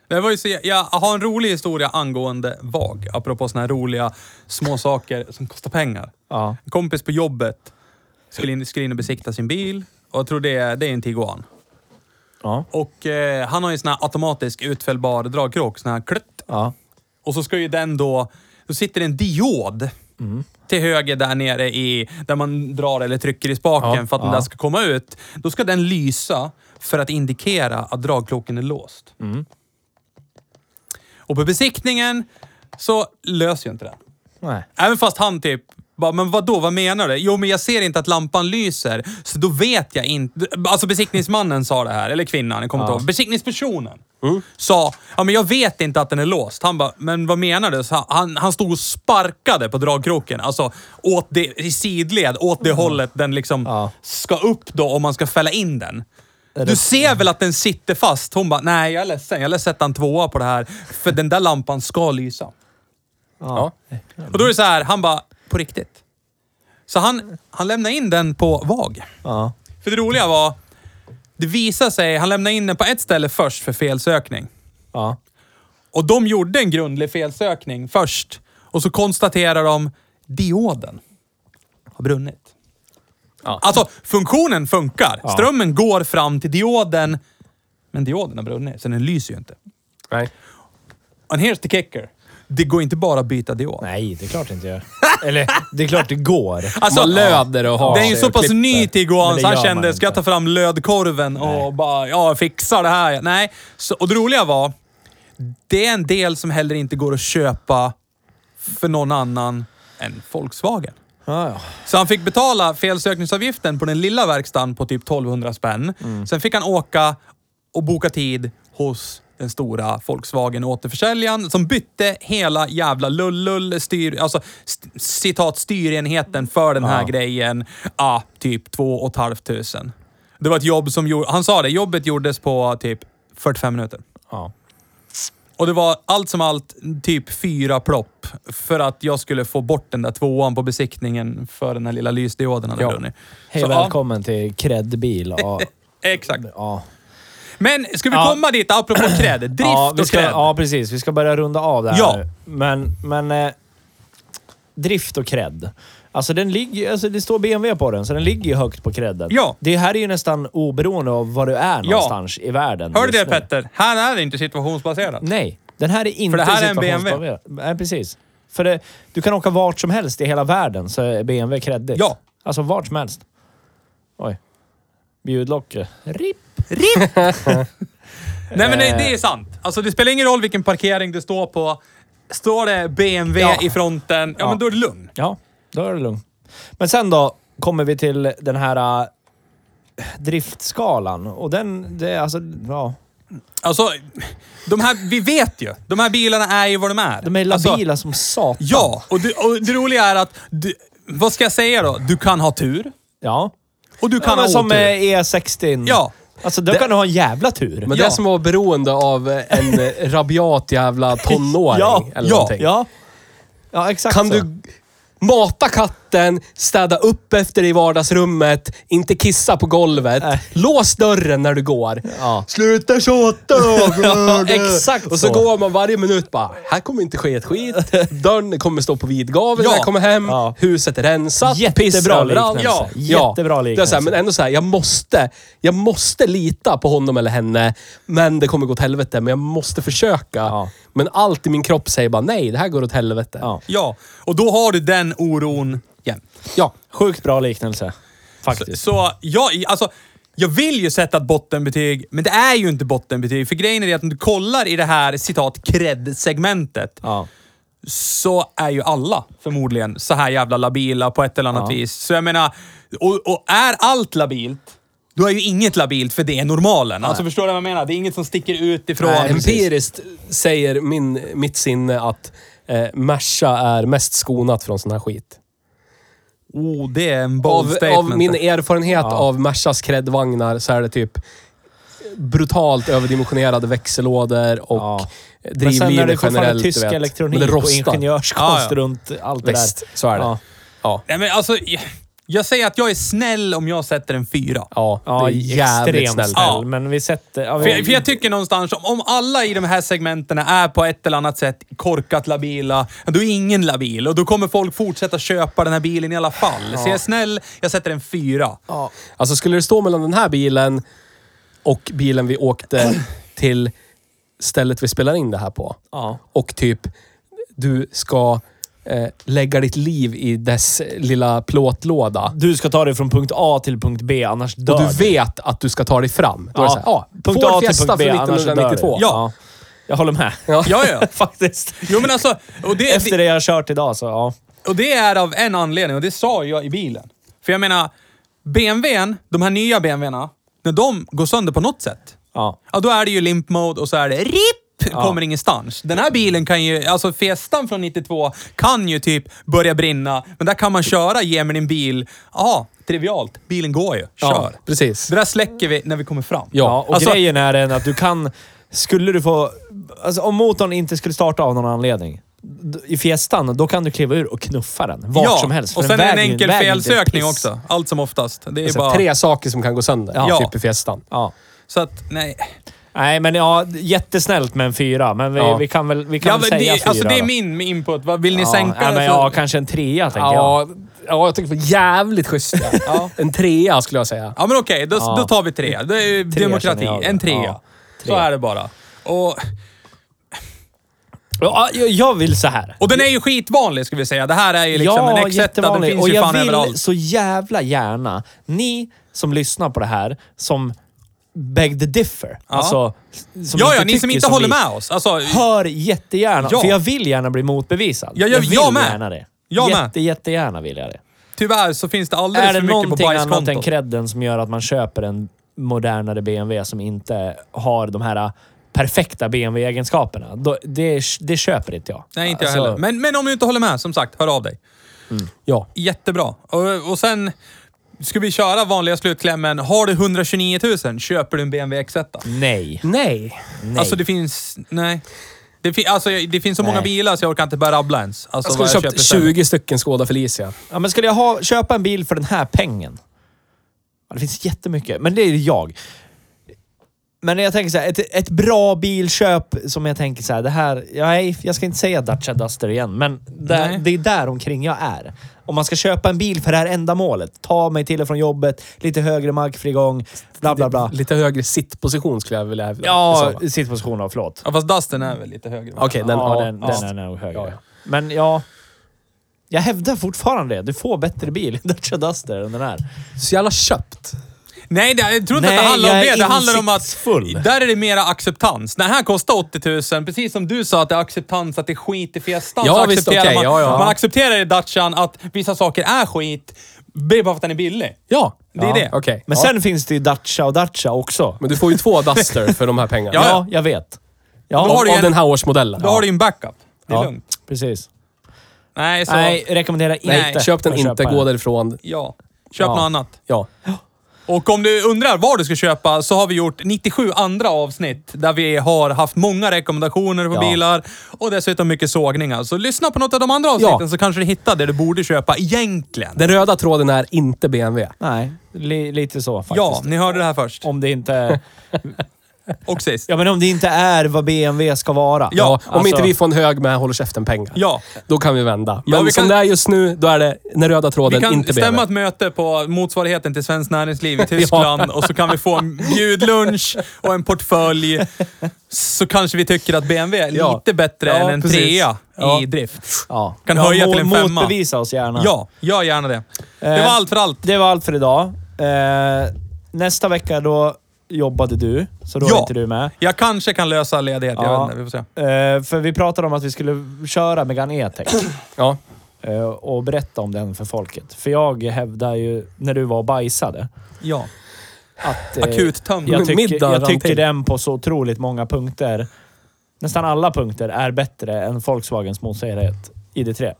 Speaker 2: Det var ju så, jag har en rolig historia angående VAG, apropå såna här roliga små saker som kostar pengar.
Speaker 1: Ja.
Speaker 2: En kompis på jobbet skulle in, skulle in och besikta sin bil och jag tror det är, det är en Tiguan.
Speaker 1: Ja.
Speaker 2: Och eh, han har ju sån här automatisk utfällbar dragkrok, sån här klutt.
Speaker 1: Ja.
Speaker 2: Och så ska ju den då... Då sitter det en diod till höger där nere i... Där man drar eller trycker i spaken
Speaker 1: Ja,
Speaker 2: för att den
Speaker 1: ja.
Speaker 2: där ska komma ut. Då ska den lysa för att indikera att dragkloken är låst.
Speaker 1: Mm.
Speaker 2: Och på besiktningen så löser ju inte den.
Speaker 1: Nej.
Speaker 2: Även fast han typ bara, men vadå, vad menar du? Jo, men jag ser inte att lampan lyser, så då vet jag inte. Alltså besiktningsmannen sa det här, eller kvinnan, jag kommer inte ihåg. Besiktningspersonen
Speaker 1: Mm.
Speaker 2: sa, ja men jag vet inte att den är låst. Han bara, men vad menar du? Så han, han stod och sparkade på dragkroken, alltså åt det, i sidled, åt det hållet den liksom
Speaker 1: Ja.
Speaker 2: ska upp då om man ska fälla in den.
Speaker 1: det-
Speaker 2: Du ser väl att den sitter fast? Hon bara, nej jag är ledsen, jag lär sätta en tvåa på det här, för den där lampan ska lysa.
Speaker 1: Ja.
Speaker 2: Och då är det så här, han bara, på riktigt. Så han, han lämnade in den på VAG.
Speaker 1: Ja.
Speaker 2: För det roliga var, det visade sig, han lämnade in den på ett ställe först för felsökning.
Speaker 1: Ja.
Speaker 2: Och de gjorde en grundlig felsökning först. Och så konstaterar de, dioden har brunnit.
Speaker 3: Ja.
Speaker 2: Alltså, funktionen funkar. Strömmen går fram till dioden, Men dioden har brunnit, så den lyser ju inte.
Speaker 3: Nej.
Speaker 2: And here's the kicker. Det går inte bara att byta diod.
Speaker 1: Nej, det är klart det inte gör. Eller, det är klart det går.
Speaker 2: Alltså,
Speaker 3: Man löder och har
Speaker 2: Den är ju
Speaker 3: sig
Speaker 2: så
Speaker 3: och
Speaker 2: pass
Speaker 3: klipper.
Speaker 2: ny till
Speaker 1: Men
Speaker 2: Iguan
Speaker 1: det
Speaker 2: så han
Speaker 1: gör man
Speaker 2: kände, ska jag
Speaker 1: inte.
Speaker 2: ta fram lödkorven och bara, ja, fixa det här. Nej. Så, och det roliga var, det är en del som heller inte går att köpa för någon annan än Volkswagen.
Speaker 1: Ja, ja.
Speaker 2: Så han fick betala felsökningsavgiften på den lilla verkstaden på typ 1200 spänn. Sen fick han åka och boka tid hos den stora Volkswagen återförsäljaren som bytte hela jävla lullull styr, alltså st- citat styrenheten för den här
Speaker 1: Ja.
Speaker 2: grejen. Ah, typ två och ett halvt tusen. Det var ett jobb som gjorde, han sa det, jobbet gjordes på typ 45 minuter.
Speaker 1: ja.
Speaker 2: Och det var allt som allt typ fyra plopp för att jag skulle få bort den där tvåan på besiktningen för den här lilla lysdioden hade
Speaker 3: Ja.
Speaker 2: brunnit.
Speaker 1: Hej
Speaker 2: Så,
Speaker 1: och
Speaker 2: ja,
Speaker 1: välkommen till Kredbil. Ja,
Speaker 2: Exakt.
Speaker 1: ja.
Speaker 2: Men ska vi
Speaker 1: Ja.
Speaker 2: komma dit, apropå cred? Drift
Speaker 1: ja, vi
Speaker 2: och
Speaker 1: ska,
Speaker 2: cred.
Speaker 1: ja, precis. Vi ska börja runda av det här
Speaker 2: Ja.
Speaker 1: nu. Men, men eh, drift och cred. Alltså, den ligger, alltså det står BMW på den, så den ligger ju högt på credden.
Speaker 2: Ja.
Speaker 1: Det här är ju nästan oberoende av var du är någonstans i världen.
Speaker 2: Hör du det
Speaker 1: just nu.
Speaker 2: Petter? Här är det inte situationsbaserat.
Speaker 1: Nej, den här är inte
Speaker 2: det här är en BMW.
Speaker 1: situationsbaserad. Nej, precis. För det, du kan åka vart som helst i hela världen så är BMW kreddigt.
Speaker 2: Ja.
Speaker 1: Alltså vart som helst. Oj. Bjudlocket. RIP!
Speaker 2: Nej men det, det är sant. Alltså det spelar ingen roll vilken parkering du står på. Står det BMW
Speaker 1: Ja.
Speaker 2: i fronten, ja,
Speaker 1: Ja.
Speaker 2: men då är det lugn.
Speaker 1: Ja, då är det lugnt. Men sen då kommer vi till den här äh, driftskalan och den, det är alltså, ja.
Speaker 2: Alltså, de här, vi vet ju. De här bilarna är ju vad de är.
Speaker 1: De är
Speaker 2: Alltså,
Speaker 1: labila som satan.
Speaker 2: Ja, och det, och det roliga är att, du, vad ska jag säga då? Du kan ha tur
Speaker 1: Ja.
Speaker 2: och du kan
Speaker 1: ja men
Speaker 2: ha
Speaker 1: som
Speaker 2: otur.
Speaker 1: eh, E60.
Speaker 2: Ja.
Speaker 1: Alltså då kan du ha en jävla tur.
Speaker 3: Men
Speaker 2: Ja.
Speaker 3: det är som att vara beroende av en eh, rabiat jävla tonåring
Speaker 1: Ja,
Speaker 3: eller
Speaker 2: ja, Alltså.
Speaker 3: någonting.
Speaker 1: ja. Ja, exakt
Speaker 3: Kan
Speaker 1: så.
Speaker 3: du mata katten, städa upp efter dig i vardagsrummet, inte kissa på golvet,
Speaker 1: Nej.
Speaker 3: lås dörren när du går.
Speaker 1: Ja.
Speaker 3: Sluta tjata! ja,
Speaker 1: exakt
Speaker 3: Och så,
Speaker 1: så.
Speaker 3: går man varje minut bara, här kommer inte ske ett skit. Dörren kommer stå på vid gavel när
Speaker 2: Ja.
Speaker 3: jag kommer hem.
Speaker 1: Ja.
Speaker 3: Huset är rensat.
Speaker 1: Jättebra
Speaker 3: piss överallt.
Speaker 1: liknelse.
Speaker 3: Ja,
Speaker 1: Jättebra
Speaker 3: ja. Det är så här,
Speaker 1: liknelse.
Speaker 3: men ändå så här, jag måste, jag måste lita på honom eller henne. Men det kommer gå åt helvete. Men jag måste försöka.
Speaker 1: Ja.
Speaker 3: Men allt i min kropp säger bara, nej, det här går åt helvete.
Speaker 1: Ja.
Speaker 2: Ja, och då har du den oron jämt.
Speaker 3: ja.
Speaker 1: Sjukt bra liknelse.
Speaker 2: Så,
Speaker 1: Faktiskt.
Speaker 2: så jag, alltså, jag vill ju sätta ett bottenbetyg, men det är ju inte bottenbetyg. För grejen är det att om du kollar i det här citat cred-segmentet
Speaker 1: Ja.
Speaker 2: så är ju alla förmodligen så här jävla labila på ett eller annat
Speaker 1: Ja.
Speaker 2: vis. Så jag menar, och, och är allt labilt, då är ju inget labilt för det är normalen. Alltså förstår du vad jag menar? Det är inget som sticker ut ifrån...
Speaker 3: Nej, empiriskt säger min, mitt sinne att eh, Merca är mest skonat från sån här skit.
Speaker 2: Oh, det är en bold
Speaker 3: Av,
Speaker 2: statement.
Speaker 3: av min erfarenhet av Mercas kredvagnar så är det typ brutalt överdimensionerade växellådor och
Speaker 1: Ja. Men sen är
Speaker 3: drivlinor
Speaker 1: det fortfarande
Speaker 3: generellt.
Speaker 1: tysk
Speaker 3: du vet.
Speaker 1: elektronik
Speaker 3: Men det
Speaker 1: och
Speaker 3: rostar.
Speaker 1: ingenjörskonst
Speaker 2: Ja, ja.
Speaker 1: runt allt det
Speaker 3: Visst,
Speaker 1: där.
Speaker 3: så är det.
Speaker 1: Ja,
Speaker 3: Ja.
Speaker 2: Nej, men alltså, jag, jag säger att jag är snäll om jag sätter en fyra.
Speaker 3: Ja,
Speaker 1: ja
Speaker 3: det är jävligt
Speaker 1: extremt
Speaker 3: snällt.
Speaker 1: snäll.
Speaker 2: Ja.
Speaker 1: Men vi sätter... Ja,
Speaker 2: För jag, för
Speaker 1: vi,
Speaker 2: jag tycker någonstans, om- om alla i de här segmenten är på ett eller annat sätt korkat labila, då är ingen labil och då kommer folk fortsätta köpa den här bilen i alla fall. Så jag är snäll, jag sätter en fyra.
Speaker 1: ja.
Speaker 3: Alltså skulle det stå mellan den här bilen och bilen vi åkte till stället vi spelar in det här på.
Speaker 1: Ja.
Speaker 3: Och typ, du ska eh, lägga ditt liv i dess lilla plåtlåda.
Speaker 1: Du ska ta dig från punkt A till punkt B, annars dör
Speaker 3: Och du vet att du ska ta dig fram. Då är det så här, "Ah, ja,
Speaker 1: punkt
Speaker 3: Ford
Speaker 1: A till
Speaker 3: Fiesta
Speaker 1: punkt B,
Speaker 3: från
Speaker 1: annars dör du.
Speaker 3: 1992.
Speaker 1: Ja. Jag håller med.
Speaker 3: Ja.
Speaker 2: Ja, ja.
Speaker 1: Faktiskt.
Speaker 2: Jo men alltså, och det,
Speaker 1: Efter det jag har kört idag så, ja.
Speaker 2: Och det är av en anledning och det sa jag i bilen. För jag menar, BMWn, de här nya BMWna, när de går sönder på något sätt,
Speaker 1: Ja.
Speaker 2: ja då är det ju limp mode och så är det RIP! Kommer ingenstans. Den här bilen kan ju, alltså Fiestan från 92 kan ju typ börja brinna, men där kan man köra, ge mig din bil. Ja, trivialt. Bilen går ju. Kör.
Speaker 3: precis.
Speaker 2: Det där släcker vi när vi kommer fram.
Speaker 3: Ja.
Speaker 1: Ja, och
Speaker 2: Alltså-
Speaker 1: grejen är den att du kan... Skulle du få... Alltså om motorn inte skulle starta av någon anledning d- i Fiestan, då kan du kliva ur och knuffa den vart
Speaker 2: ja.
Speaker 1: som helst. för
Speaker 2: Och
Speaker 1: den
Speaker 2: sen är det
Speaker 1: väger
Speaker 2: en
Speaker 1: ju-
Speaker 2: enkel
Speaker 1: väger inte
Speaker 2: felsökning
Speaker 1: piss.
Speaker 2: också. Allt som oftast. Det är,
Speaker 3: Det
Speaker 1: Alltså,
Speaker 3: är så här,
Speaker 2: bara...
Speaker 3: tre saker som kan gå sönder.
Speaker 1: Ja.
Speaker 3: Typ i Fiestan.
Speaker 1: Ja.
Speaker 2: Så att, nej.
Speaker 1: Nej, men ja, jättesnällt med en fyra, men vi,
Speaker 3: Ja.
Speaker 1: vi kan väl, vi kan
Speaker 2: Ja,
Speaker 1: väl
Speaker 2: men
Speaker 1: säga
Speaker 2: det,
Speaker 1: fyra.
Speaker 2: alltså det är
Speaker 1: då.
Speaker 2: min alltså. input. Vad Vill ni
Speaker 1: ja,
Speaker 2: sänka
Speaker 1: ja,
Speaker 2: det
Speaker 1: men,
Speaker 2: så-
Speaker 1: ja, kanske en trea tänker jag.
Speaker 3: Ja, ja, jag tycker det var jävligt schysst. En trea skulle jag säga.
Speaker 2: ja, men okej. Då,
Speaker 1: Ja.
Speaker 2: då tar vi tre. Det är ju
Speaker 1: Tre
Speaker 2: demokrati.
Speaker 1: känner jag.
Speaker 2: En trea.
Speaker 1: Ja.
Speaker 2: Så är det bara. Och,
Speaker 1: Ja, jag- jag vill så här.
Speaker 2: och den är ju skitvanlig ska vi säga. Det här är ju liksom en exetta. Den
Speaker 1: jättevanlig.
Speaker 2: finns
Speaker 1: Och
Speaker 2: ju
Speaker 1: jag
Speaker 2: fan
Speaker 1: vill
Speaker 2: överallt.
Speaker 1: så jävla gärna, ni som lyssnar på det här, som beg the differ. Alltså, som
Speaker 2: Ja, ja,
Speaker 1: inte
Speaker 2: ni som
Speaker 1: tycker
Speaker 2: inte håller
Speaker 1: vi,
Speaker 2: med oss. Alltså,
Speaker 1: Hör jättegärna,
Speaker 2: Ja.
Speaker 1: för jag vill gärna bli motbevisad.
Speaker 2: Ja, jag-
Speaker 1: vill
Speaker 2: jag med.
Speaker 1: gärna det.
Speaker 2: Jag med.
Speaker 1: Jätte, jättegärna vill jag det.
Speaker 2: tyvärr så finns det alldeles för
Speaker 1: Är det
Speaker 2: mycket på
Speaker 1: någonting annat än
Speaker 2: bajskontot.
Speaker 1: credden som gör att man köper en modernare BMW som inte har de här äh, perfekta BMW-egenskaperna, då- det, det köper inte jag.
Speaker 2: Nej, inte jag
Speaker 1: Alltså,
Speaker 2: heller. Men, men om du inte håller med, som sagt, hör av dig.
Speaker 1: Ja.
Speaker 2: Jättebra. Och, och sen ska vi köra vanliga slutklämmen. Har du 129 000 köper du en BMW X1.
Speaker 1: Nej.
Speaker 3: Nej.
Speaker 1: Nej.
Speaker 2: Alltså det finns... Nej. Det, fi, alltså, jag- det finns så många
Speaker 1: Nej.
Speaker 2: bilar så jag orkar inte börja rabbla ens. Alltså,
Speaker 3: Jag skulle
Speaker 2: vad
Speaker 3: köpt
Speaker 2: köper sen.
Speaker 3: 20 stycken Skoda Felicia.
Speaker 1: Ja, men skulle jag ha, köpa en bil för den här pengen? Ja, det finns jättemycket, men det är jag. Men jag tänker så här, ett, ett bra bilköp som jag tänker så här, det här... ja, Nej, jag ska inte säga Dacia Duster igen, men där,
Speaker 2: Nej.
Speaker 1: det är där omkring jag är. Om man ska köpa en bil för det här ändamålet, ta mig till och från jobbet, lite högre markfrigång, bla bla bla.
Speaker 3: Lite högre sittposition skulle jag vilja hävda.
Speaker 1: Ja,
Speaker 3: I så fall.
Speaker 1: sittposition, ja, förlåt.
Speaker 2: Ja, fast Dusten är väl lite högre? va?
Speaker 3: Okej, den,
Speaker 1: ja,
Speaker 3: ja,
Speaker 1: den,
Speaker 3: ja.
Speaker 1: den är nog högre.
Speaker 3: Ja, ja.
Speaker 1: Men ja, jag hävdar fortfarande det. Du får bättre bil i Dacia Duster än den här.
Speaker 3: Så jävla köpt.
Speaker 2: Nej, det, jag tror inte
Speaker 1: Nej,
Speaker 2: att det handlar om
Speaker 1: jag
Speaker 2: det.
Speaker 1: är
Speaker 2: Det handlar om att...
Speaker 1: insiktsfull.
Speaker 2: Där är det mera acceptans. Den här kostar 80 000. Precis som du sa att det är acceptans att det är skit i festan.
Speaker 3: Ja,
Speaker 2: så
Speaker 3: visst,
Speaker 2: accepterar
Speaker 3: okej,
Speaker 2: man,
Speaker 3: ja, ja.
Speaker 2: man accepterar i Dacian att vissa saker är skit. Det är bara för att den är billig.
Speaker 3: Ja.
Speaker 2: Det är
Speaker 1: Ja.
Speaker 2: det.
Speaker 3: Okej.
Speaker 1: Men
Speaker 3: ja.
Speaker 1: sen finns det ju Dacia och Dacia också.
Speaker 3: Men du får ju två Duster för de här pengarna.
Speaker 2: Ja,
Speaker 1: Ja,
Speaker 2: ja.
Speaker 1: jag vet.
Speaker 2: Då har
Speaker 1: Ja,
Speaker 2: du-
Speaker 3: Av
Speaker 2: en-
Speaker 3: den här årsmodellen.
Speaker 2: Då har du ju en backup. Det är
Speaker 1: Ja.
Speaker 2: lugnt.
Speaker 1: precis.
Speaker 2: Nej, så...
Speaker 1: Nej, rekommenderar inte.
Speaker 2: Nej,
Speaker 3: Köp den
Speaker 1: att
Speaker 3: inte,
Speaker 1: köpa
Speaker 3: gå därifrån.
Speaker 2: Ja. Köp
Speaker 1: Ja.
Speaker 2: något annat.
Speaker 3: Ja.
Speaker 2: Och om du undrar vad du ska köpa så har vi gjort 97 andra avsnitt där vi har haft många rekommendationer på
Speaker 1: Ja.
Speaker 2: bilar och dessutom mycket sågningar. Så lyssna på något av de andra avsnitten
Speaker 3: Ja.
Speaker 2: så kanske du hittar det du borde köpa egentligen.
Speaker 3: Den röda tråden är inte BMW.
Speaker 1: Nej, li, lite så faktiskt.
Speaker 2: Ja, ni hörde det här först.
Speaker 1: Om det inte...
Speaker 2: Och sist.
Speaker 1: Ja, men om det inte är vad BMW ska vara.
Speaker 3: Ja, om
Speaker 1: Alltså,
Speaker 3: inte vi får en hög med håller käften-pengar.
Speaker 2: Ja.
Speaker 3: Då kan vi vända. Men
Speaker 2: Ja, vi
Speaker 3: som
Speaker 2: kan-
Speaker 3: det är just nu, då är det den röda
Speaker 2: Vi
Speaker 3: tråden,
Speaker 2: kan
Speaker 3: inte BMW.
Speaker 2: stämma ett möte på motsvarigheten till Svenskt Näringsliv i Tyskland och så kan vi få en bjudlunch och en portfölj. Så kanske vi tycker att BMW är
Speaker 3: Ja.
Speaker 2: lite bättre
Speaker 3: Ja,
Speaker 2: än en
Speaker 3: precis.
Speaker 2: trea
Speaker 3: Ja.
Speaker 2: i drift.
Speaker 1: Ja.
Speaker 2: Kan höja till en
Speaker 1: mot-
Speaker 2: femma.
Speaker 1: Motbevisa oss gärna.
Speaker 2: Ja, gör gärna det. Det
Speaker 1: Eh,
Speaker 2: var allt för allt.
Speaker 1: Det var allt för idag. Eh, nästa vecka då jobbade du, så då
Speaker 2: Ja.
Speaker 1: är inte du med.
Speaker 2: Jag kanske kan lösa ledighet, jag
Speaker 1: Ja.
Speaker 2: vet inte. Vi får se.
Speaker 1: Eh, för vi pratade om att vi skulle köra Megane E-Tech.
Speaker 3: Ja.
Speaker 1: eh, och berätta om den för folket. För jag hävdar ju, när du var och bajsade,
Speaker 2: Ja.
Speaker 1: att... eh,
Speaker 2: Akuttömd.
Speaker 1: Jag tycker,
Speaker 3: middag
Speaker 1: jag
Speaker 3: rann
Speaker 1: tycker
Speaker 3: till.
Speaker 1: den på så otroligt många punkter, nästan alla punkter, är bättre än Volkswagens motsvarighet ID3.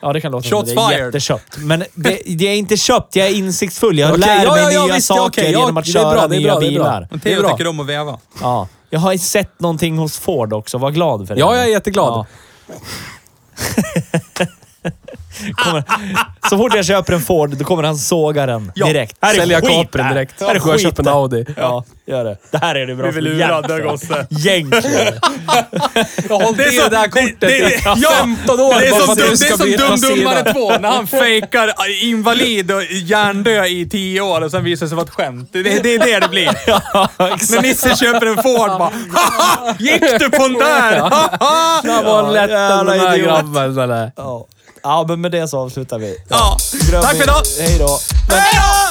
Speaker 1: Ja, det kan låta
Speaker 2: Shots
Speaker 1: som att det är
Speaker 2: fired.
Speaker 1: jätteköpt. Men det, det är inte köpt, jag är insiktsfull. Jag
Speaker 3: Okej,
Speaker 1: lär
Speaker 3: ja,
Speaker 1: mig
Speaker 3: ja, ja,
Speaker 1: nya
Speaker 3: visst, ja,
Speaker 1: saker
Speaker 3: okej, ja,
Speaker 1: genom att
Speaker 3: det är bra,
Speaker 1: köra
Speaker 3: det är
Speaker 1: nya
Speaker 3: bra, det är bra.
Speaker 1: bilar.
Speaker 2: Men
Speaker 3: Det är
Speaker 2: Theo
Speaker 3: bra.
Speaker 2: tycker om att veva.
Speaker 1: Ja. Jag har sett någonting hos Ford också. Var glad för det.
Speaker 3: Ja, jag är jätteglad.
Speaker 1: kommer, så fort jag köper en Ford, då kommer han såga den
Speaker 2: Ja,
Speaker 1: direkt.
Speaker 2: här är
Speaker 3: Sälja
Speaker 1: skit
Speaker 3: kapren
Speaker 1: här.
Speaker 3: direkt.
Speaker 1: Här är
Speaker 3: Gå och köp
Speaker 1: skit
Speaker 3: en
Speaker 1: här.
Speaker 3: Audi.
Speaker 1: Ja, gör det. Det här är det bra
Speaker 2: Blev vi lurade, gosse.
Speaker 1: Jänk!
Speaker 2: Jag har
Speaker 3: i det där kortet i 15 år
Speaker 2: Det är
Speaker 3: bara för
Speaker 2: som,
Speaker 3: att
Speaker 2: dum,
Speaker 3: du
Speaker 2: det
Speaker 3: ska
Speaker 2: är
Speaker 3: byta
Speaker 2: som Dumdummare
Speaker 3: sida.
Speaker 2: 2, när han fejkar äh, invalid och hjärndö i 10 år och sen visar det sig vara ett skämt. Det, det är det det blir. När Nisse köper en Ford bara "Haha, Gick du på den där? Haha!"
Speaker 3: Det var lätt den
Speaker 1: jävla
Speaker 3: här
Speaker 1: idiot.
Speaker 3: grabben. sådär.
Speaker 1: ja, men med det så avslutar vi.
Speaker 2: ja.
Speaker 1: Grövling.
Speaker 2: Tack för idag!
Speaker 1: Hej då!
Speaker 2: Hej då!